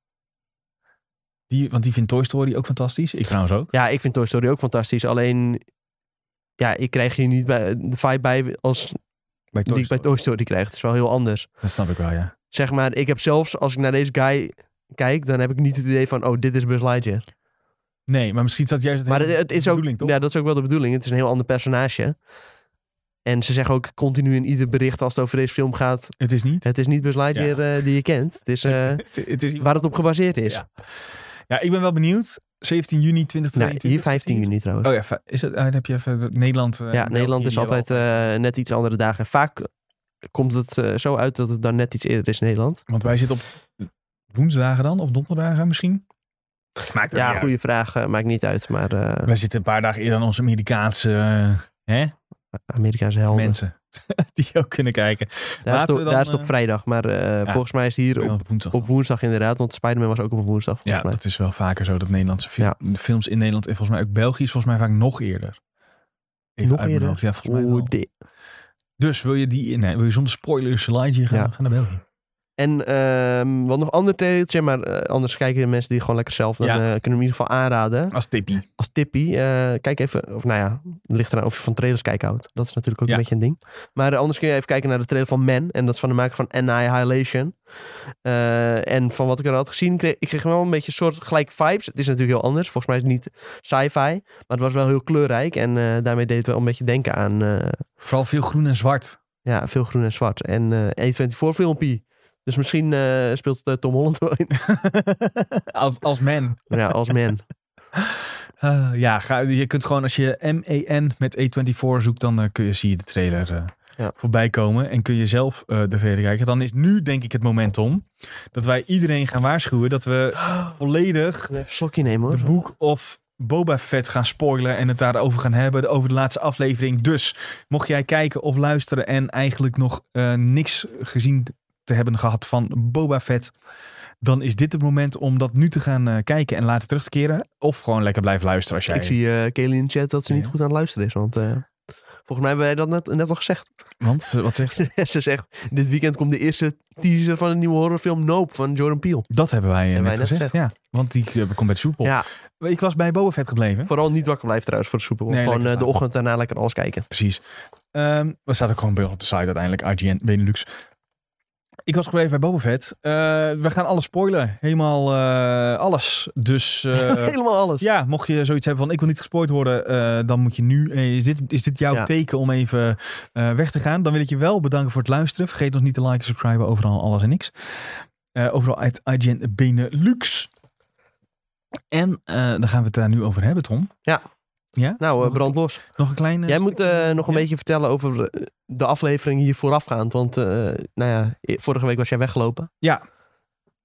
Speaker 1: Die, want die vindt Toy Story ook fantastisch. Ik trouwens ook.
Speaker 2: Ja, ik vind Toy Story ook fantastisch. Alleen, ja, ik krijg hier niet bij, de vibe bij als
Speaker 1: Bij
Speaker 2: die ik bij Toy Story krijg. Het is wel heel anders.
Speaker 1: Dat snap ik wel, ja.
Speaker 2: Zeg maar, ik heb zelfs, als ik naar deze guy kijk, dan heb ik niet het idee van, oh, dit is Buzz Lightyear.
Speaker 1: Nee, maar misschien is dat juist het
Speaker 2: Maar
Speaker 1: hele
Speaker 2: het, het is ook,
Speaker 1: bedoeling, toch?
Speaker 2: ja, dat is ook wel de bedoeling. Het is een heel ander personage. En ze zeggen ook continu in ieder bericht als het over deze film gaat,
Speaker 1: Het is niet.
Speaker 2: Het is niet Buzz Lightyear eh, die je kent. Het
Speaker 1: [laughs]
Speaker 2: is eh,
Speaker 1: Het, het is,
Speaker 2: waar het op gebaseerd is.
Speaker 1: Ja. ja, ik ben wel benieuwd. 17 juni
Speaker 2: nou,
Speaker 1: 2022.
Speaker 2: hier 15 juni trouwens.
Speaker 1: Oh ja, fi- is dat, ah, dan heb je even dat- Nederland. eh,
Speaker 2: ja,
Speaker 1: België
Speaker 2: Nederland is
Speaker 1: hier
Speaker 2: altijd
Speaker 1: wel.
Speaker 2: eh, net iets andere dagen. En Vaak eh, komt het eh, zo uit dat het dan net iets eerder is in Nederland.
Speaker 1: Want wij zitten op woensdagen dan, of donderdagen misschien. Maakt ook
Speaker 2: Ja,
Speaker 1: niet uit.
Speaker 2: goede vraag. eh, maakt niet uit. Maar eh,
Speaker 1: Wij zitten een paar dagen eerder dan onze Amerikaanse eh, hè,
Speaker 2: Amerikaanse helden.
Speaker 1: mensen. [laughs] Die ook kunnen kijken.
Speaker 2: daar is,
Speaker 1: Laten
Speaker 2: het
Speaker 1: we
Speaker 2: op,
Speaker 1: dan,
Speaker 2: daar is het
Speaker 1: eh,
Speaker 2: op vrijdag. Maar eh, volgens mij is het hier op,
Speaker 1: Op woensdag.
Speaker 2: op woensdag inderdaad. Want Spider-Man was ook op een woensdag.
Speaker 1: ja,
Speaker 2: Volgens mij.
Speaker 1: dat is wel vaker zo. Dat Nederlandse fil- de films in Nederland en volgens mij ook België is volgens mij vaak nog eerder. Even
Speaker 2: Nog
Speaker 1: uit mijn
Speaker 2: eerder?
Speaker 1: hoofd, Ja, volgens mij
Speaker 2: Oeh,
Speaker 1: wel.
Speaker 2: di-
Speaker 1: Dus wil je, die, nee, wil je zonder spoilers slide gaan,
Speaker 2: Ja.
Speaker 1: gaan naar België?
Speaker 2: En ehm, wat nog ander teeltje, maar eh, anders kijken de mensen die gewoon lekker zelf. Dan
Speaker 1: Ja.
Speaker 2: eh, kunnen we hem in ieder geval aanraden.
Speaker 1: Als tippie.
Speaker 2: als tippie, eh, kijk even, of nou ja, het ligt eraan of je van trailers kijk houdt. Dat is natuurlijk ook
Speaker 1: Ja.
Speaker 2: een beetje een ding. Maar eh, anders kun je even kijken naar de trailer van Men. En dat is van de maker van Annihilation. Eh, en van wat ik er had gezien, kreeg, ik kreeg wel een beetje soort gelijk vibes. Het is natuurlijk heel anders. Volgens mij is het niet sci-fi. Maar het was wel heel kleurrijk. En eh, daarmee deed het wel een beetje denken aan eh,
Speaker 1: Vooral veel groen en
Speaker 2: [laughs]
Speaker 1: zwart.
Speaker 2: ja, veel groen en zwart. En eh A24 filmpje. Dus misschien eh, speelt eh, Tom Holland wel in.
Speaker 1: als, als man.
Speaker 2: Maar ja, als Men.
Speaker 1: Eh, ja, ga, je kunt gewoon als je M-E-N met E24 zoekt, dan eh, kun je, zie je de trailer eh,
Speaker 2: Ja.
Speaker 1: voorbij komen. En kun je zelf eh, de trailer kijken. Dan is nu denk ik het moment om dat wij iedereen gaan waarschuwen dat we volledig
Speaker 2: Even een slokje nemen
Speaker 1: de
Speaker 2: hoor.
Speaker 1: boek of Boba Fett gaan spoilen en het daarover gaan hebben. Over de laatste aflevering. Dus mocht jij kijken of luisteren en eigenlijk nog eh, niks gezien te hebben gehad van Boba Fett. Dan is dit het moment om dat nu te gaan eh, kijken en later terug te keren. Of gewoon lekker blijven luisteren als jij...
Speaker 2: Ik zie eh Kelly in de chat dat ze niet
Speaker 1: Ja.
Speaker 2: goed aan het luisteren is. Want eh, volgens mij hebben wij dat net, net al gezegd. [laughs]
Speaker 1: Want, eh, wat zegt
Speaker 2: ze zegt, dit weekend komt de eerste teaser van een nieuwe horrorfilm Nope van Jordan Peele.
Speaker 1: Dat hebben wij eh,
Speaker 2: Hebben
Speaker 1: net
Speaker 2: wij net
Speaker 1: gezegd, ja. Want die eh, komt bij de soepel.
Speaker 2: Ja.
Speaker 1: Ik was bij Boba Fett gebleven.
Speaker 2: Vooral niet wakker blijven trouwens voor de soepel.
Speaker 1: Nee,
Speaker 2: Gewoon
Speaker 1: lekker
Speaker 2: eh, de
Speaker 1: slapen.
Speaker 2: ochtend daarna lekker alles kijken.
Speaker 1: Precies. Ehm dat staat ook gewoon bij op de site uiteindelijk. IGN Benelux. Ik was gebleven bij Boba Fett. Eh, we gaan alles spoilen. Helemaal eh, alles. Dus eh,
Speaker 2: [laughs] Helemaal alles.
Speaker 1: ja, mocht je zoiets hebben van ik wil niet gespoord worden, eh, dan moet je nu. eh, is, dit, is dit jouw
Speaker 2: Ja.
Speaker 1: teken om even eh, weg te gaan? Dan wil ik je wel bedanken voor het luisteren. Vergeet ons niet te liken, subscriben, overal alles en niks. Eh, overal uit IGN eh, Benelux. En eh, dan gaan we het daar nu over hebben, Tom. Ja?
Speaker 2: Nou, eh,
Speaker 1: nog,
Speaker 2: brand los.
Speaker 1: een- nog een kleine...
Speaker 2: Jij moet eh, nog een
Speaker 1: Ja.
Speaker 2: beetje vertellen over eh, de aflevering hier voorafgaand. Want eh, nou ja, i- vorige week was jij weggelopen.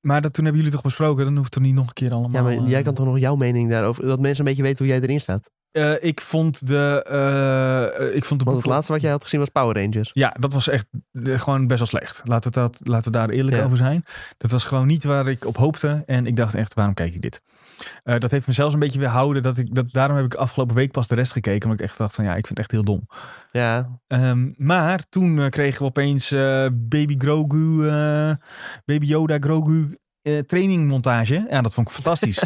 Speaker 1: Maar dat, toen hebben jullie toch besproken? Dan hoeft het niet nog een keer allemaal...
Speaker 2: Ja, maar jij
Speaker 1: eh,
Speaker 2: kan toch nog jouw mening daarover... Dat mensen een beetje weten hoe jij erin staat.
Speaker 1: Eh, ik vond de... eh, eh, ik vond de
Speaker 2: Want
Speaker 1: boek-
Speaker 2: het laatste wat jij had gezien was Power Rangers.
Speaker 1: Ja, dat was echt eh, gewoon best wel slecht. Laten we, dat, laten we daar eerlijk
Speaker 2: Ja.
Speaker 1: over zijn. Dat was gewoon niet waar ik op hoopte. En ik dacht echt, waarom kijk ik dit? Eh, dat heeft me zelfs een beetje weerhouden. Dat ik, dat, daarom heb ik afgelopen week pas de rest gekeken. Omdat ik echt dacht van ja, ik vind het echt heel dom.
Speaker 2: Ja,
Speaker 1: Ehm, maar toen eh, kregen we opeens eh, Baby Grogu, eh, Baby Yoda Grogu eh, trainingmontage. Ja, dat vond ik
Speaker 2: [laughs]
Speaker 1: fantastisch.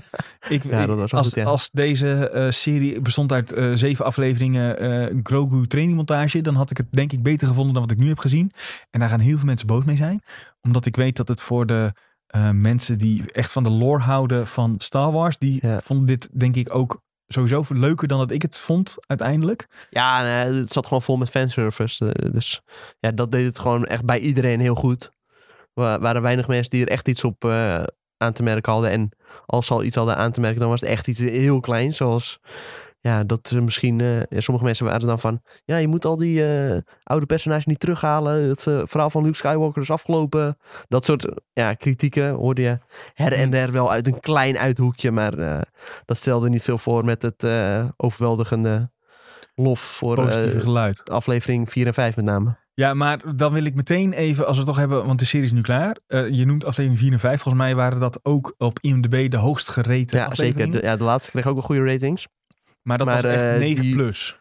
Speaker 1: ik,
Speaker 2: Ja, dat was wel
Speaker 1: als,
Speaker 2: goed, ja.
Speaker 1: als deze eh, serie bestond uit eh, zeven afleveringen eh, Grogu trainingmontage, dan had ik het denk ik beter gevonden dan wat ik nu heb gezien. En daar gaan heel veel mensen boos mee zijn. Omdat ik weet dat het voor de eh, mensen die echt van de lore houden van Star Wars, die
Speaker 2: Ja.
Speaker 1: vonden dit denk ik ook sowieso leuker dan dat ik het vond uiteindelijk.
Speaker 2: ja nee, het zat gewoon vol met fanservice. eh, dus ja, dat deed het gewoon echt bij iedereen heel goed. Er waren weinig mensen die er echt iets op eh, aan te merken hadden. En als ze al iets hadden aan te merken, dan was het echt iets heel kleins. Zoals, ja, dat ze misschien... eh, ja, sommige mensen waren dan van... Ja, je moet al die eh, oude personages niet terughalen. Het eh, verhaal van Luke Skywalker is afgelopen. Dat soort ja, kritieken hoorde je her en der wel uit een klein uithoekje. Maar eh, dat stelde niet veel voor met het eh, overweldigende lof voor
Speaker 1: Positieve
Speaker 2: eh,
Speaker 1: geluid.
Speaker 2: aflevering 4 en 5 met name.
Speaker 1: Ja, maar dan wil ik meteen even, als we het toch hebben, want de serie is nu klaar. Eh, je noemt aflevering 4 en 5. Volgens mij waren dat ook op IMDb de hoogst gereten
Speaker 2: Ja, zeker. De, ja, de laatste kreeg ook wel goede ratings.
Speaker 1: maar dat
Speaker 2: maar,
Speaker 1: was echt
Speaker 2: eh,
Speaker 1: 9
Speaker 2: die-
Speaker 1: plus.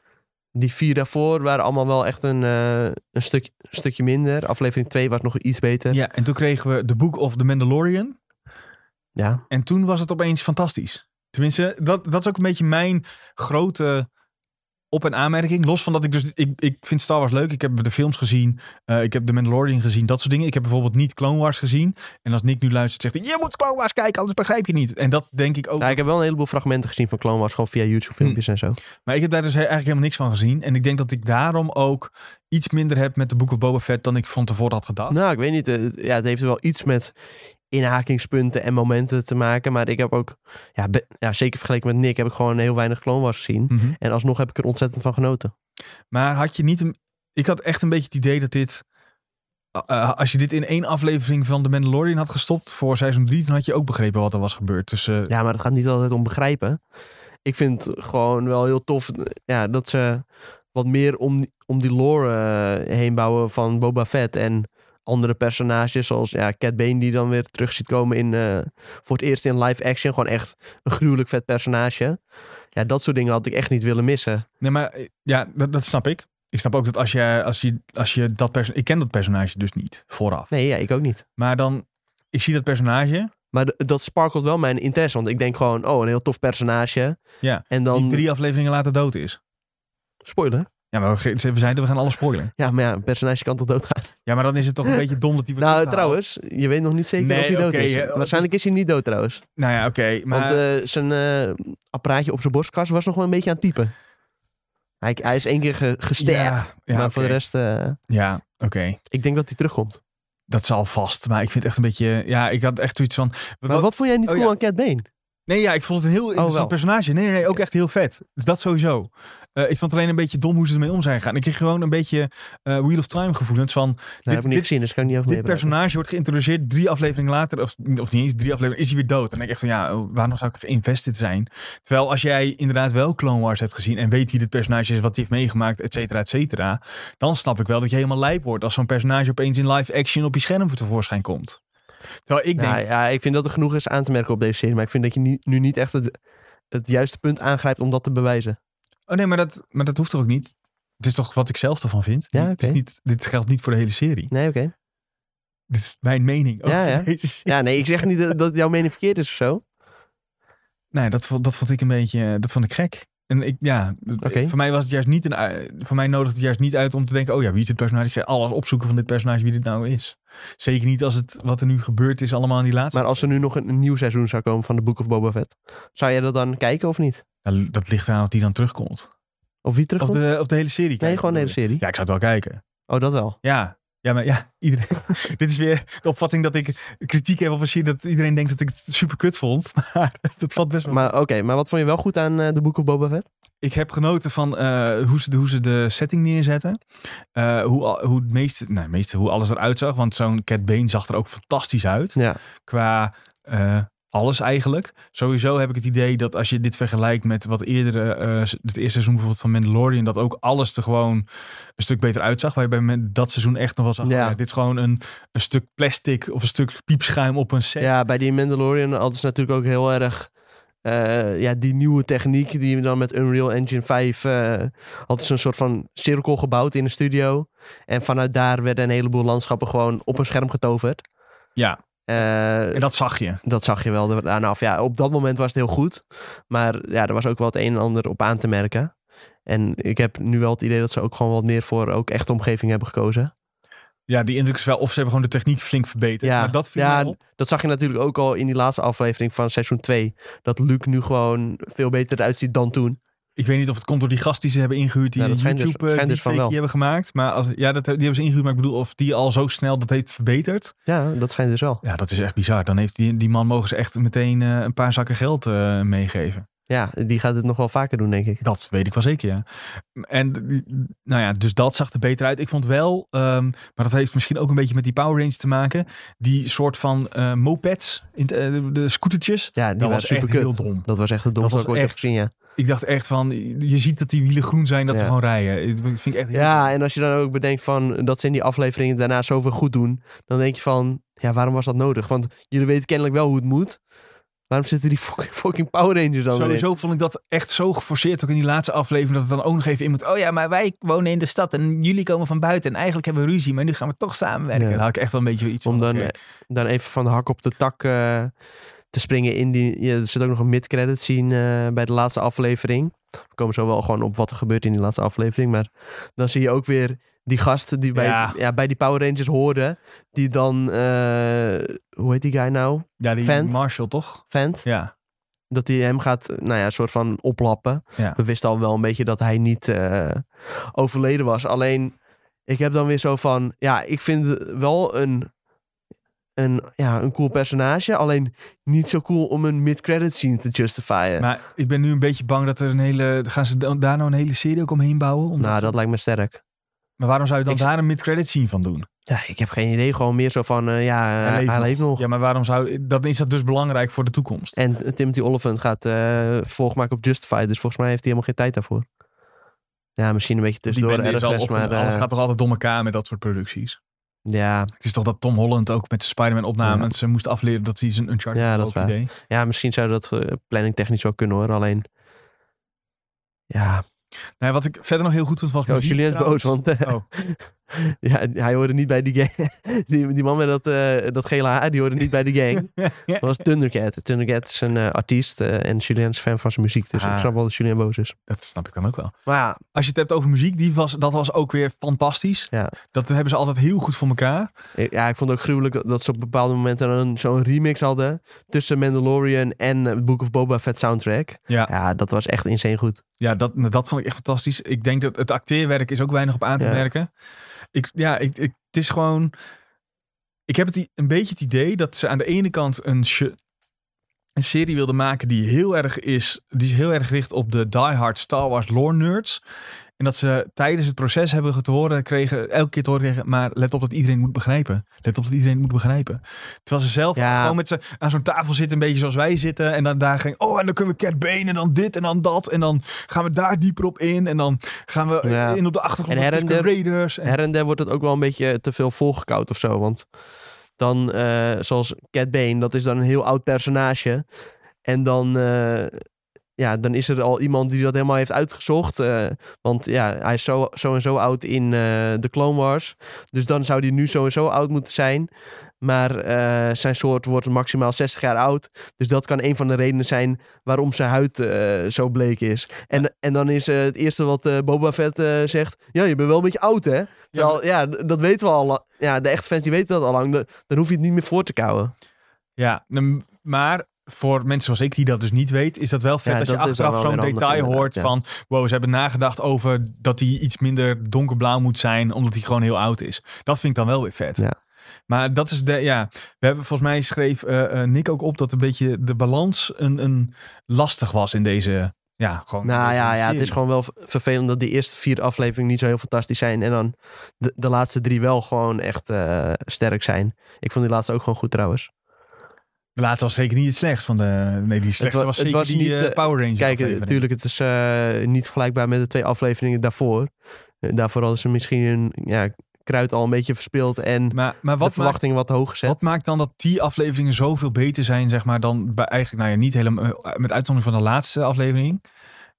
Speaker 2: Die vier daarvoor waren allemaal wel echt een, eh, een stuk, stukje minder. Aflevering 2 was nog iets beter. Ja.
Speaker 1: Ja, en toen kregen we The Book of the Mandalorian. En toen was het opeens fantastisch. Tenminste, dat, dat is ook een beetje mijn grote op- en aanmerking. Los van dat ik dus... Ik, ik vind Star Wars leuk. Ik heb de films gezien. eh, ik heb The Mandalorian gezien. Dat soort dingen. Ik heb bijvoorbeeld niet Clone Wars gezien. En als Nick nu luistert, zegt hij... Je moet Clone Wars kijken, anders begrijp je niet. En dat denk ik ook.
Speaker 2: Ja, nou, ik heb wel een heleboel fragmenten gezien van Clone Wars, gewoon via YouTube filmpjes en zo.
Speaker 1: Maar ik heb daar dus he- eigenlijk helemaal niks van gezien. En ik denk dat ik daarom ook iets minder heb met de Book of Boba Fett dan ik van tevoren had gedacht.
Speaker 2: Nou, ik weet niet. eh, het- ja, het heeft wel iets met inhakingspunten en momenten te maken. Maar ik heb ook, ja, be- ja, zeker vergeleken met Nick, heb ik gewoon heel weinig Clone Wars gezien.
Speaker 1: Mhm.
Speaker 2: En alsnog heb ik er ontzettend van genoten.
Speaker 1: Maar had je niet een... Ik had echt een beetje het idee dat dit... eh, als je dit in één aflevering van The Mandalorian had gestopt voor seizoen 3, dan had je ook begrepen wat er was gebeurd. Dus eh,
Speaker 2: Ja, maar het gaat niet altijd om begrijpen. Ik vind het gewoon wel heel tof eh, ja, dat ze wat meer om, om die lore eh, heen bouwen van Boba Fett en andere personages zoals ja, Cat Bane die dan weer terug ziet komen in, eh, voor het eerst in live action. Gewoon echt een gruwelijk vet personage. Ja, dat soort dingen had ik echt niet willen missen.
Speaker 1: Nee, maar eh, ja, dat, dat snap ik. Ik snap ook dat als je, als je, als je dat personage... Ik ken dat personage dus niet vooraf.
Speaker 2: Nee, ja, ik ook niet.
Speaker 1: Maar dan... Ik zie dat personage.
Speaker 2: Maar d- dat sparkelt wel mijn interesse. Want ik denk gewoon, oh, een heel tof personage.
Speaker 1: Ja,
Speaker 2: En dan...
Speaker 1: Die drie afleveringen later dood is.
Speaker 2: Spoiler.
Speaker 1: Ja, maar we, ge- we zeiden we gaan alles spoilen.
Speaker 2: Ja, maar ja, een personage kan toch doodgaan?
Speaker 1: Ja, maar dan is het
Speaker 2: [laughs]
Speaker 1: toch een beetje dom dat die wordt
Speaker 2: Nou,
Speaker 1: teruggehaald.
Speaker 2: trouwens, je weet nog niet zeker
Speaker 1: Nee,
Speaker 2: of hij dood
Speaker 1: oké,
Speaker 2: is.
Speaker 1: hè, want-
Speaker 2: Waarschijnlijk is hij niet dood trouwens.
Speaker 1: Nou ja, oké. maar
Speaker 2: Want eh, zijn eh, apparaatje op zijn borstkas was nog wel een beetje aan het piepen. Hij, hij is één keer ge, gesterkt,
Speaker 1: ja, ja,
Speaker 2: maar
Speaker 1: oké.
Speaker 2: voor de rest, eh,
Speaker 1: Ja, oké.
Speaker 2: ik denk dat hij terugkomt.
Speaker 1: Dat zal vast. Maar ik vind het echt een beetje... Ja, ik had echt zoiets van... wat-
Speaker 2: Maar wat vond jij niet
Speaker 1: oh
Speaker 2: cool
Speaker 1: ja.
Speaker 2: aan Cat Bane? Nou,
Speaker 1: Nee, ja, ik vond het een heel interessant
Speaker 2: wel.
Speaker 1: personage. Nee, nee, nee. Ook echt heel vet. Dus dat sowieso. Eh, ik vond het alleen een beetje dom hoe ze ermee om zijn gegaan. Ik kreeg gewoon een beetje eh, Wheel of Time gevoelens van...
Speaker 2: Nou, heb ik niet
Speaker 1: dit,
Speaker 2: gezien, dus kan ik niet over
Speaker 1: dit
Speaker 2: meepraten.
Speaker 1: personage wordt geïntroduceerd drie afleveringen later, of, of niet eens drie afleveringen, is hij weer dood. En dan denk ik echt van, ja, oh, waarom zou ik geïnvested zijn? Terwijl als jij inderdaad wel Clone Wars hebt gezien en weet wie dit personage is, wat hij heeft meegemaakt, et cetera, et cetera, dan snap ik wel dat je helemaal lijp wordt als zo'n personage opeens in live action op je scherm tevoorschijn komt. Terwijl ik
Speaker 2: Nou,
Speaker 1: denk,
Speaker 2: ja, ik vind dat er genoeg is aan te merken op deze serie. Maar ik vind dat je niet- nu niet echt het, het juiste punt aangrijpt om dat te bewijzen.
Speaker 1: oh nee, maar dat, maar dat hoeft toch ook niet? Het is toch wat ik zelf ervan vind?
Speaker 2: Ja,
Speaker 1: Het is
Speaker 2: oké.
Speaker 1: niet, dit geldt niet voor de hele serie.
Speaker 2: Nee, oké.
Speaker 1: [laughs] Dit is mijn mening. over
Speaker 2: Ja, ja.
Speaker 1: deze serie.
Speaker 2: Ja, nee, ik zeg niet dat, dat jouw mening verkeerd is of zo.
Speaker 1: Nee, dat, vond- dat vond ik een beetje, eh, dat vond ik gek. En ik, ja, d-
Speaker 2: Oké.
Speaker 1: voor mij was het juist niet een, ui- voor mij nodigde het juist niet uit om te denken, oh ja, wie is dit personage? Ik ga alles opzoeken van dit personage, wie dit nou is. Zeker niet als het, wat er nu gebeurd is, allemaal in die laatste.
Speaker 2: Maar als er nu nog een, een nieuw seizoen zou komen van de Book of Boba Fett, zou jij dat dan kijken of niet?
Speaker 1: Nou, dat ligt eraan of die dan terugkomt.
Speaker 2: Of wie
Speaker 1: Of
Speaker 2: terugkomt?
Speaker 1: de, of de hele serie.
Speaker 2: nee,
Speaker 1: kijken,
Speaker 2: gewoon de hele
Speaker 1: bedoel
Speaker 2: serie.
Speaker 1: je? Ja, ik zou het wel kijken.
Speaker 2: Oh, dat wel.
Speaker 1: Ja. Ja, maar ja, [laughs] iedereen.
Speaker 2: [laughs]
Speaker 1: dit is weer de opvatting dat ik kritiek heb op een serie dat iedereen denkt dat ik het super kut vond. [laughs] Maar dat valt best wel.
Speaker 2: Maar oké, maar wat vond je wel goed aan eh de Book of Boba Fett?
Speaker 1: Ik heb genoten van eh, hoe, ze, hoe ze de setting neerzetten. Eh, hoe, al- hoe, het meeste, nou, het meeste, hoe alles eruit zag. Want zo'n Cat Bane zag er ook fantastisch uit.
Speaker 2: Ja.
Speaker 1: Qua eh, alles eigenlijk. Sowieso heb ik het idee dat als je dit vergelijkt met wat eerder... eh, s- het eerste seizoen bijvoorbeeld van Mandalorian... dat ook alles er gewoon een stuk beter uitzag. Waar je bij men- dat seizoen echt nog wel zag...
Speaker 2: Ja.
Speaker 1: ja, dit is gewoon een, een stuk plastic of een stuk piepschuim op een set.
Speaker 2: Ja, bij die Mandalorian hadden ze natuurlijk ook heel erg... eh, ja, die nieuwe techniek die we dan met Unreal Engine 5... eh hadden ze een soort van cirkel gebouwd in de studio. En vanuit daar werden een heleboel landschappen gewoon op een scherm getoverd.
Speaker 1: Ja.
Speaker 2: Eh,
Speaker 1: En dat zag je.
Speaker 2: dat zag je wel daarna af. Ja, op dat moment was het heel goed. Maar ja, er was ook wel het een en ander op aan te merken. En ik heb nu wel het idee dat ze ook gewoon wat meer voor ook echte omgeving hebben gekozen.
Speaker 1: Ja, die indruk is wel... of ze hebben gewoon de techniek flink verbeterd.
Speaker 2: Ja.
Speaker 1: Maar dat viel
Speaker 2: Ja,
Speaker 1: me op.
Speaker 2: Dat zag je natuurlijk ook al in die laatste aflevering van seizoen 2. Dat Luc nu gewoon veel beter eruit ziet dan toen.
Speaker 1: Ik weet niet of het komt door die gast die ze hebben ingehuurd. Die
Speaker 2: Ja, dat schijnt dus-
Speaker 1: YouTube eh,
Speaker 2: schijnt dus
Speaker 1: die
Speaker 2: van
Speaker 1: fake
Speaker 2: wel.
Speaker 1: die hebben gemaakt. Maar als, ja, dat, die hebben ze ingehuurd. Maar ik bedoel, of die al zo snel dat heeft verbeterd.
Speaker 2: Ja, dat schijnt dus wel.
Speaker 1: Ja, dat is echt bizar. Dan heeft die, die man mogen ze echt meteen eh, een paar zakken geld eh, meegeven.
Speaker 2: Ja, die gaat het nog wel vaker doen, denk ik.
Speaker 1: Dat weet ik wel zeker, ja. En nou ja, dus dat zag er beter uit. Ik vond wel, ehm, maar dat heeft misschien ook een beetje met die Power Range te maken. Die soort van eh, mopeds, in het, eh, de, de scootertjes.
Speaker 2: Ja, die
Speaker 1: Dat
Speaker 2: waren
Speaker 1: was echt
Speaker 2: superkut.
Speaker 1: heel dom.
Speaker 2: Dat was echt het domste
Speaker 1: was
Speaker 2: wat ik ooit heb
Speaker 1: echt-
Speaker 2: gezien, ja.
Speaker 1: Ik dacht echt van, je ziet dat die wielen groen zijn, dat ze
Speaker 2: Ja.
Speaker 1: gewoon rijden. Ik vind ik echt heel
Speaker 2: Ja, en als je dan ook bedenkt van dat ze in die afleveringen daarna zoveel goed doen, dan denk je van, ja, waarom was dat nodig? Want jullie weten kennelijk wel hoe het moet. Waarom zitten die fucking, [laughs] fucking Power Rangers dan eh, weer in?
Speaker 1: Sowieso vond ik dat echt zo geforceerd, ook in die laatste aflevering, dat het dan ook nog even in moet. Oh ja, maar wij wonen in de stad en jullie komen van buiten en eigenlijk hebben we ruzie, maar nu gaan we toch samenwerken.
Speaker 2: Ja.
Speaker 1: Daar had ik echt wel een beetje iets
Speaker 2: Om
Speaker 1: van.
Speaker 2: dan,
Speaker 1: oké.
Speaker 2: eh, dan even van de hak op de tak eh, te springen in die... Ja, er zit ook nog een mid-credit scene eh, bij de laatste aflevering. We komen zo wel gewoon op wat er gebeurt in die laatste aflevering. Maar dan zie je ook weer die gast die bij,
Speaker 1: Ja.
Speaker 2: ja. bij die Power Rangers hoorde. Die dan... eh, hoe heet die guy nou?
Speaker 1: ja, die
Speaker 2: vent.
Speaker 1: Marshall toch?
Speaker 2: Vent?
Speaker 1: Ja,
Speaker 2: dat hij hem gaat, nou ja, een soort van oplappen.
Speaker 1: Ja.
Speaker 2: We wisten al wel een beetje dat hij niet eh, overleden was. Alleen, ik heb dan weer zo van, ja, ik vind het wel een, een, ja, een cool personage. Alleen niet zo cool om een mid-credit scene te justifyen. Nou,
Speaker 1: maar ik ben nu een beetje bang dat er een hele. Gaan ze da- daar nou een hele serie ook omheen bouwen? Omdat-
Speaker 2: nou, dat lijkt me sterk.
Speaker 1: Maar waarom zou je dan
Speaker 2: Ik-
Speaker 1: daar een mid-credit scene van doen?
Speaker 2: Ja, ik heb geen idee. Gewoon meer zo van, eh, ja, hij,
Speaker 1: leeft
Speaker 2: leeft nog.
Speaker 1: Ja, maar waarom zou. Dan is dat dus belangrijk voor de toekomst.
Speaker 2: En Timothy Olyphant gaat eh volg maken op Justify. Dus volgens mij heeft hij helemaal geen tijd daarvoor. Ja, misschien een beetje tussendoor
Speaker 1: bende is al
Speaker 2: ergens,
Speaker 1: op-
Speaker 2: maar
Speaker 1: alles
Speaker 2: eh,
Speaker 1: gaat toch altijd door elkaar met dat soort producties.
Speaker 2: ja,
Speaker 1: Het is toch dat Tom Holland ook met zijn Spider-Man opnames ze moest afleren dat hij zijn Uncharted
Speaker 2: Ja, dat is
Speaker 1: ook
Speaker 2: waar.
Speaker 1: deed.
Speaker 2: Ja, misschien zou dat eh, planningtechnisch wel kunnen hoor. Alleen. Ja.
Speaker 1: Nee, wat ik verder nog heel goed vond was.
Speaker 2: Oh,
Speaker 1: muziek
Speaker 2: Julien is boos,
Speaker 1: trouwens. Oh.
Speaker 2: want. eh, [laughs] ja, hij hoorde niet bij die gang. [laughs] die, die man met dat, eh, dat gele haar, die hoorde niet bij de gang.
Speaker 1: Ja.
Speaker 2: Dat was Thundercat. Thundercat is een eh, artiest eh, en Julien is fan van zijn muziek. Dus
Speaker 1: Ah.
Speaker 2: ik snap wel dat Julien boos is.
Speaker 1: [laughs] Dat snap ik dan ook wel.
Speaker 2: Maar ja,
Speaker 1: Als je het hebt over muziek, die was, dat was ook weer fantastisch.
Speaker 2: Ja.
Speaker 1: Dat hebben ze altijd heel goed voor elkaar.
Speaker 2: ik, ja, ik vond het ook gruwelijk dat, dat ze op bepaalde momenten een- zo'n remix hadden. Tussen Mandalorian en het Book of Boba Fett soundtrack.
Speaker 1: Ja.
Speaker 2: ja, dat was echt insane goed.
Speaker 1: Ja, dat, dat vond ik echt fantastisch. Ik denk dat het acteerwerk is ook weinig op aan te
Speaker 2: Ja.
Speaker 1: merken. Ik, ja, ik, ik- het is gewoon... Ik heb het, i- een beetje het idee dat ze aan de ene kant een, sh- een serie wilden maken die heel erg is... Die zich heel erg richt op de diehard Star Wars lore nerds. En dat ze tijdens het proces hebben te horen kregen, elke keer te horen kregen... Maar let op dat iedereen het moet begrijpen. Let op dat iedereen het moet begrijpen. Terwijl ze zelf
Speaker 2: Ja.
Speaker 1: gewoon met ze aan zo'n tafel zitten, een beetje zoals wij zitten. En dan daar ging, oh, en dan kunnen we Cat Bane en dan dit en dan dat. En dan gaan we daar dieper op in. En dan gaan we
Speaker 2: Ja.
Speaker 1: in op de achtergrond
Speaker 2: En
Speaker 1: op
Speaker 2: her en
Speaker 1: Tusken Raiders. En,
Speaker 2: her en der wordt het ook wel een beetje te veel volgekoud of zo. Want dan, eh, zoals Cat Bane, dat is dan een heel oud personage. En dan, eh, ja, dan is er al iemand die dat helemaal heeft uitgezocht. eh, want ja, hij is zo, zo en zo oud in eh de Clone Wars. Dus dan zou hij nu zo en zo oud moeten zijn. Maar eh, zijn soort wordt maximaal 60 jaar oud. Dus dat kan een van de redenen zijn waarom zijn huid eh, zo bleek is. En, en dan is eh, het eerste wat eh, Boba Fett eh, zegt... Ja, je bent wel een beetje oud, hè? Terwijl, ja, d- dat weten we al. la- Ja, de echte fans die weten dat al lang. Dan hoef je het niet meer voor te kouwen.
Speaker 1: ja, dan- maar voor mensen zoals ik die dat dus niet weet, is dat wel vet
Speaker 2: Ja,
Speaker 1: als je
Speaker 2: dat is dan
Speaker 1: achteraf
Speaker 2: wel
Speaker 1: zo'n
Speaker 2: weer handig,
Speaker 1: detail
Speaker 2: inderdaad,
Speaker 1: hoort
Speaker 2: ja.
Speaker 1: van, wow, ze hebben nagedacht over dat hij iets minder donkerblauw moet zijn, omdat hij gewoon heel oud is. Dat vind ik dan wel weer vet.
Speaker 2: Ja.
Speaker 1: Maar dat is de, ja, we hebben volgens mij schreef eh, eh, Nick ook op dat een beetje de balans een, een lastig was in deze Ja, gewoon.
Speaker 2: Nou
Speaker 1: deze
Speaker 2: ja, ja, het
Speaker 1: serie.
Speaker 2: is gewoon wel v- vervelend dat die eerste vier afleveringen niet zo heel fantastisch zijn. En dan de, de laatste drie wel gewoon echt eh, sterk zijn. Ik vond die laatste ook gewoon goed trouwens.
Speaker 1: De laatste was zeker niet het slechtst van de. Nee, die slechtste
Speaker 2: wa-
Speaker 1: was
Speaker 2: het
Speaker 1: zeker
Speaker 2: was
Speaker 1: die
Speaker 2: niet,
Speaker 1: eh,
Speaker 2: eh,
Speaker 1: Power Ranger.
Speaker 2: Kijk, eh,
Speaker 1: aflevering.
Speaker 2: natuurlijk, het is eh, niet vergelijkbaar met de twee afleveringen daarvoor. Eh, daarvoor hadden ze misschien hun ja, kruid al een beetje verspild en
Speaker 1: Maar, maar
Speaker 2: de
Speaker 1: wat, maakt,
Speaker 2: verwachtingen wat hoog gezet.
Speaker 1: wat maakt dan dat die afleveringen zoveel beter zijn, zeg maar, dan bij eigenlijk, nou ja, niet helemaal, eh, met uitzondering van de laatste aflevering,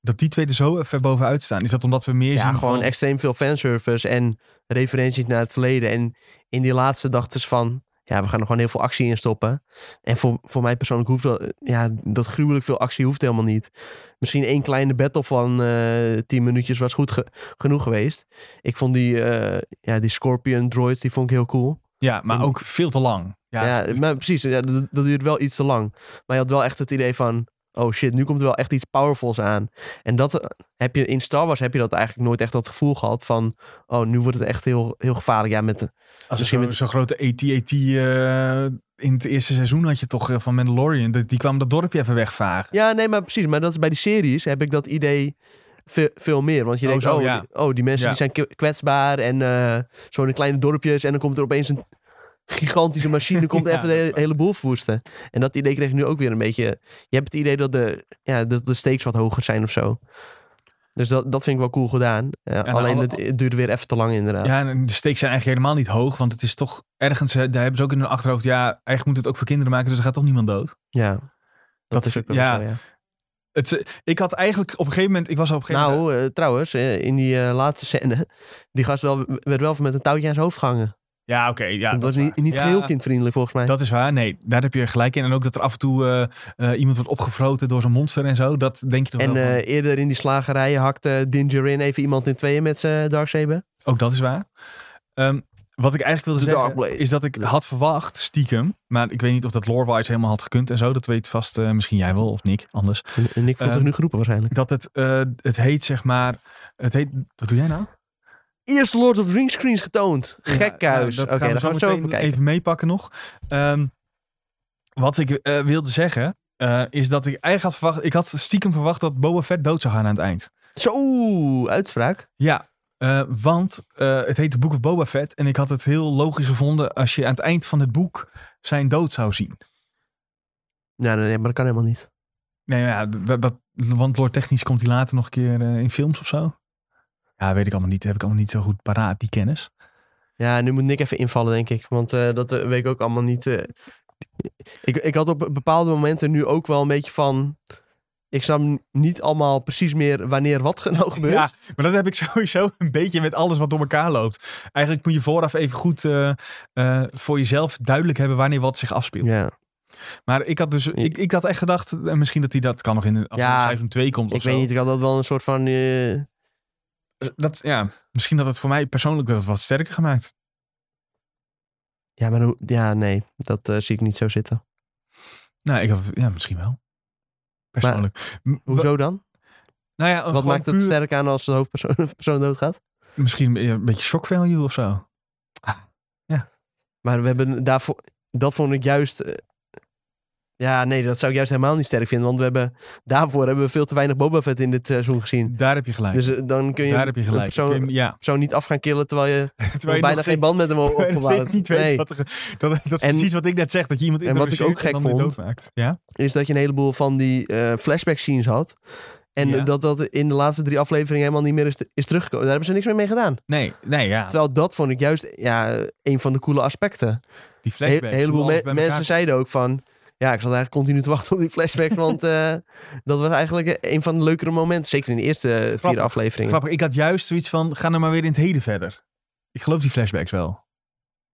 Speaker 1: dat die twee er zo ver bovenuit staan? Is dat omdat we meer
Speaker 2: ja,
Speaker 1: zien
Speaker 2: gewoon
Speaker 1: van-
Speaker 2: extreem veel fanservice en referenties naar het verleden. En in die laatste dachten ze van, ja, we gaan er gewoon heel veel actie in stoppen. En voor, voor mij persoonlijk hoeft dat, ja, dat gruwelijk veel actie hoeft helemaal niet. Misschien één kleine battle van eh tien minuutjes was goed ge- genoeg geweest. Ik vond die, eh, ja, die Scorpion droids, die vond ik heel cool.
Speaker 1: Ja, maar ook veel te lang. Ja,
Speaker 2: Ja,
Speaker 1: dus-
Speaker 2: maar precies. Ja, dat, dat duurt wel iets te lang. Maar je had wel echt het idee van... Oh shit, nu komt er wel echt iets powerfuls aan. En dat eh, heb je in Star Wars heb je dat eigenlijk nooit echt dat gevoel gehad van... Oh, nu wordt het echt heel, heel gevaarlijk. Ja, met,
Speaker 1: Als
Speaker 2: Misschien
Speaker 1: misschien zo'n
Speaker 2: met-
Speaker 1: zo'n grote E AT-AT eh, in het eerste seizoen had je toch eh, van Mandalorian. Die, die kwam dat dorpje even wegvagen.
Speaker 2: ja, nee, maar precies. Maar dat is bij die series heb ik dat idee veel, veel meer. Want je
Speaker 1: Oh,
Speaker 2: denkt,
Speaker 1: zo,
Speaker 2: oh,
Speaker 1: ja.
Speaker 2: die, oh, die mensen
Speaker 1: Ja.
Speaker 2: die zijn k- kwetsbaar. En eh zo'n kleine dorpjes. En dan komt er opeens een gigantische machine.
Speaker 1: [laughs]
Speaker 2: komt
Speaker 1: Ja,
Speaker 2: even de
Speaker 1: dat is
Speaker 2: hele,
Speaker 1: waar.
Speaker 2: hele boel verwoesten. En dat idee kreeg ik nu ook weer een beetje... Je hebt het idee dat de, ja, dat de stakes wat hoger zijn of zo. Dus dat, dat vind ik wel cool gedaan. Eh,
Speaker 1: nou,
Speaker 2: alleen
Speaker 1: alle-
Speaker 2: het, het duurde weer even te lang inderdaad.
Speaker 1: Ja, en de stakes zijn eigenlijk helemaal niet hoog. Want het is toch ergens, eh, daar hebben ze ook in hun achterhoofd. Ja, eigenlijk moet het ook voor kinderen maken. Dus er gaat toch niemand dood.
Speaker 2: Ja. Dat,
Speaker 1: Dat
Speaker 2: is
Speaker 1: is-
Speaker 2: ook wel
Speaker 1: ja.
Speaker 2: zo, ja.
Speaker 1: Het, eh, ik had eigenlijk op een gegeven moment, ik was al op een gegeven moment.
Speaker 2: Nou, eh, trouwens, eh, in die eh, laatste scène... [laughs] Die gast wel, werd wel even met een touwtje aan zijn hoofd gehangen.
Speaker 1: Ja, oké. ja,
Speaker 2: dat was
Speaker 1: is
Speaker 2: niet,
Speaker 1: waar.
Speaker 2: niet
Speaker 1: Ja,
Speaker 2: geheel kindvriendelijk volgens mij.
Speaker 1: Dat is waar. Nee, daar heb je gelijk in. En ook dat er af en toe eh, eh, iemand wordt opgefroten door zo'n monster en zo. Dat denk je nog
Speaker 2: En
Speaker 1: wel. van.
Speaker 2: eh, eerder in die slagerijen hakte Din Djarin even iemand in tweeën met eh, zijn Darksaber.
Speaker 1: Ook dat is waar. Ehm, wat ik eigenlijk
Speaker 2: The
Speaker 1: wilde
Speaker 2: Dark Blade.
Speaker 1: zeggen is dat ik had verwacht, stiekem, maar ik weet niet of dat lore-wise helemaal had gekund en zo. Dat weet vast eh, misschien jij wel of Nick anders.
Speaker 2: En, en ik voel zich
Speaker 1: Ehm,
Speaker 2: nu geroepen waarschijnlijk.
Speaker 1: Dat het, eh, het heet zeg maar, het heet, wat doe jij nou?
Speaker 2: Eerst Lord of the Rings screens getoond. Gekhuis.
Speaker 1: Ja, nou,
Speaker 2: Oké, dan gaan we het zo
Speaker 1: meteen
Speaker 2: even bekijken.
Speaker 1: even meepakken nog. Ehm, wat ik eh, wilde zeggen, eh, is dat ik eigenlijk had verwacht, ik had stiekem verwacht dat Boba Fett dood zou gaan aan het eind.
Speaker 2: Zo, uitspraak.
Speaker 1: Ja, eh, want eh, het heet de Boek of Boba Fett. En ik had het heel logisch gevonden als je aan het eind van het boek zijn dood zou zien.
Speaker 2: Nee, nee, nee, maar dat kan helemaal niet.
Speaker 1: Nee, ja, dat, dat, want lore technisch komt hij later nog een keer eh, in films of zo. Ja, weet ik allemaal niet. Heb ik allemaal niet zo goed paraat, die kennis.
Speaker 2: Ja, nu moet Nick even invallen, denk ik. Want eh, dat eh, weet ik ook allemaal niet. eh. Ik, ik had op bepaalde momenten nu ook wel een beetje van... Ik snap niet allemaal precies meer wanneer wat [laughs] ge- nou gebeurt.
Speaker 1: Ja, maar dat heb ik [laughs] sowieso een beetje met alles wat door elkaar loopt. Eigenlijk moet je vooraf even goed eh, eh, voor jezelf duidelijk hebben wanneer wat zich afspeelt.
Speaker 2: ja.
Speaker 1: Maar ik had dus, ik, ik had echt gedacht, eh, misschien dat hij dat kan nog in de, als
Speaker 2: Ja,
Speaker 1: er een seizoen 2 komt of
Speaker 2: Ik
Speaker 1: zo. Eh,
Speaker 2: weet niet, ik had dat wel een soort van... eh,
Speaker 1: Dat, ja, misschien dat het voor mij persoonlijk wat, wat sterker gemaakt.
Speaker 2: Ja, maar hoe- ja, nee, dat eh, zie ik niet zo zitten.
Speaker 1: Nou, ik had het, ja, misschien wel. Persoonlijk. M- wa-
Speaker 2: Hoezo dan?
Speaker 1: Nou ja,
Speaker 2: Wat maakt het
Speaker 1: puur,
Speaker 2: sterk aan als de hoofdpersoon [laughs] persoon doodgaat?
Speaker 1: Misschien een beetje shock value of zo.
Speaker 2: Maar we hebben daarvoor... Dat vond ik juist... eh, ja, nee, dat zou ik juist helemaal niet sterk vinden. Want we hebben, daarvoor hebben we veel te weinig Boba Fett in dit seizoen gezien.
Speaker 1: Daar heb je gelijk.
Speaker 2: Dus eh, dan kun je
Speaker 1: Daar heb je gelijk.
Speaker 2: persoon-
Speaker 1: Kun je- ja. [laughs]
Speaker 2: persoon niet af gaan killen terwijl je,
Speaker 1: Terwijl je
Speaker 2: bijna
Speaker 1: nog
Speaker 2: geen band met
Speaker 1: [laughs]
Speaker 2: hem op-
Speaker 1: steeds-
Speaker 2: opgebouwd
Speaker 1: nog steeds
Speaker 2: hebt.
Speaker 1: niet weet
Speaker 2: Nee,
Speaker 1: wat er ge- dat, dat is
Speaker 2: En-
Speaker 1: precies wat ik net zeg. Dat je iemand
Speaker 2: en wat ik ook
Speaker 1: introduceert
Speaker 2: gek
Speaker 1: en dan weer
Speaker 2: vond-
Speaker 1: doodmaakt. Ja?
Speaker 2: is dat je een heleboel van die eh, flashback scenes had. En
Speaker 1: Ja.
Speaker 2: dat dat in de laatste drie afleveringen helemaal niet meer is, is teruggekomen. Daar hebben ze niks meer mee gedaan.
Speaker 1: Nee, nee, ja.
Speaker 2: Terwijl dat vond ik juist ja, een van de coole aspecten.
Speaker 1: Die
Speaker 2: Een he-
Speaker 1: flashbacks.
Speaker 2: heleboel
Speaker 1: hoe alles
Speaker 2: me-
Speaker 1: bij
Speaker 2: mensen
Speaker 1: elkaar-
Speaker 2: zeiden ook van... Ja, ik zat eigenlijk continu te wachten op die flashback.
Speaker 1: [laughs]
Speaker 2: want eh, dat was eigenlijk een van de leukere momenten. Zeker in de eerste eh, vier
Speaker 1: Grappig,
Speaker 2: afleveringen.
Speaker 1: Grappig, ik had juist zoiets van, ga nou maar weer in het heden verder. Ik geloof die flashbacks wel.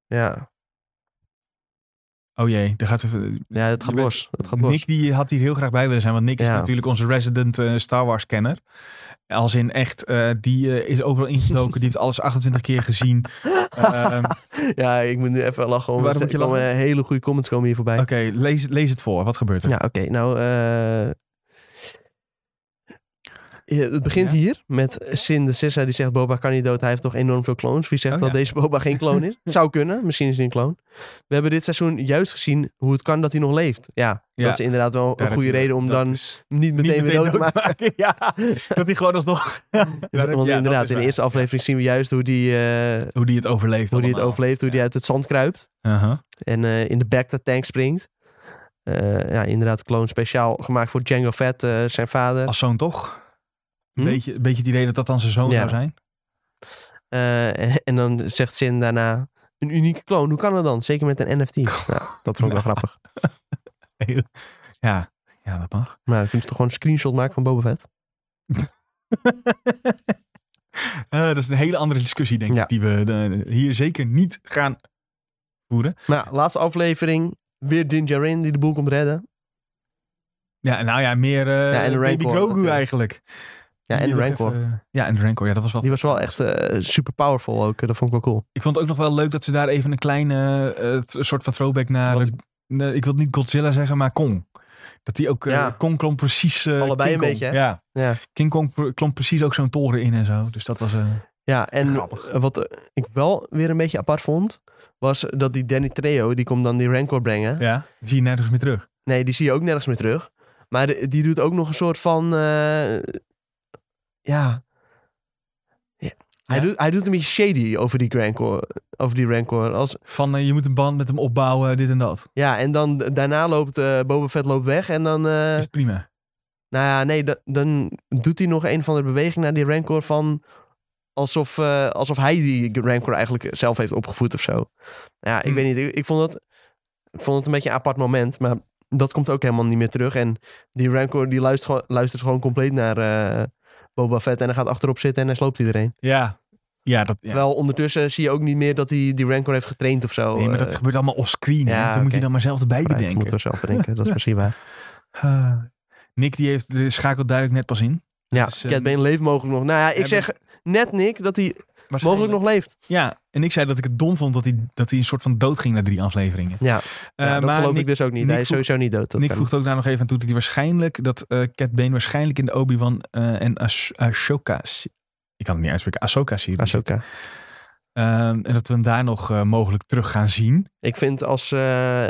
Speaker 2: Ja.
Speaker 1: Oh jee, daar gaat even,
Speaker 2: ja, dat gaat
Speaker 1: Je bent-
Speaker 2: los. Dat gaat los.
Speaker 1: Nick die had hier heel graag bij willen zijn, want Nick is
Speaker 2: Ja.
Speaker 1: natuurlijk onze resident eh, Star Wars kenner. Als in echt, eh, die eh, is overal ingedoken, die heeft alles 28 keer
Speaker 2: [laughs]
Speaker 1: gezien. Ehm, Oké,
Speaker 2: Ja, ik moet nu even lachen. Om,
Speaker 1: Waarom
Speaker 2: er
Speaker 1: moet je
Speaker 2: komen
Speaker 1: lachen?
Speaker 2: hele goede comments komen hier voorbij. nou,
Speaker 1: lees, lees het voor, wat gebeurt er?
Speaker 2: Ja, oké. Nou, eh, eh, het begint
Speaker 1: Ja.
Speaker 2: hier met Sin de Sessa die zegt Boba kan niet dood. Hij heeft nog enorm veel clones. Wie zegt
Speaker 1: Oh,
Speaker 2: dat
Speaker 1: ja.
Speaker 2: deze Boba geen clone
Speaker 1: [laughs]
Speaker 2: is? Zou kunnen. Misschien is hij een clone. We hebben dit seizoen juist gezien hoe het kan dat hij nog leeft. Ja,
Speaker 1: Ja.
Speaker 2: dat is inderdaad wel
Speaker 1: Daar
Speaker 2: een
Speaker 1: heb
Speaker 2: goede
Speaker 1: je-
Speaker 2: reden om
Speaker 1: dat
Speaker 2: dan
Speaker 1: is
Speaker 2: niet meteen
Speaker 1: niet
Speaker 2: weer dood te maken. [laughs]
Speaker 1: Ja, dat hij gewoon alsnog... Ja, daar heb-
Speaker 2: Want
Speaker 1: ja, dat
Speaker 2: inderdaad,
Speaker 1: is
Speaker 2: in de
Speaker 1: waar.
Speaker 2: eerste aflevering zien we juist hoe die, eh,
Speaker 1: Hoe die het overleeft
Speaker 2: hoe die het
Speaker 1: allemaal.
Speaker 2: overleeft. Hoe die uit het zand kruipt.
Speaker 1: Uh-huh.
Speaker 2: En eh, in de Bacta tank springt. Eh, ja, inderdaad, clone speciaal gemaakt voor Django Fett, eh, zijn vader.
Speaker 1: Als zoon toch?
Speaker 2: Hm?
Speaker 1: Beetje, beetje het idee dat dat dan zijn zoon zou
Speaker 2: Ja.
Speaker 1: zijn.
Speaker 2: Eh, [laughs] en, en dan zegt Sin daarna, een unieke clone, hoe kan dat dan? Zeker met een NFT. Nou, dat vond ik wel grappig.
Speaker 1: Ja, ja dat mag. [laughs]
Speaker 2: Maar dan kunnen ze toch gewoon een screenshot maken van Boba Fett?
Speaker 1: Eh, dat is een hele andere discussie, denk
Speaker 2: Ja.
Speaker 1: ik, die we eh, hier zeker niet gaan voeren.
Speaker 2: Maar ja, laatste aflevering, weer Din Djarin die de boel komt redden.
Speaker 1: Ja, nou ja, meer eh,
Speaker 2: Ja, en de
Speaker 1: Baby
Speaker 2: Rancor
Speaker 1: Grogu
Speaker 2: natuurlijk.
Speaker 1: eigenlijk.
Speaker 2: Ja, en
Speaker 1: Die
Speaker 2: de
Speaker 1: nog
Speaker 2: Rancor.
Speaker 1: even- ja, en de Rancor. Ja, dat was wel...
Speaker 2: Die was wel echt eh, super powerful ook, dat vond ik wel cool.
Speaker 1: Ik vond het ook nog wel leuk dat ze daar even een kleine eh, t- soort van throwback naar...
Speaker 2: Wat-
Speaker 1: eh, nee, ik wil niet Godzilla zeggen, maar Kong. Dat die ook... eh,
Speaker 2: Ja.
Speaker 1: Kong klom precies... eh,
Speaker 2: Allebei
Speaker 1: King
Speaker 2: een
Speaker 1: Kong.
Speaker 2: beetje, hè?
Speaker 1: Ja.
Speaker 2: Ja.
Speaker 1: King Kong pr- klom precies ook zo'n toren in en zo. Dus dat was... eh,
Speaker 2: Ja, en
Speaker 1: Grappig.
Speaker 2: eh, wat eh, ik wel weer een beetje apart vond, was dat die Danny Trejo, die komt dan die Rancor brengen.
Speaker 1: ja, zie je nergens meer terug.
Speaker 2: Nee, die zie je ook nergens meer terug. Maar de- die doet ook nog een soort van. eh, ja. Ja. Hij,
Speaker 1: Ja?
Speaker 2: Doet, hij doet een beetje shady over die Rancor. Over die Rancor. Als,
Speaker 1: Van eh, je moet een band met hem opbouwen, dit en dat.
Speaker 2: ja, en dan d- daarna loopt eh Boba Fett loopt weg. En dan. eh,
Speaker 1: Is prima.
Speaker 2: nou ja, nee, da- dan doet hij nog een van de beweging naar die Rancor van. Alsof, eh, alsof hij die Rancor eigenlijk zelf heeft opgevoed of zo. Ja, ik
Speaker 1: Hmm.
Speaker 2: weet niet. Ik, ik vond dat, ik vond het een beetje een apart moment. Maar dat komt ook helemaal niet meer terug. En die Rancor die luistert, gewoon- luistert gewoon compleet naar eh, Boba Fett. En hij gaat achterop zitten en hij sloopt iedereen.
Speaker 1: Ja. Ja, dat... ja.
Speaker 2: Terwijl ondertussen zie je ook niet meer dat hij die Rancor heeft getraind of zo.
Speaker 1: Nee, maar
Speaker 2: Eh,
Speaker 1: dat gebeurt allemaal offscreen. hè.
Speaker 2: ja,
Speaker 1: dan moet je
Speaker 2: oké.
Speaker 1: dan maar zelf erbij
Speaker 2: vooruit,
Speaker 1: bedenken.
Speaker 2: moeten we zelf bedenken. dat is misschien
Speaker 1: [laughs]
Speaker 2: waar.
Speaker 1: Ah. Nick die heeft, die schakelt duidelijk net pas in.
Speaker 2: Ja,
Speaker 1: is, eh,
Speaker 2: Cat Bane leeft mogelijk nog. Nou ja, ik
Speaker 1: hebben-
Speaker 2: zeg net Nick dat hij mogelijk nog leeft.
Speaker 1: Ja, en ik zei dat ik het dom vond dat hij, dat hij een soort van dood ging na drie afleveringen.
Speaker 2: Ja.
Speaker 1: Eh,
Speaker 2: ja, dat
Speaker 1: maar
Speaker 2: geloof
Speaker 1: Nick,
Speaker 2: ik dus ook niet.
Speaker 1: Nick
Speaker 2: hij is
Speaker 1: voegt-
Speaker 2: sowieso niet dood. Dat
Speaker 1: Nick
Speaker 2: kan.
Speaker 1: voegt ook daar nog even aan toe dat hij waarschijnlijk, dat eh Cat Bane waarschijnlijk in de Obi-Wan eh, en Ash- Ashoka, se- ik kan het niet uitspreken, Ahsoka serie zit.
Speaker 2: Ahsoka.
Speaker 1: Ehm, en dat we hem daar nog eh, mogelijk terug gaan zien.
Speaker 2: Ik vind als eh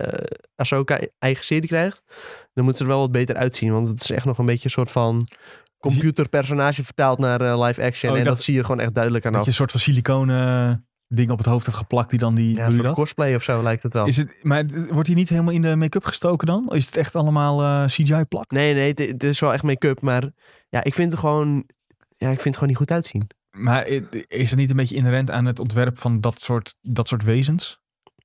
Speaker 2: Ahsoka e- eigen serie krijgt, dan moet ze er wel wat beter uitzien. Want het is echt nog een beetje een soort van computerpersonage vertaald naar eh, live action.
Speaker 1: Oh, ik
Speaker 2: en dat
Speaker 1: dacht-
Speaker 2: zie je gewoon echt duidelijk aan
Speaker 1: Dat
Speaker 2: af.
Speaker 1: je een soort van siliconen eh, ding op het hoofd hebt geplakt die dan die,
Speaker 2: Ja,
Speaker 1: doe
Speaker 2: een
Speaker 1: je
Speaker 2: soort
Speaker 1: dat?
Speaker 2: cosplay of zo lijkt het wel.
Speaker 1: Is het, maar het- wordt hij niet helemaal in de make-up gestoken dan? Is het echt allemaal eh, CGI plak?
Speaker 2: Nee, nee, het, het is wel echt make-up. Maar ja, ik vind het gewoon... Ja, ik vind het gewoon niet goed uitzien.
Speaker 1: Maar i- is het niet een beetje inherent aan het ontwerp van dat soort, dat soort wezens?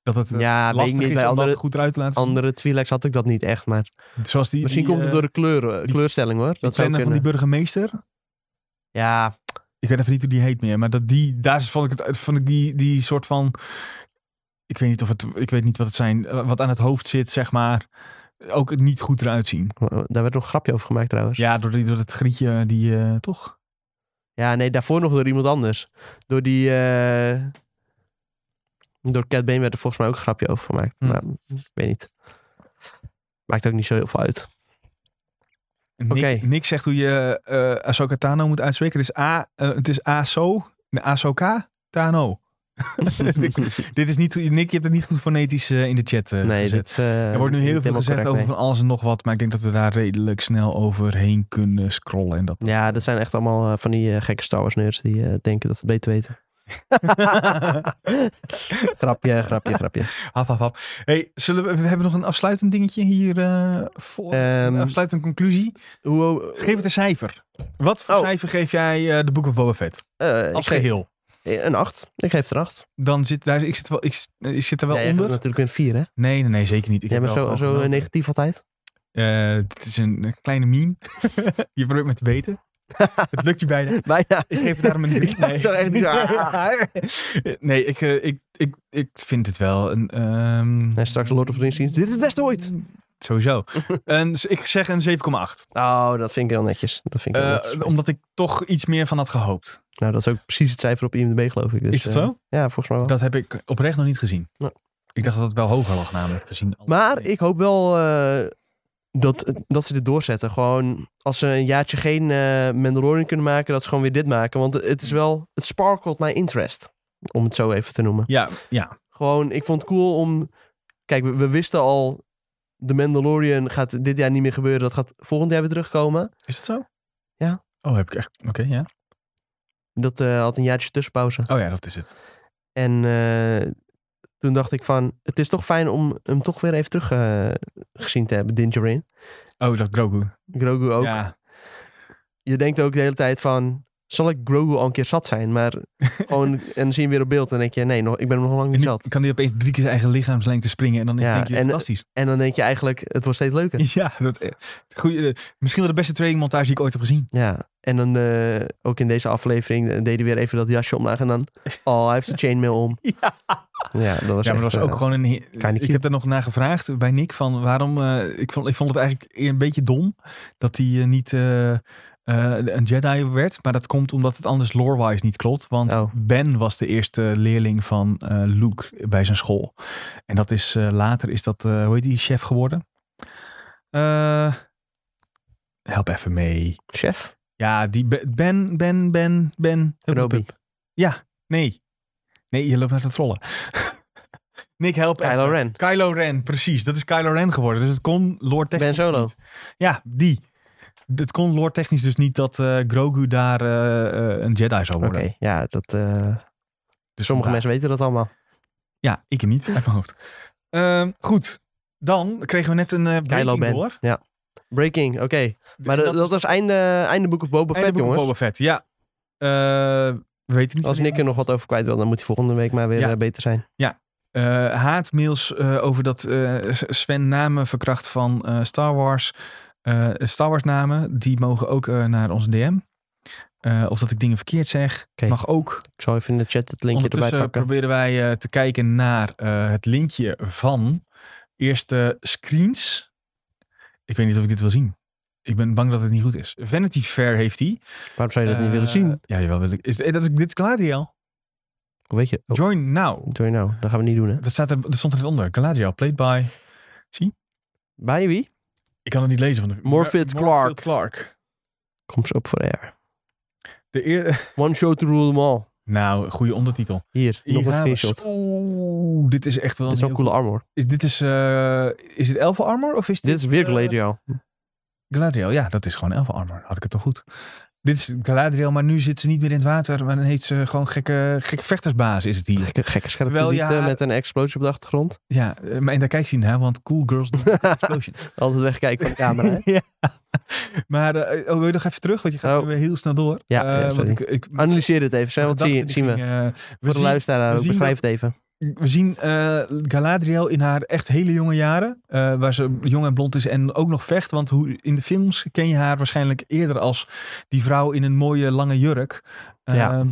Speaker 1: Dat het eh,
Speaker 2: ja, Ah, weet
Speaker 1: lastig
Speaker 2: ik niet.
Speaker 1: is
Speaker 2: Bij
Speaker 1: om dat
Speaker 2: andere,
Speaker 1: goed eruit te laten zien?
Speaker 2: andere Twi'leks had ik dat niet echt. Maar
Speaker 1: Zoals die,
Speaker 2: misschien
Speaker 1: die,
Speaker 2: komt het
Speaker 1: eh,
Speaker 2: door de kleuren, kleurstelling hoor.
Speaker 1: die
Speaker 2: Dat zou
Speaker 1: trainer
Speaker 2: kunnen.
Speaker 1: van die burgemeester.
Speaker 2: Ja,
Speaker 1: Ik weet even niet hoe die heet meer. Maar dat die, daar vond ik, het, vond ik die, die soort van... Ik weet niet, of het, ik weet niet wat het zijn. eh, Wat aan het hoofd zit, zeg maar. Ook het niet goed eruit zien.
Speaker 2: daar werd nog een grapje over gemaakt trouwens.
Speaker 1: Ja, door, die, door het grietje die... eh, toch?
Speaker 2: Ja, nee, daarvoor nog door iemand anders. Door die. eh, Door Cat Bane werd er volgens mij ook een grapje over gemaakt.
Speaker 1: Hmm.
Speaker 2: Maar ik weet niet. Maakt ook niet zo heel veel uit.
Speaker 1: Nick,
Speaker 2: Oké.
Speaker 1: Nick zegt hoe je eh Ahsoka Tano moet uitspreken. Het is A, eh, het is ASO, nee, Ahsoka Tano. [laughs] Dit is niet, Nick, je hebt het niet goed fonetisch eh, in de chat eh,
Speaker 2: nee,
Speaker 1: gezet.
Speaker 2: dat is. eh,
Speaker 1: er wordt nu
Speaker 2: niet
Speaker 1: heel veel
Speaker 2: helemaal
Speaker 1: gezegd
Speaker 2: correct,
Speaker 1: over
Speaker 2: nee.
Speaker 1: van alles en nog wat. Maar ik denk dat we daar redelijk snel overheen kunnen scrollen. En
Speaker 2: [laughs]
Speaker 1: dat...
Speaker 2: Ja, dat zijn echt allemaal eh, van die eh, gekke Star Wars nerds die eh, denken dat ze het beter
Speaker 1: [laughs]
Speaker 2: weten. Grapje, grapje, grapje.
Speaker 1: [laughs] hap, hap, hap. Hey, zullen we, we hebben nog een afsluitend dingetje hier. eh, voor,
Speaker 2: Ehm,
Speaker 1: een afsluitende conclusie.
Speaker 2: Hoe,
Speaker 1: Geef het een cijfer. Wat voor
Speaker 2: Oh.
Speaker 1: cijfer geef jij eh, de Book of Boba Fett?
Speaker 2: eh, ik
Speaker 1: Als
Speaker 2: geef
Speaker 1: geheel.
Speaker 2: een 8. Ik geef het een 8.
Speaker 1: Dan zit daar, ik zit, wel, ik, s- eh, ik zit er wel onder.
Speaker 2: natuurlijk een 4, hè?
Speaker 1: Nee, nee, nee, zeker niet. Ik
Speaker 2: Jij
Speaker 1: heb
Speaker 2: bent
Speaker 1: wel
Speaker 2: zo,
Speaker 1: gewoon
Speaker 2: zo
Speaker 1: genoten.
Speaker 2: negatief altijd.
Speaker 1: Eh, dit is een, een kleine
Speaker 2: [laughs]
Speaker 1: meme. je probeert me te weten. het lukt je bijna.
Speaker 2: Bijna.
Speaker 1: [laughs] Ik geef daarom een
Speaker 2: Ik [laughs]
Speaker 1: drie.
Speaker 2: zou toch echt niet
Speaker 1: [laughs] nee, ik, eh, ik, ik, ik vind het wel een... ehm,
Speaker 2: En straks Lord of the Rings zien. Dit is het beste ooit. [laughs]
Speaker 1: Sowieso. een, ik zeg een 7,8.
Speaker 2: Oh, dat vind ik heel netjes. Dat vind ik heel
Speaker 1: Eh,
Speaker 2: netjes.
Speaker 1: omdat ik toch iets meer van had gehoopt.
Speaker 2: Nou, dat is ook precies het cijfer op IMDb, geloof ik. Dus,
Speaker 1: is dat
Speaker 2: eh,
Speaker 1: zo?
Speaker 2: ja, volgens mij wel.
Speaker 1: Dat heb ik oprecht nog niet gezien.
Speaker 2: Nou.
Speaker 1: Ik dacht dat het wel hoger lag namelijk. Gezien alle-
Speaker 2: Maar ik hoop wel eh, dat, dat ze dit doorzetten. Gewoon als ze een jaartje geen eh Mandalorian kunnen maken, dat ze gewoon weer dit maken. Want het is wel, het sparkelt my interest. Om het zo even te noemen.
Speaker 1: Ja, ja.
Speaker 2: Gewoon, ik vond het cool om. Kijk, we, we wisten al. De Mandalorian gaat dit jaar niet meer gebeuren. Dat gaat volgend jaar weer terugkomen.
Speaker 1: Is dat zo?
Speaker 2: Ja.
Speaker 1: Oh, heb ik echt... Oké, ja.
Speaker 2: Dat eh, had een jaartje tussenpauze.
Speaker 1: Oh ja, dat is het.
Speaker 2: En eh, toen dacht ik van, het is toch fijn om hem toch weer even terug eh, gezien te hebben, Dingerin.
Speaker 1: Oh, dat Grogu.
Speaker 2: Grogu ook.
Speaker 1: Ja.
Speaker 2: Je denkt ook de hele tijd van, zal ik Grogu al een keer zat zijn?
Speaker 1: [laughs]
Speaker 2: Maar gewoon, en dan zie je hem weer op beeld en denk je, nee, nog, ik ben hem nog lang
Speaker 1: En
Speaker 2: niet
Speaker 1: nu
Speaker 2: zat.
Speaker 1: kan hij opeens drie keer zijn eigen lichaamslengte springen en dan is
Speaker 2: Ja,
Speaker 1: denk je
Speaker 2: en- eh,
Speaker 1: fantastisch.
Speaker 2: En dan denk je eigenlijk, het wordt steeds leuker.
Speaker 1: [laughs] Ja, dat, eh, goeie, eh, misschien wel de beste trainingmontage die ik ooit heb gezien.
Speaker 2: Ja, en dan eh, ook in deze aflevering eh, deed hij weer even dat jasje omlaag en dan, oh, hij heeft de chainmail om.
Speaker 1: [laughs] Ja.
Speaker 2: Ja, dat was
Speaker 1: ja, maar
Speaker 2: echt,
Speaker 1: dat was ook
Speaker 2: eh,
Speaker 1: gewoon een... he-
Speaker 2: kinda
Speaker 1: Ik
Speaker 2: cute.
Speaker 1: heb er nog naar gevraagd bij Nick van waarom... eh, ik, vond, ik vond het eigenlijk een beetje dom dat hij eh, niet eh, eh, een Jedi werd. Maar dat komt omdat het anders lore-wise niet klopt. Want
Speaker 2: Oh.
Speaker 1: Ben was de eerste leerling van eh, Luke bij zijn school. En dat is eh, later, is dat, eh, hoe heet die chef geworden? Eh, help even mee.
Speaker 2: Chef?
Speaker 1: Ja, die Be- Ben, Ben, Ben, Ben.
Speaker 2: Kenobi.
Speaker 1: Nee. Nee, je loopt naar de trollen. [laughs] Nick, help
Speaker 2: Kylo
Speaker 1: even.
Speaker 2: Ren.
Speaker 1: Kylo Ren, precies. Dat is Kylo Ren geworden. Dus het kon lore technisch
Speaker 2: Ben Solo.
Speaker 1: niet. Ja, die. Het kon lore technisch dus niet dat eh, Grogu daar eh, eh, een Jedi zou
Speaker 2: Oké,
Speaker 1: worden.
Speaker 2: ja, dat... eh,
Speaker 1: Dus
Speaker 2: Sommige
Speaker 1: vandaar.
Speaker 2: mensen weten dat allemaal.
Speaker 1: Ja, ik niet, uit mijn hoofd. Ehm, goed, dan kregen we net een eh
Speaker 2: Kylo
Speaker 1: breaking
Speaker 2: Ben.
Speaker 1: door.
Speaker 2: Ja. Breaking, oké. Maar dat,
Speaker 1: dat
Speaker 2: dat was einde, einde Book of Boba
Speaker 1: Einde
Speaker 2: Fett,
Speaker 1: boek
Speaker 2: jongens.
Speaker 1: Boba Fett, ja. Eh, we weten niet
Speaker 2: Als
Speaker 1: wanneer-
Speaker 2: Nick er nog wat over kwijt wil, dan moet hij volgende week maar weer
Speaker 1: Ja.
Speaker 2: eh, beter zijn.
Speaker 1: eh haatmails eh, over dat eh, S- Sven namen verkracht van eh, Star Wars. eh, Star Wars namen, die mogen ook eh, naar onze DM. Eh, of dat ik dingen verkeerd zeg,
Speaker 2: Oké.
Speaker 1: mag ook.
Speaker 2: Ik zal even in de chat het linkje erbij
Speaker 1: Ondertussen
Speaker 2: pakken.
Speaker 1: proberen wij eh, te kijken naar eh, het linkje van eerste screens. Ik weet niet of ik dit wil zien. Ik ben bang dat het niet goed is. Vanity Fair heeft die.
Speaker 2: Waarom zou je dat niet
Speaker 1: Eh,
Speaker 2: willen zien? Oh.
Speaker 1: Ja, jawel wil ik. Is, eh, dat is, dit is Gladiel.
Speaker 2: Hoe weet je? Oh,
Speaker 1: Join now.
Speaker 2: doe je nou? Dat gaan we niet doen, hè?
Speaker 1: Dat, staat er, dat stond er net onder. Gladiel, played by...
Speaker 2: Bij wie?
Speaker 1: Ik kan het niet lezen van de...
Speaker 2: Morfydd
Speaker 1: Mor-
Speaker 2: Clark.
Speaker 1: Morfydd Clark.
Speaker 2: Komt ze op voor air.
Speaker 1: De eer... [laughs]
Speaker 2: One show to rule them all.
Speaker 1: Nou, goede ondertitel.
Speaker 2: Hier,
Speaker 1: Hier
Speaker 2: nog een
Speaker 1: gaan we.
Speaker 2: screenshot.
Speaker 1: Oeh, dit is echt wel...
Speaker 2: Dit is
Speaker 1: een
Speaker 2: wel
Speaker 1: heel
Speaker 2: coole armor.
Speaker 1: goed- Is, dit is... eh, is dit elfen armor of is dit...
Speaker 2: Dit is weer
Speaker 1: eh,
Speaker 2: Gladio.
Speaker 1: Galadriel, ja, dat is gewoon elfen armor. Had ik het toch goed. Dit is Galadriel, maar nu zit ze niet meer in het water. Maar dan heet ze gewoon gekke, gekke vechtersbaas is het hier.
Speaker 2: Gekke, gekke scherpe
Speaker 1: Terwijl je
Speaker 2: liefde
Speaker 1: haar-
Speaker 2: met een explosie op de achtergrond.
Speaker 1: Ja, eh, maar en daar kijkt ze naar, want cool girls
Speaker 2: [laughs]
Speaker 1: doen explosions.
Speaker 2: Altijd wegkijken van de camera,
Speaker 1: [laughs]
Speaker 2: hè?
Speaker 1: ja. Maar, eh, oh, wil je nog even terug? Want je gaat
Speaker 2: Oh.
Speaker 1: weer heel snel door.
Speaker 2: Ja,
Speaker 1: Eh,
Speaker 2: ja,
Speaker 1: want
Speaker 2: sorry.
Speaker 1: ik, ik,
Speaker 2: Analyseer dit even. Zeg, wat zie,
Speaker 1: zien,
Speaker 2: je- zien we?
Speaker 1: we
Speaker 2: voor de
Speaker 1: zien eh, we
Speaker 2: luisteraar, ook,
Speaker 1: zien
Speaker 2: beschrijf het even.
Speaker 1: We zien eh, Galadriel in haar echt hele jonge jaren. eh, waar ze jong en blond is en ook nog vecht. Want hoe, in de films ken je haar waarschijnlijk eerder als die vrouw in een mooie lange jurk. eh,
Speaker 2: Ja.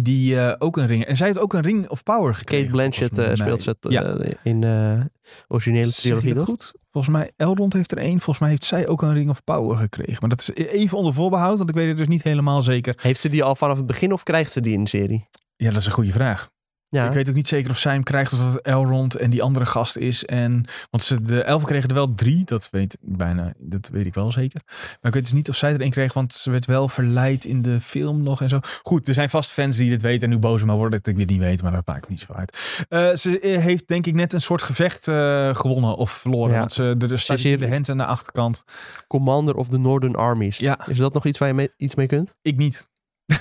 Speaker 1: Die eh, ook een ring. En zij heeft ook een ring of power gekregen.
Speaker 2: Kate Blanchett eh,
Speaker 1: volgens mij.
Speaker 2: speelt ze het, eh,
Speaker 1: Ja.
Speaker 2: in de originele
Speaker 1: Zeg ik
Speaker 2: trilogie,
Speaker 1: dat
Speaker 2: toch?
Speaker 1: goed? Volgens mij, Elrond heeft er één. Volgens mij heeft zij ook een ring of power gekregen. Maar dat is e-, even onder voorbehoud, want ik weet het dus niet helemaal zeker.
Speaker 2: Heeft ze die al vanaf het begin of krijgt ze die in de serie?
Speaker 1: Ja, dat is een goede vraag.
Speaker 2: Ja,
Speaker 1: Ik weet ook niet zeker of zij hem krijgt of dat het Elrond en die andere gast is. En, want ze, de elfen kregen er wel drie, dat weet, ik bijna, dat weet ik wel zeker. Maar ik weet dus niet of zij er één kreeg, want ze werd wel verleid in de film nog en zo. Goed, er zijn vast fans die dit weten en nu boos maar worden dat ik dit niet weet, maar dat maakt me niet zo uit. Eh, ze eh, heeft denk ik net een soort gevecht eh, gewonnen of verloren,
Speaker 2: Ja.
Speaker 1: want ze, er, er staat
Speaker 2: Ze is hier-
Speaker 1: de hand aan de achterkant.
Speaker 2: Commander of the Northern Armies.
Speaker 1: Ja.
Speaker 2: Is dat nog iets waar je mee, iets mee kunt?
Speaker 1: Ik niet. [laughs]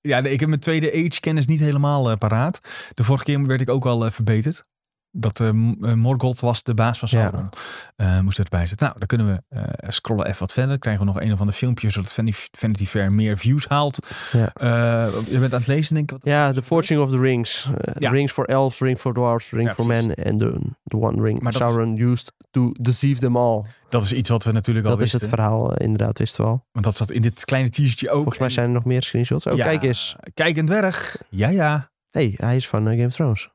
Speaker 1: ja, nee, ik heb mijn tweede age-kennis niet helemaal eh, paraat. De vorige keer werd ik ook al eh, verbeterd. Dat eh, M- eh, Morgoth was de baas van Sauron. Eh, moest erbij zitten. Nou, dan kunnen we eh, scrollen even wat verder. Krijgen we nog een of ander filmpje, zodat Vanity- Vanity Fair meer views haalt.
Speaker 2: Ja.
Speaker 1: Eh, je bent aan het lezen, denk ik. Wat...
Speaker 2: Ja, The Fortune of the Rings. Eh,
Speaker 1: Ja.
Speaker 2: Rings for elves, ring for dwarves, ring
Speaker 1: Ja,
Speaker 2: for
Speaker 1: precies.
Speaker 2: men. En the, the one ring
Speaker 1: Maar dat is-
Speaker 2: Sauron used to deceive them all.
Speaker 1: Dat is iets wat we natuurlijk al
Speaker 2: dat is
Speaker 1: wisten.
Speaker 2: het verhaal, eh, inderdaad, wisten we al.
Speaker 1: want dat zat in dit kleine t-shirtje ook.
Speaker 2: Volgens mij zijn er nog meer screenshots. Oh,
Speaker 1: Ja.
Speaker 2: kijk eens.
Speaker 1: Kijk, een dwerg. Ja,
Speaker 2: [laughs]
Speaker 1: ja.
Speaker 2: hey, hij is van eh, Game of Thrones.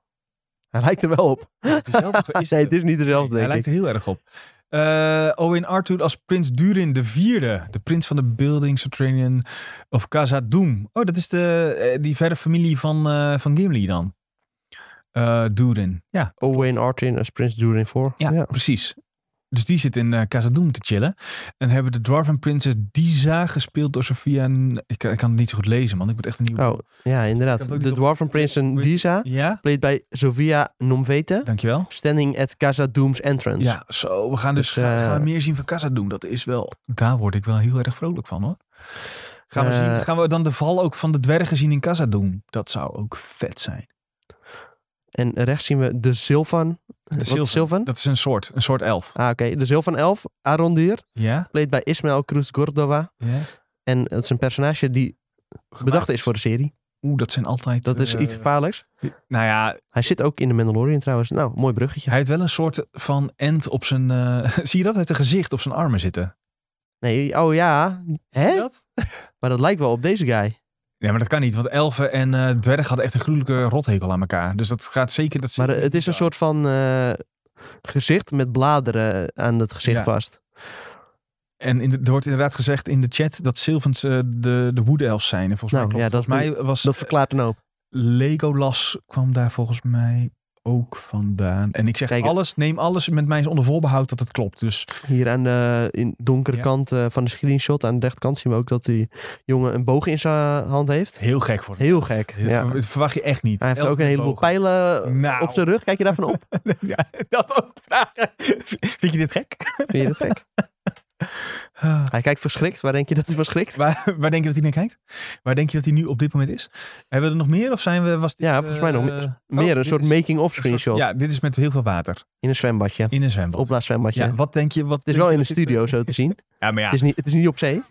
Speaker 2: Hij lijkt er wel op.
Speaker 1: Het is wel- is
Speaker 2: nee, het is niet dezelfde,
Speaker 1: hij
Speaker 2: denk
Speaker 1: lijkt
Speaker 2: ik.
Speaker 1: er heel erg op. Eh, Owen Arthur als prins Durin de vierde. De prins van de Building Saturnian of Khazad-dûm. Oh, dat is de, eh, die verre familie van, eh, van Gimli dan. Eh Durin, ja.
Speaker 2: Owen Artin als Prins Durin 4.
Speaker 1: Ja, precies. Dus die zit in eh Casa Doom te chillen. En hebben de Dwarven Princess Diza gespeeld door Sophia... N- Ik, ik kan het niet zo goed lezen, man. Ik moet echt een nieuwe...
Speaker 2: Oh, ja,
Speaker 1: Hm. Ik
Speaker 2: inderdaad.
Speaker 1: heb ook
Speaker 2: De
Speaker 1: niet op-
Speaker 2: Dwarven Prinsen
Speaker 1: Moet-
Speaker 2: Lisa,
Speaker 1: Ja?
Speaker 2: played bij Sofia Nomvete,
Speaker 1: Dankjewel.
Speaker 2: standing at Casa Doom's entrance.
Speaker 1: Ja, zo. We gaan dus,
Speaker 2: Dus,
Speaker 1: ga-
Speaker 2: eh,
Speaker 1: gaan we meer zien van Casa Doom. Dat is wel... Daar word ik wel heel erg vrolijk van, hoor. Gaan we,
Speaker 2: Eh,
Speaker 1: zien, gaan we dan de val ook van de dwergen zien in Casa Doom? Dat zou ook vet zijn.
Speaker 2: En rechts zien we de Sylvan. Wat is
Speaker 1: Sylvan.
Speaker 2: Sylvan?
Speaker 1: Dat is een soort, een soort elf.
Speaker 2: Ah, oké. De Sylvan 11, Arondir,
Speaker 1: Ja?
Speaker 2: played bij Ismael Cruz Cordova.
Speaker 1: ja.
Speaker 2: En dat is een personage die bedacht is voor de serie.
Speaker 1: Oeh, dat zijn altijd...
Speaker 2: Dat is
Speaker 1: eh,
Speaker 2: iets gevaarlijks.
Speaker 1: Nou ja,
Speaker 2: Hij zit ook in de Mandalorian trouwens. Nou, mooi bruggetje.
Speaker 1: Hij heeft wel een soort van end op zijn. eh, [laughs] zie je dat? Hij heeft een gezicht op zijn armen zitten.
Speaker 2: Nee, oh ja.
Speaker 1: Zie je
Speaker 2: Hè?
Speaker 1: dat?
Speaker 2: Maar dat lijkt wel op deze guy.
Speaker 1: Nee, maar dat kan niet, want elfen en eh dwergen hadden echt een gruwelijke rothekel aan elkaar. Dus dat gaat zeker. Dat
Speaker 2: Maar
Speaker 1: zeker
Speaker 2: eh, het
Speaker 1: niet
Speaker 2: is een
Speaker 1: goed
Speaker 2: soort van eh, gezicht met bladeren aan het gezicht
Speaker 1: Ja.
Speaker 2: vast.
Speaker 1: af. En in de- er wordt inderdaad gezegd in de chat dat Sylvans eh, de, de Wood Elves zijn. En volgens
Speaker 2: Nou,
Speaker 1: mij,
Speaker 2: ja,
Speaker 1: klopt het.
Speaker 2: dat-
Speaker 1: volgens mij was eh,
Speaker 2: Dat verklaart nou een hoop.
Speaker 1: Legolas kwam daar volgens mij ook vandaan. En ik zeg
Speaker 2: Kijk,
Speaker 1: alles, neem alles met mij onder voorbehoud dat het klopt. Dus
Speaker 2: Hier aan de in donkere
Speaker 1: Ja.
Speaker 2: kant eh, van de screenshot, aan de rechterkant, zien we ook dat die jongen een boog in zijn hand heeft.
Speaker 1: heel gek voor hem.
Speaker 2: Heel gek. Ja.
Speaker 1: Dat verwacht je echt niet.
Speaker 2: Hij heeft
Speaker 1: Elfen
Speaker 2: ook een
Speaker 1: met
Speaker 2: heleboel
Speaker 1: bogen.
Speaker 2: pijlen eh,
Speaker 1: Nou.
Speaker 2: op zijn rug. Kijk je daarvan
Speaker 1: [laughs]
Speaker 2: op?
Speaker 1: Ja, dat ook vragen. Vind je dit gek?
Speaker 2: Vind je dat gek?
Speaker 1: Ah.
Speaker 2: Hij kijkt verschrikt. Waar denk je dat hij van schrikt?
Speaker 1: Waar, waar denk je dat hij naar kijkt? Waar denk je dat hij nu op dit moment is? Hebben we er nog meer of zijn we... Was dit,
Speaker 2: Ja, volgens mij nog
Speaker 1: eh, oh,
Speaker 2: Meer een
Speaker 1: dit
Speaker 2: soort
Speaker 1: is
Speaker 2: making-of
Speaker 1: een
Speaker 2: screenshot.
Speaker 1: soort- Ja, dit is met heel veel water.
Speaker 2: In een zwembadje.
Speaker 1: In een zwembad.
Speaker 2: Opblaaszwembadje.
Speaker 1: ja, wat denk je? Wat
Speaker 2: Het is
Speaker 1: denk
Speaker 2: wel in
Speaker 1: je
Speaker 2: een
Speaker 1: dat dit,
Speaker 2: studio
Speaker 1: eh,
Speaker 2: zo te zien.
Speaker 1: Ja, maar ja.
Speaker 2: Het, is niet, het is niet op zee.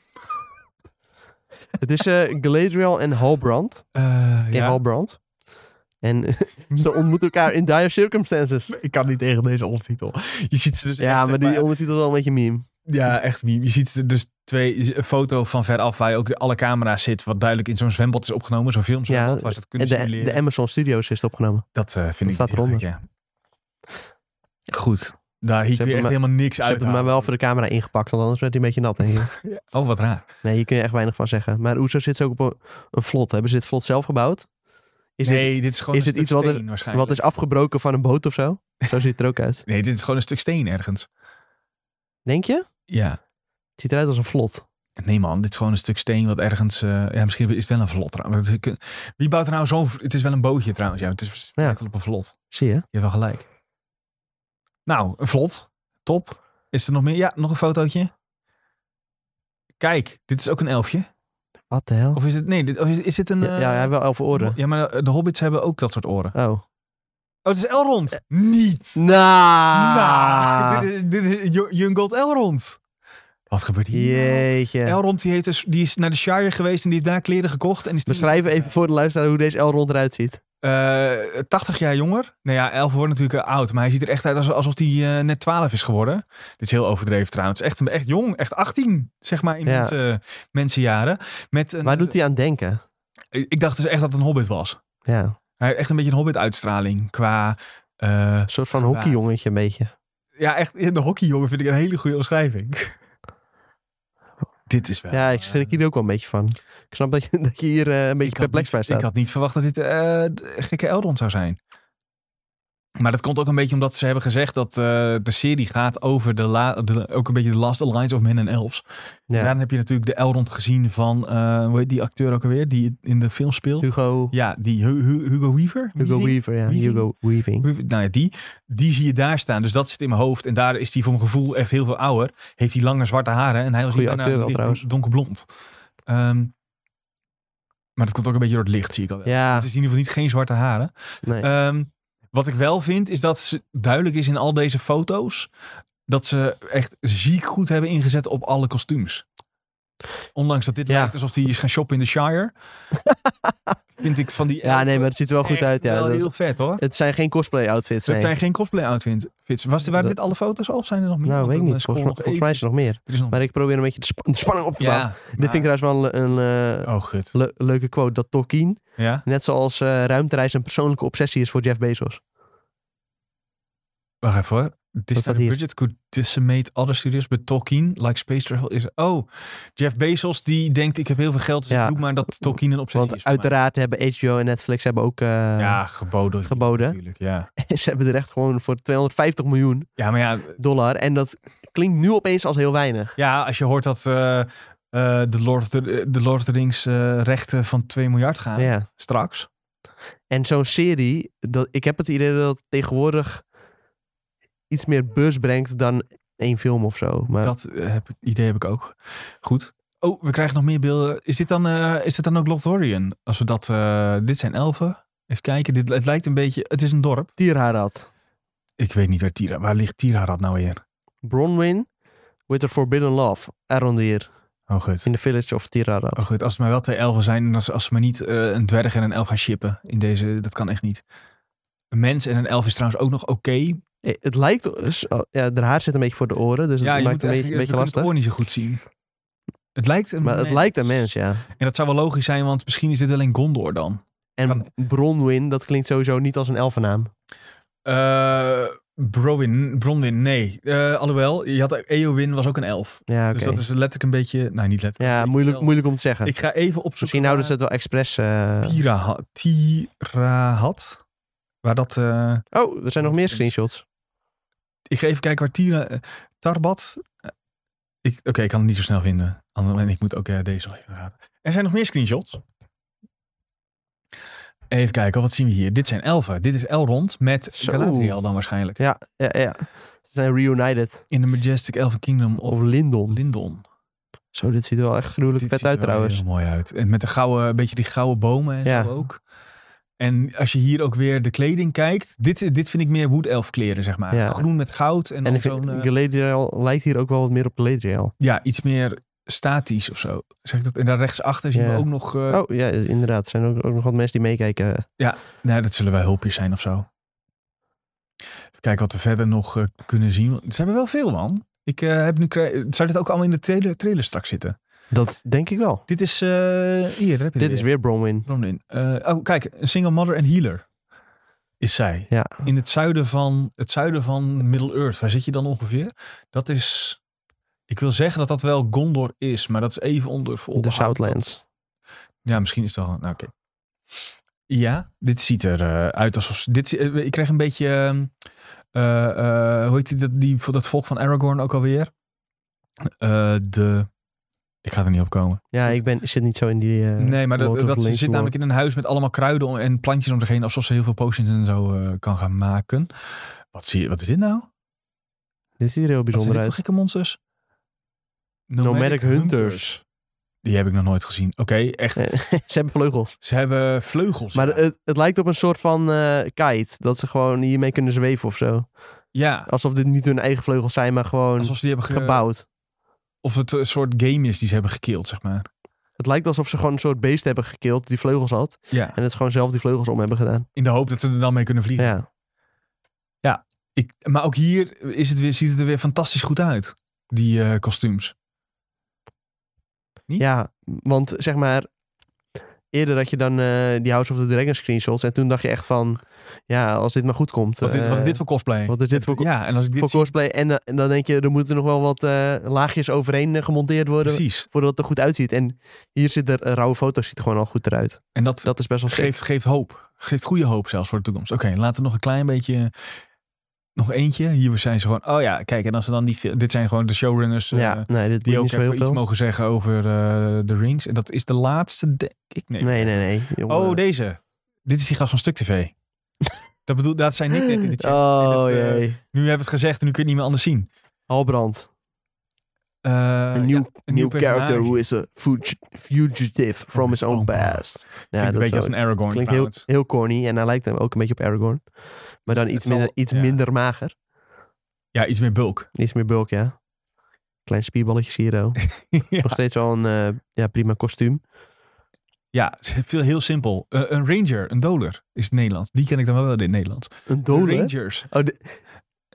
Speaker 2: het is eh, Galadriel en Halbrand.
Speaker 1: eh,
Speaker 2: Ken
Speaker 1: ja.
Speaker 2: Halbrand? En [laughs] ze ontmoeten elkaar in dire circumstances.
Speaker 1: Ik kan niet tegen deze ondertitel. Je ziet ze dus
Speaker 2: Ja,
Speaker 1: echt,
Speaker 2: maar
Speaker 1: zeg
Speaker 2: die ondertitel is wel een beetje meme.
Speaker 1: Ja, echt meme. Je ziet er dus twee, een foto van veraf waar je ook alle camera's zit. Wat duidelijk in zo'n zwembad is opgenomen. Zo'n filmzwembad
Speaker 2: Ja,
Speaker 1: waar ze dat
Speaker 2: En
Speaker 1: kunnen
Speaker 2: de,
Speaker 1: simuleren.
Speaker 2: de Amazon Studios is het opgenomen.
Speaker 1: Dat eh, vind
Speaker 2: staat
Speaker 1: ik heel
Speaker 2: eronder.
Speaker 1: leuk, ja. Goed. Daar hier kun je
Speaker 2: hebben
Speaker 1: echt
Speaker 2: me-
Speaker 1: helemaal niks
Speaker 2: Ze
Speaker 1: uit.
Speaker 2: hebben hem maar wel voor de camera ingepakt, want anders werd hij een beetje nat. Denk ik.
Speaker 1: Oh, wat raar.
Speaker 2: Nee, hier kun je echt weinig van zeggen. Maar hoezo zit ze ook op een, een vlot? Hebben ze dit vlot zelf gebouwd? Is
Speaker 1: nee, dit, is gewoon
Speaker 2: is
Speaker 1: een
Speaker 2: dit
Speaker 1: stuk
Speaker 2: iets wat er-
Speaker 1: steen
Speaker 2: dit
Speaker 1: waarschijnlijk.
Speaker 2: wat is afgebroken van een boot of
Speaker 1: [laughs]
Speaker 2: zo? Zo ziet het er ook uit.
Speaker 1: Nee, dit is gewoon een stuk steen ergens.
Speaker 2: Denk je?
Speaker 1: Ja.
Speaker 2: Het ziet eruit als een vlot.
Speaker 1: Nee man, dit is gewoon een stuk steen wat ergens... eh, ja, misschien is het wel een vlot trouwens. Dat- Wie bouwt er nou zo'n... v- Het is wel een bootje trouwens. Ja, het is
Speaker 2: Ja.
Speaker 1: echt op een vlot.
Speaker 2: Zie je?
Speaker 1: Je hebt wel gelijk. Nou, een vlot. Top. Is er nog meer? Ja, nog een fotootje. Kijk, dit is ook een elfje.
Speaker 2: Wat de hel?
Speaker 1: Of is het... Nee, dit, of is, is dit een...
Speaker 2: Oh. Ja,
Speaker 1: eh,
Speaker 2: ja, hij heeft wel elf oren.
Speaker 1: Ja, maar de, de hobbits hebben ook dat soort oren.
Speaker 2: Oh.
Speaker 1: Oh, het is Elrond. Niet.
Speaker 2: Nou.
Speaker 1: Nou, [laughs] dit is, dit is Ju- Jungold Elrond. Wat gebeurt hier?
Speaker 2: Jeetje.
Speaker 1: Elrond die, heeft dus, die is naar de Shire geweest en die heeft daar kleren gekocht. En is toen,
Speaker 2: Beschrijf even voor de luisteraar hoe deze Elrond eruit ziet.
Speaker 1: eh, 80 jaar jonger. Nou ja, Elf wordt natuurlijk eh, oud, maar hij ziet er echt uit als- alsof hij eh, net 12 is geworden. Dit is heel overdreven trouwens. Echt, echt jong, echt 18, zeg maar, in
Speaker 2: Ja.
Speaker 1: mensen, mensenjaren. Met een,
Speaker 2: Waar doet hij aan denken?
Speaker 1: Ik dacht dus echt dat het een hobbit was.
Speaker 2: Ja,
Speaker 1: Hij heeft echt een beetje een hobbit-uitstraling qua... eh,
Speaker 2: een soort van
Speaker 1: Gewaad.
Speaker 2: hockeyjongetje een beetje.
Speaker 1: Ja, echt in de hockeyjongen vind ik een hele goede omschrijving. [laughs] Dit is wel.
Speaker 2: Ja, ik schrik hier ook wel een beetje van. Ik snap dat je, [laughs] dat je hier eh, een beetje
Speaker 1: had
Speaker 2: perplex
Speaker 1: niet-
Speaker 2: bij staat.
Speaker 1: Ik had niet verwacht dat dit eh, d- gekke Eldron zou zijn. Maar dat komt ook een beetje omdat ze hebben gezegd dat eh, de serie gaat over de, la, de- ook een beetje de Last Alliance of Men en Elves.
Speaker 2: Ja.
Speaker 1: En daarin heb je natuurlijk de Elrond gezien van, eh, hoe heet die acteur ook alweer, die in de film speelt?
Speaker 2: Hugo,
Speaker 1: Ja, die Hu- Hu- Hugo Weaver.
Speaker 2: Hugo
Speaker 1: Weaving?
Speaker 2: Weaver, ja.
Speaker 1: Weaving?
Speaker 2: Hugo Weaving.
Speaker 1: Nou ja, die, die zie je daar staan. Dus dat zit in mijn hoofd. En daar is hij voor mijn gevoel echt heel veel ouder. Heeft hij lange zwarte haren. En hij was
Speaker 2: Goeie
Speaker 1: hier
Speaker 2: acteur wel,
Speaker 1: licht-
Speaker 2: trouwens.
Speaker 1: donkerblond. Ehm, maar dat komt ook een beetje door het licht, zie ik al wel.
Speaker 2: Ja,
Speaker 1: Het is in ieder geval niet geen zwarte haren.
Speaker 2: nee.
Speaker 1: Ehm, wat ik wel vind, is dat ze duidelijk is in al deze foto's... dat ze echt ziek goed hebben ingezet op alle kostuums. Ondanks dat dit
Speaker 2: Ja.
Speaker 1: lijkt alsof hij is gaan shoppen in de
Speaker 2: [laughs]
Speaker 1: Shire... vind ik van die...
Speaker 2: ja, nee, maar het ziet er wel goed
Speaker 1: echt
Speaker 2: uit. Ja.
Speaker 1: wel
Speaker 2: Dat-
Speaker 1: heel vet, hoor.
Speaker 2: het zijn geen cosplay outfits,
Speaker 1: Dat
Speaker 2: nee.
Speaker 1: zijn geen cosplay outfits. Was, waren
Speaker 2: Dat-
Speaker 1: dit alle foto's al of zijn er nog meer?
Speaker 2: Nou,
Speaker 1: Want
Speaker 2: weet ik
Speaker 1: dan,
Speaker 2: niet.
Speaker 1: eh,
Speaker 2: Volgens,
Speaker 1: scrollen we
Speaker 2: volgens mij is er nog meer.
Speaker 1: even. Er is nog-
Speaker 2: Maar ik probeer een beetje de, sp- de spanning op te bouwen.
Speaker 1: Ja,
Speaker 2: Dit vind ik trouwens wel een, een eh,
Speaker 1: maar- Oh, gut.
Speaker 2: le- leuke quote. Dat Tolkien
Speaker 1: Ja?
Speaker 2: Net zoals eh, ruimtereis een persoonlijke obsessie is voor Jeff Bezos.
Speaker 1: Wacht even hoor. This
Speaker 2: staat
Speaker 1: kind of
Speaker 2: hier?
Speaker 1: budget could decimate other studios, but Tolkien, like space travel, is... Oh, Jeff Bezos die denkt ik heb heel veel geld, dus
Speaker 2: Ja.
Speaker 1: ik doe maar dat Tolkien een obsessie
Speaker 2: Want
Speaker 1: is voor mij.
Speaker 2: uiteraard hebben HBO en Netflix hebben ook... eh, [laughs]
Speaker 1: Ja, geboden.
Speaker 2: geboden.
Speaker 1: Natuurlijk, ja.
Speaker 2: Ze hebben er echt gewoon voor 250 miljoen
Speaker 1: Ja, maar ja,
Speaker 2: dollar. En dat klinkt nu opeens als heel weinig.
Speaker 1: ja als je hoort dat eh, eh, de, Lord of the, de Lord of the Rings eh, rechten van 2 miljard gaan,
Speaker 2: ja.
Speaker 1: straks.
Speaker 2: En zo'n serie, dat, ik heb het idee dat het tegenwoordig iets meer buzz brengt dan één film of zo. Maar
Speaker 1: Dat eh, heb, ik- idee heb ik ook. Goed. Oh, we krijgen nog meer beelden. Is dit dan, eh, is dit dan ook Lothlorien? Als we dat... eh, dit zijn elfen. Even kijken. Dit, het lijkt een beetje... Het is een dorp.
Speaker 2: Tierharad,
Speaker 1: Ik weet niet waar Tira... Waar ligt Tirharad nou weer?
Speaker 2: Bronwyn with the Forbidden Love, Arondir,
Speaker 1: Oh, goed.
Speaker 2: in the village of Tierharad.
Speaker 1: Oh, goed. Als het maar wel twee elfen zijn... en als, als ze maar niet eh, een dwerg en een elf gaan shippen... in deze... Dat kan echt niet. Een mens en een elf is trouwens ook nog oké.
Speaker 2: Eh, Het lijkt, oh, ja, haar zit een beetje voor de oren, dus
Speaker 1: Ja,
Speaker 2: het
Speaker 1: je
Speaker 2: maakt
Speaker 1: moet
Speaker 2: het een
Speaker 1: eigenlijk
Speaker 2: beetje,
Speaker 1: we
Speaker 2: beetje
Speaker 1: kunnen het
Speaker 2: lastig.
Speaker 1: oor niet zo goed zien. Het lijkt een
Speaker 2: Maar
Speaker 1: mens.
Speaker 2: het lijkt een mens, ja.
Speaker 1: En dat zou wel logisch zijn, want misschien is dit wel een Gondor dan.
Speaker 2: En
Speaker 1: Kan-
Speaker 2: Bronwyn, dat klinkt sowieso niet als een elfennaam.
Speaker 1: Eh Browin, Bronwyn, nee. Eh, alhoewel, je had, Eowyn was ook een elf.
Speaker 2: Ja, oké.
Speaker 1: Dus dat is letterlijk een beetje... Nou, niet letterlijk. een
Speaker 2: ja,
Speaker 1: beetje
Speaker 2: moeilijk,
Speaker 1: wel.
Speaker 2: moeilijk om te zeggen.
Speaker 1: Ik ga even opzoeken
Speaker 2: Misschien houden ze
Speaker 1: waar
Speaker 2: het wel expres... eh,
Speaker 1: Tiraha- Tirahad. Waar dat... eh,
Speaker 2: Oh, er zijn nog meer screenshots.
Speaker 1: ik ga even kijken waar Tira... eh, Tarbat... eh, ik- Oké, ik kan het niet zo snel vinden. Ander- En ik moet ook eh, deze wel even raden. Er zijn nog meer screenshots. Even kijken, wat zien we hier? Dit zijn elfen. Dit is Elrond met
Speaker 2: Zo.
Speaker 1: Galadriel dan waarschijnlijk.
Speaker 2: Ja, ja, ja. Ze zijn reunited.
Speaker 1: In the Majestic Elven Kingdom of
Speaker 2: Of Lindon.
Speaker 1: Lindon.
Speaker 2: Zo, dit ziet er wel echt gruwelijk
Speaker 1: Dit
Speaker 2: vet
Speaker 1: ziet
Speaker 2: uit
Speaker 1: er wel
Speaker 2: trouwens.
Speaker 1: heel mooi uit. En met de gouden, een beetje die gouden bomen en
Speaker 2: Ja.
Speaker 1: zo ook. En als je hier ook weer de kleding kijkt. Dit, dit vind ik meer Wood Elf kleren, zeg maar.
Speaker 2: Ja.
Speaker 1: Groen met goud en,
Speaker 2: En
Speaker 1: dan
Speaker 2: ik vind,
Speaker 1: zo'n... eh,
Speaker 2: Galadriel lijkt hier ook wel wat meer op Galadriel.
Speaker 1: ja, iets meer statisch of zo. Zeg ik dat? En daar rechtsachter zien
Speaker 2: Ja.
Speaker 1: we ook nog... eh,
Speaker 2: Oh ja, inderdaad. Er zijn ook, ook nog wat mensen die meekijken.
Speaker 1: Nou, dat zullen wel hulpjes zijn of zo. Even kijken wat we verder nog eh, kunnen zien. Want Ze hebben wel veel, man. Ik eh, heb nu... krij- Zou dit ook allemaal in de trailer, trailer straks zitten?
Speaker 2: Dat denk ik wel.
Speaker 1: Dit is... eh, hier, daar heb je
Speaker 2: Dit is weer Bronwyn.
Speaker 1: Bronwyn. Eh, oh, kijk, een single mother en healer is zij.
Speaker 2: Ja.
Speaker 1: In het zuiden van, het zuiden van Middle-earth, waar zit je dan ongeveer? Dat is, ik wil zeggen dat dat wel Gondor is, maar dat is even onder voor
Speaker 2: De
Speaker 1: onderhoud.
Speaker 2: Southlands.
Speaker 1: Ja, misschien is het wel, nou oké. Ja, dit ziet er eh, uit alsof, ze- dit, zie- eh, ik kreeg een beetje, ehm, eh, eh, hoe heet die, dat, die, dat volk van Aragorn ook alweer? Eh, de, ik ga er niet op komen.
Speaker 2: Ja,
Speaker 1: Goed.
Speaker 2: ik ben, zit niet zo in die... eh,
Speaker 1: Nee, maar dat,
Speaker 2: Lord of
Speaker 1: dat
Speaker 2: the
Speaker 1: ze
Speaker 2: Rings
Speaker 1: zit
Speaker 2: lore.
Speaker 1: namelijk in een huis met allemaal kruiden om- en plantjes om zich heen. Alsof ze heel veel potions en zo eh, kan gaan maken. Wat, zie je, wat is dit nou?
Speaker 2: Dit ziet er
Speaker 1: Wat
Speaker 2: heel
Speaker 1: zijn
Speaker 2: bijzonder
Speaker 1: dit voor
Speaker 2: uit.
Speaker 1: gekke monsters?
Speaker 2: Nomadic Hunters.
Speaker 1: Die heb ik nog nooit gezien. Oké, echt.
Speaker 2: [laughs] Ze hebben vleugels.
Speaker 1: Ze hebben vleugels.
Speaker 2: Maar eh,
Speaker 1: ja.
Speaker 2: het, het lijkt op een soort van eh, kite. Dat ze gewoon hiermee kunnen zweven of zo.
Speaker 1: ja,
Speaker 2: Alsof dit niet hun eigen vleugels zijn, maar gewoon
Speaker 1: alsof ze die hebben ge-
Speaker 2: gebouwd.
Speaker 1: Of het een soort game is die ze hebben gekild, zeg maar.
Speaker 2: Het lijkt alsof ze gewoon een soort beest hebben gekild die vleugels had.
Speaker 1: Ja.
Speaker 2: En het gewoon zelf die vleugels om hebben gedaan.
Speaker 1: In de hoop dat ze er dan mee kunnen vliegen.
Speaker 2: Ja.
Speaker 1: Ik, maar ook hier is het weer, ziet het er weer fantastisch goed uit. Die eh, kostuums. Niet?
Speaker 2: ja, want zeg maar... Eerder had je dan eh, die House of the Dragon screenshots. En toen dacht je echt van... Ja, als dit maar goed komt.
Speaker 1: wat, is, wat is
Speaker 2: eh,
Speaker 1: dit voor cosplay?
Speaker 2: wat is dit voor,
Speaker 1: ja, en als ik dit
Speaker 2: voor
Speaker 1: zie-
Speaker 2: cosplay? En, eh, en dan denk je, er moeten nog wel wat eh, laagjes overheen eh, gemonteerd worden.
Speaker 1: Precies.
Speaker 2: Voordat het er goed uitziet. En hier zit er... een rauwe foto's ziet er gewoon al goed eruit.
Speaker 1: En dat,
Speaker 2: Dat is best wel sick.
Speaker 1: geeft, geeft hoop. Geeft goede hoop zelfs voor de toekomst. Oké, laten we nog een klein beetje... Nog eentje. Hier zijn ze gewoon... Oh ja, kijk. En als we dan die... fil- Dit zijn gewoon de showrunners... eh,
Speaker 2: ja, nee, dit
Speaker 1: die
Speaker 2: moet
Speaker 1: ook
Speaker 2: niet zo
Speaker 1: even
Speaker 2: heel
Speaker 1: iets
Speaker 2: veel.
Speaker 1: mogen zeggen over eh, de rings. En dat is de laatste, denk ik. Nee.
Speaker 2: Nee, nee, nee. jongen.
Speaker 1: Oh, deze. Dit is die gast van Stuk
Speaker 2: [laughs]
Speaker 1: TV. dat bedoel... Dat zijn ik net in de chat. En
Speaker 2: Oh,
Speaker 1: dat, eh,
Speaker 2: jee.
Speaker 1: nu hebben we het gezegd en nu kun je het niet meer anders zien.
Speaker 2: Halbrand.
Speaker 1: Eh,
Speaker 2: Een nieuw,
Speaker 1: ja, een nieuw
Speaker 2: nieuw
Speaker 1: personage.
Speaker 2: character
Speaker 1: Oh,
Speaker 2: who is a fugi- fugitive from his own past. Ja,
Speaker 1: klinkt
Speaker 2: dat
Speaker 1: een beetje
Speaker 2: wel-
Speaker 1: als een Aragorn
Speaker 2: klinkt heel,
Speaker 1: trouwens.
Speaker 2: heel corny en hij lijkt hem ook een beetje op Aragorn. Maar dan iets,
Speaker 1: zal-
Speaker 2: minder, iets
Speaker 1: ja.
Speaker 2: minder mager.
Speaker 1: Ja, iets meer
Speaker 2: [laughs]
Speaker 1: bulk.
Speaker 2: Iets meer bulk, ja. Klein spierballetjes hier, oh.
Speaker 1: [laughs] ja.
Speaker 2: Nog steeds wel een eh, ja, prima kostuum.
Speaker 1: Ja, [laughs] veel heel simpel. Eh, een ranger, een doler is het Nederlands. Die ken ik dan wel in het Nederlands.
Speaker 2: Een
Speaker 1: De
Speaker 2: dode.
Speaker 1: rangers.
Speaker 2: Oh, de-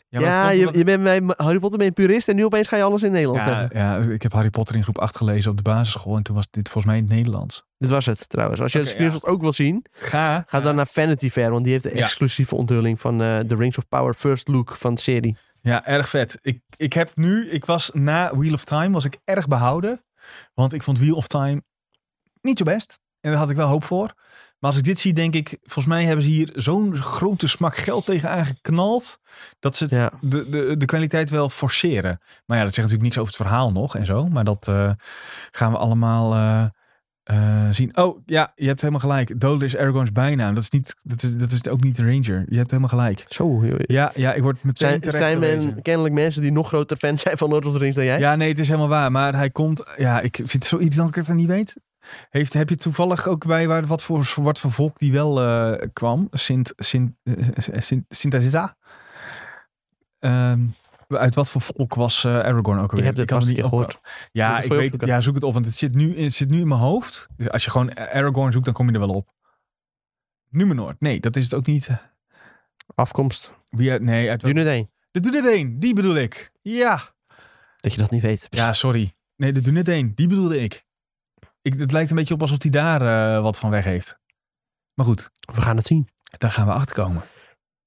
Speaker 1: Ja,
Speaker 2: ja,
Speaker 1: maar dat komt
Speaker 2: je,
Speaker 1: omdat-
Speaker 2: je bent bij Harry Potter ben je purist en nu opeens ga je alles in Nederland
Speaker 1: ja,
Speaker 2: zeggen.
Speaker 1: ja, ik heb Harry Potter in groep 8 gelezen op de basisschool. En toen was dit volgens mij in het Nederlands.
Speaker 2: Dit was het trouwens. Als je
Speaker 1: Oké,
Speaker 2: de screenshot ook wil zien,
Speaker 1: Ga.
Speaker 2: ga
Speaker 1: ja.
Speaker 2: dan naar Vanity Fair. Want die heeft de
Speaker 1: Ja.
Speaker 2: exclusieve onthulling van eh The Rings of Power First Look van de serie.
Speaker 1: Ja, erg vet. Ik, ik heb nu, ik was na Wheel of Time, was ik erg behouden. Want ik vond Wheel of Time niet zo best. En daar had ik wel hoop voor. Maar als ik dit zie, denk ik, volgens mij hebben ze hier zo'n grote smak geld tegenaan geknald. Dat ze het,
Speaker 2: Ja.
Speaker 1: de, de, de kwaliteit wel forceren. Maar ja, dat zegt natuurlijk niks over het verhaal nog en zo. Maar dat eh, gaan we allemaal eh, eh, zien. Oh, ja, je hebt helemaal gelijk. Dodel is Aragorn's bijnaam. Dat is, niet, dat, is, dat is ook niet Ranger. Je hebt helemaal gelijk.
Speaker 2: Zo, joh.
Speaker 1: Ja, ja ik word meteen
Speaker 2: Zijn,
Speaker 1: terecht
Speaker 2: zijn
Speaker 1: gewezen.
Speaker 2: men, kennelijk mensen die nog groter fan zijn van Lord of the Rings dan jij?
Speaker 1: Ja, nee, het is helemaal waar. Maar hij komt... Ja, ik vind het zo irritant dat ik het niet weet. Heeft, heb je toevallig ook bij waar, wat, voor, wat voor volk die wel eh, kwam? Sint... Sint... eh, Sint... Sintazita? Ehm, uit wat voor volk was eh, Aragorn ook alweer?
Speaker 2: ik heb dit
Speaker 1: kan het
Speaker 2: vast een
Speaker 1: niet
Speaker 2: keer
Speaker 1: op-
Speaker 2: gehoord. Moet
Speaker 1: Ja,
Speaker 2: ik
Speaker 1: ik
Speaker 2: voor je
Speaker 1: weet,
Speaker 2: opzoeken.
Speaker 1: ja, zoek het op. Want het zit, nu, het zit nu in mijn hoofd. Dus als je gewoon Aragorn zoekt, dan kom je er wel op. Numenor. Nee, dat is het ook niet.
Speaker 2: Afkomst.
Speaker 1: Wie uit, nee, uit... wel-
Speaker 2: Dunedain.
Speaker 1: De Dunedain, die bedoel ik. Ja.
Speaker 2: Dat je dat niet weet.
Speaker 1: Ja, sorry. Nee, de net één. Die bedoelde ik. ik. Het lijkt een beetje op alsof hij daar eh, wat van weg heeft. Maar goed,
Speaker 2: We gaan het zien.
Speaker 1: daar gaan we achter komen.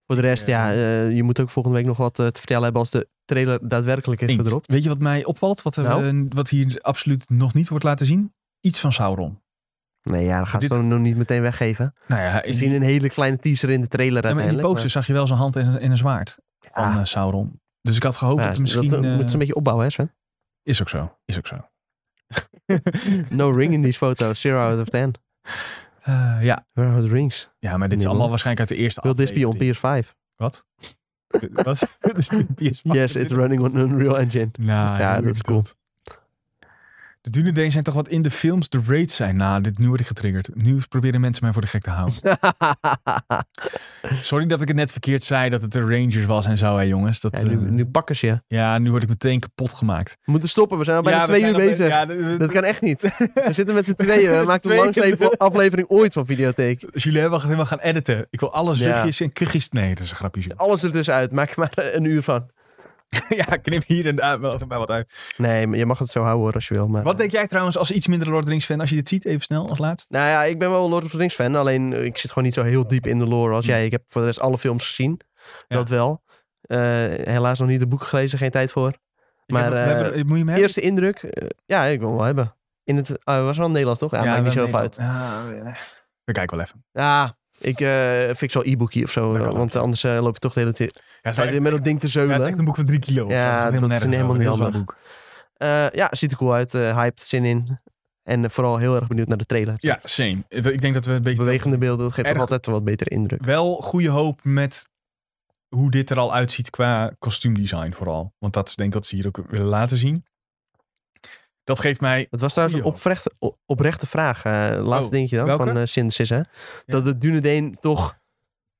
Speaker 2: Voor de rest,
Speaker 1: Ja.
Speaker 2: ja, eh, je moet ook volgende week nog wat eh, te vertellen hebben als de trailer daadwerkelijk is gedropt.
Speaker 1: Weet je wat mij opvalt? Wat, er,
Speaker 2: Nou?
Speaker 1: eh, wat hier absoluut nog niet wordt laten zien? Iets van Sauron.
Speaker 2: Nee, ja, dat gaat
Speaker 1: Dit-
Speaker 2: ze nog niet meteen weggeven.
Speaker 1: Nou ja, in die,
Speaker 2: Misschien een hele kleine teaser in de
Speaker 1: ja,
Speaker 2: trailer
Speaker 1: maar in die
Speaker 2: uiteindelijk.
Speaker 1: poster zag je wel zijn hand en, een- en een zwaard van
Speaker 2: Ah.
Speaker 1: eh, Sauron. Dus ik had gehoopt
Speaker 2: maar-
Speaker 1: dat
Speaker 2: ja,
Speaker 1: er misschien...
Speaker 2: dat, eh,
Speaker 1: eh,
Speaker 2: moet ze een beetje opbouwen, hè Sven?
Speaker 1: Is ook zo, is ook zo.
Speaker 2: [laughs] No ring in these photos. Zero out of ten.
Speaker 1: Eh, ja.
Speaker 2: Where are the rings?
Speaker 1: ja, maar dit is
Speaker 2: Nee,
Speaker 1: allemaal
Speaker 2: hoor.
Speaker 1: waarschijnlijk uit de eerste
Speaker 2: Will this be on
Speaker 1: aflevering.
Speaker 2: PS5?
Speaker 1: Wat? [laughs] Wat? Will this be on PS5?
Speaker 2: Yes, it's running on Unreal Engine.
Speaker 1: Nou,
Speaker 2: Ja,
Speaker 1: heel
Speaker 2: dat is cool.
Speaker 1: irritant. De Dunedain zijn toch wat in de films de raids zijn. Nou, dit, nu word ik getriggerd. Nu proberen mensen mij voor de gek te
Speaker 2: [laughs]
Speaker 1: houden. Sorry dat ik het net verkeerd zei dat het de Rangers was en zo, hè jongens. Dat,
Speaker 2: Ja,
Speaker 1: eh,
Speaker 2: nu, nu pakken ze je.
Speaker 1: word ik meteen kapot gemaakt.
Speaker 2: We moeten stoppen. We zijn al Oh, bijna
Speaker 1: ja, we
Speaker 2: twee uur
Speaker 1: zijn al bij-
Speaker 2: bezig.
Speaker 1: Ja, de-
Speaker 2: Dat kan echt niet. We zitten met z'n tweeën. We maken de
Speaker 1: Twee
Speaker 2: langste
Speaker 1: keer.
Speaker 2: aflevering ooit van Videotheek.
Speaker 1: Julien mag helemaal gaan editen. Ik wil alle
Speaker 2: Ja.
Speaker 1: zuchtjes en kuchjes... Nee, dat is een grapje. Jules.
Speaker 2: Alles er dus uit. Maak er maar een uur van.
Speaker 1: [laughs] ja, knip hier en daar wel wel wat uit.
Speaker 2: Nee, maar je mag het zo houden hoor, als je wil. Maar,
Speaker 1: Wat denk jij trouwens als iets minder Lord of the Rings fan als je dit ziet? Even snel als laatst.
Speaker 2: Nou ja, ik ben wel een Lord of the Rings fan. Alleen eh, ik zit gewoon niet zo heel diep in de lore als
Speaker 1: Hmm.
Speaker 2: jij. Ik heb voor de rest alle films gezien.
Speaker 1: Ja.
Speaker 2: Dat wel. Eh, helaas nog niet de boek gelezen. Geen tijd voor.
Speaker 1: Ik
Speaker 2: Maar,
Speaker 1: heb- we
Speaker 2: eh,
Speaker 1: hebben- moet je hem hebben?
Speaker 2: Eerste indruk. eh, ja, ik wil hem wel hebben. In het, oh, het was wel Nederlands toch? Ja, maakt niet
Speaker 1: we
Speaker 2: zo heel veel uit.
Speaker 1: hebben- Ah, ja. We kijken wel even.
Speaker 2: Ja, ik eh fix wel e-boekie of zo.
Speaker 1: Dat kan ook,
Speaker 2: Want
Speaker 1: ja.
Speaker 2: anders eh, loop je toch de hele tijd
Speaker 1: Ja, het is
Speaker 2: met dat ding te
Speaker 1: Ja,
Speaker 2: zeulen.
Speaker 1: het is echt een boek van drie kilo. of zo.
Speaker 2: Ja,
Speaker 1: Het gaat helemaal
Speaker 2: dat is
Speaker 1: nergens
Speaker 2: helemaal
Speaker 1: over.
Speaker 2: niet
Speaker 1: Heel zwaar
Speaker 2: handig.
Speaker 1: boek.
Speaker 2: Eh, ja, ziet er cool uit. eh hyped, zin in. En eh, vooral heel erg benieuwd naar de trailer.
Speaker 1: Ja, same. Ik denk dat we een beetje
Speaker 2: Bewegende beelden, dat geeft toch
Speaker 1: Erg.
Speaker 2: altijd een wat betere indruk.
Speaker 1: wel goede hoop met hoe dit er al uitziet qua kostuumdesign vooral. Want dat is denk ik wat ze hier ook willen laten zien. Dat geeft mij...
Speaker 2: Het was trouwens een
Speaker 1: Goeie
Speaker 2: oprechte, o- oprechte vraag. eh laatste
Speaker 1: Oh,
Speaker 2: dingetje dan,
Speaker 1: welke?
Speaker 2: van eh Synthesis. Hè? Dat de Dunedin toch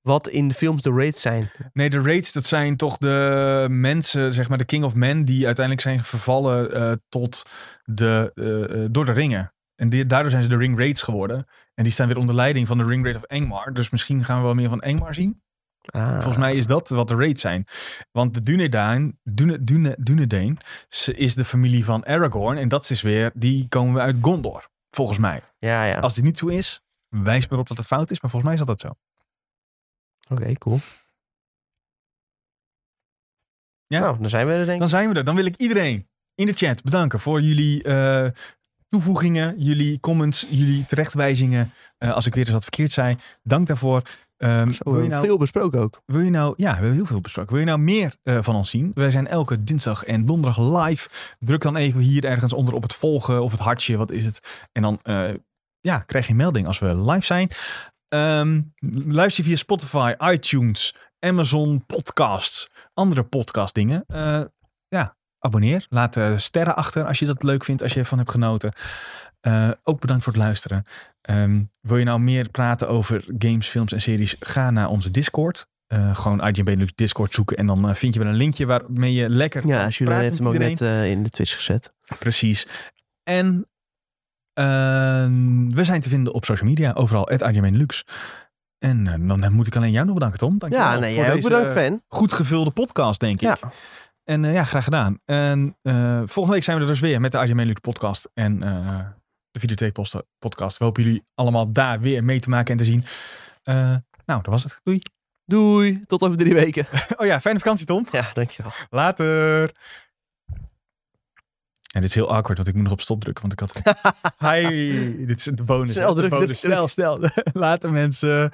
Speaker 2: wat in de films de raids zijn.
Speaker 1: Nee, de raids, dat zijn toch de mensen, zeg maar de king of men, die uiteindelijk zijn vervallen eh, tot de, eh, eh, door de ringen. En die- daardoor zijn ze de ring raids geworden. En die staan weer onder leiding van de ring raid of Engmar. Dus misschien gaan we wel meer van Engmar zien.
Speaker 2: Ah,
Speaker 1: Volgens mij is dat wat de raids zijn. Want de Dunedain, Dune, Dune, Dunedain ze is de familie van Aragorn. En dat is weer, die komen we uit Gondor. Volgens mij.
Speaker 2: Ja, ja.
Speaker 1: Als dit niet zo is, wijs me op dat het fout is. Maar volgens mij is dat dat zo.
Speaker 2: Oké, cool.
Speaker 1: Ja.
Speaker 2: Nou, dan zijn we er denk ik.
Speaker 1: Dan zijn we er. Dan wil ik iedereen in de chat bedanken voor jullie eh, toevoegingen, jullie comments, jullie terechtwijzingen. Eh, als ik weer eens wat verkeerd zei, dank daarvoor. Ehm,
Speaker 2: Zo,
Speaker 1: wil je
Speaker 2: eh,
Speaker 1: nou
Speaker 2: Veel besproken ook.
Speaker 1: Wil je nou, ja, we hebben heel veel besproken. Wil je nou meer eh, van ons zien? Wij zijn elke dinsdag en donderdag live. Druk dan even hier ergens onder op het volgen of het hartje, wat is het? En dan eh, ja, krijg je een melding als we live zijn. Ehm, luister via Spotify, iTunes, Amazon Podcasts, andere podcastdingen. Eh, ja, abonneer. Laat eh, sterren achter als je dat leuk vindt, als je ervan hebt genoten. Eh, ook bedankt voor het luisteren. Ehm, wil je nou meer praten over games, films en series? Ga naar onze Discord. Eh, gewoon IGN Benelux Discord zoeken. En dan eh, vind je wel een linkje waarmee je lekker...
Speaker 2: Ja, Julien
Speaker 1: praat
Speaker 2: heeft
Speaker 1: met
Speaker 2: hem ook
Speaker 1: iedereen.
Speaker 2: net eh, in de Twitch gezet.
Speaker 1: Precies. En ehm, we zijn te vinden op social media. Overal, at IGN Benelux. En eh, dan moet ik alleen jou nog bedanken, Tom. Dank je
Speaker 2: Ja,
Speaker 1: wel
Speaker 2: nee,
Speaker 1: voor
Speaker 2: jij ook
Speaker 1: deze,
Speaker 2: bedankt,
Speaker 1: eh,
Speaker 2: Ben.
Speaker 1: Goed gevulde podcast, denk ik.
Speaker 2: Ja.
Speaker 1: En eh, ja, graag gedaan. En eh, volgende week zijn we er dus weer met de IGN Benelux podcast. En eh, de Videotheek post- podcast. We hopen jullie allemaal daar weer mee te maken en te zien. Eh, nou, dat was het. Doei. [laughs]
Speaker 2: Doei, tot over drie weken.
Speaker 1: Oh ja, fijne vakantie Tom.
Speaker 2: Ja, dankjewel.
Speaker 1: Later. En dit is heel awkward, want ik moet nog op stop drukken, want ik had... Hi, dit is de bonus. hè,
Speaker 2: Snel
Speaker 1: de
Speaker 2: druk,
Speaker 1: bonus.
Speaker 2: druk,
Speaker 1: Snel,
Speaker 2: druk.
Speaker 1: snel. [laughs] Later mensen.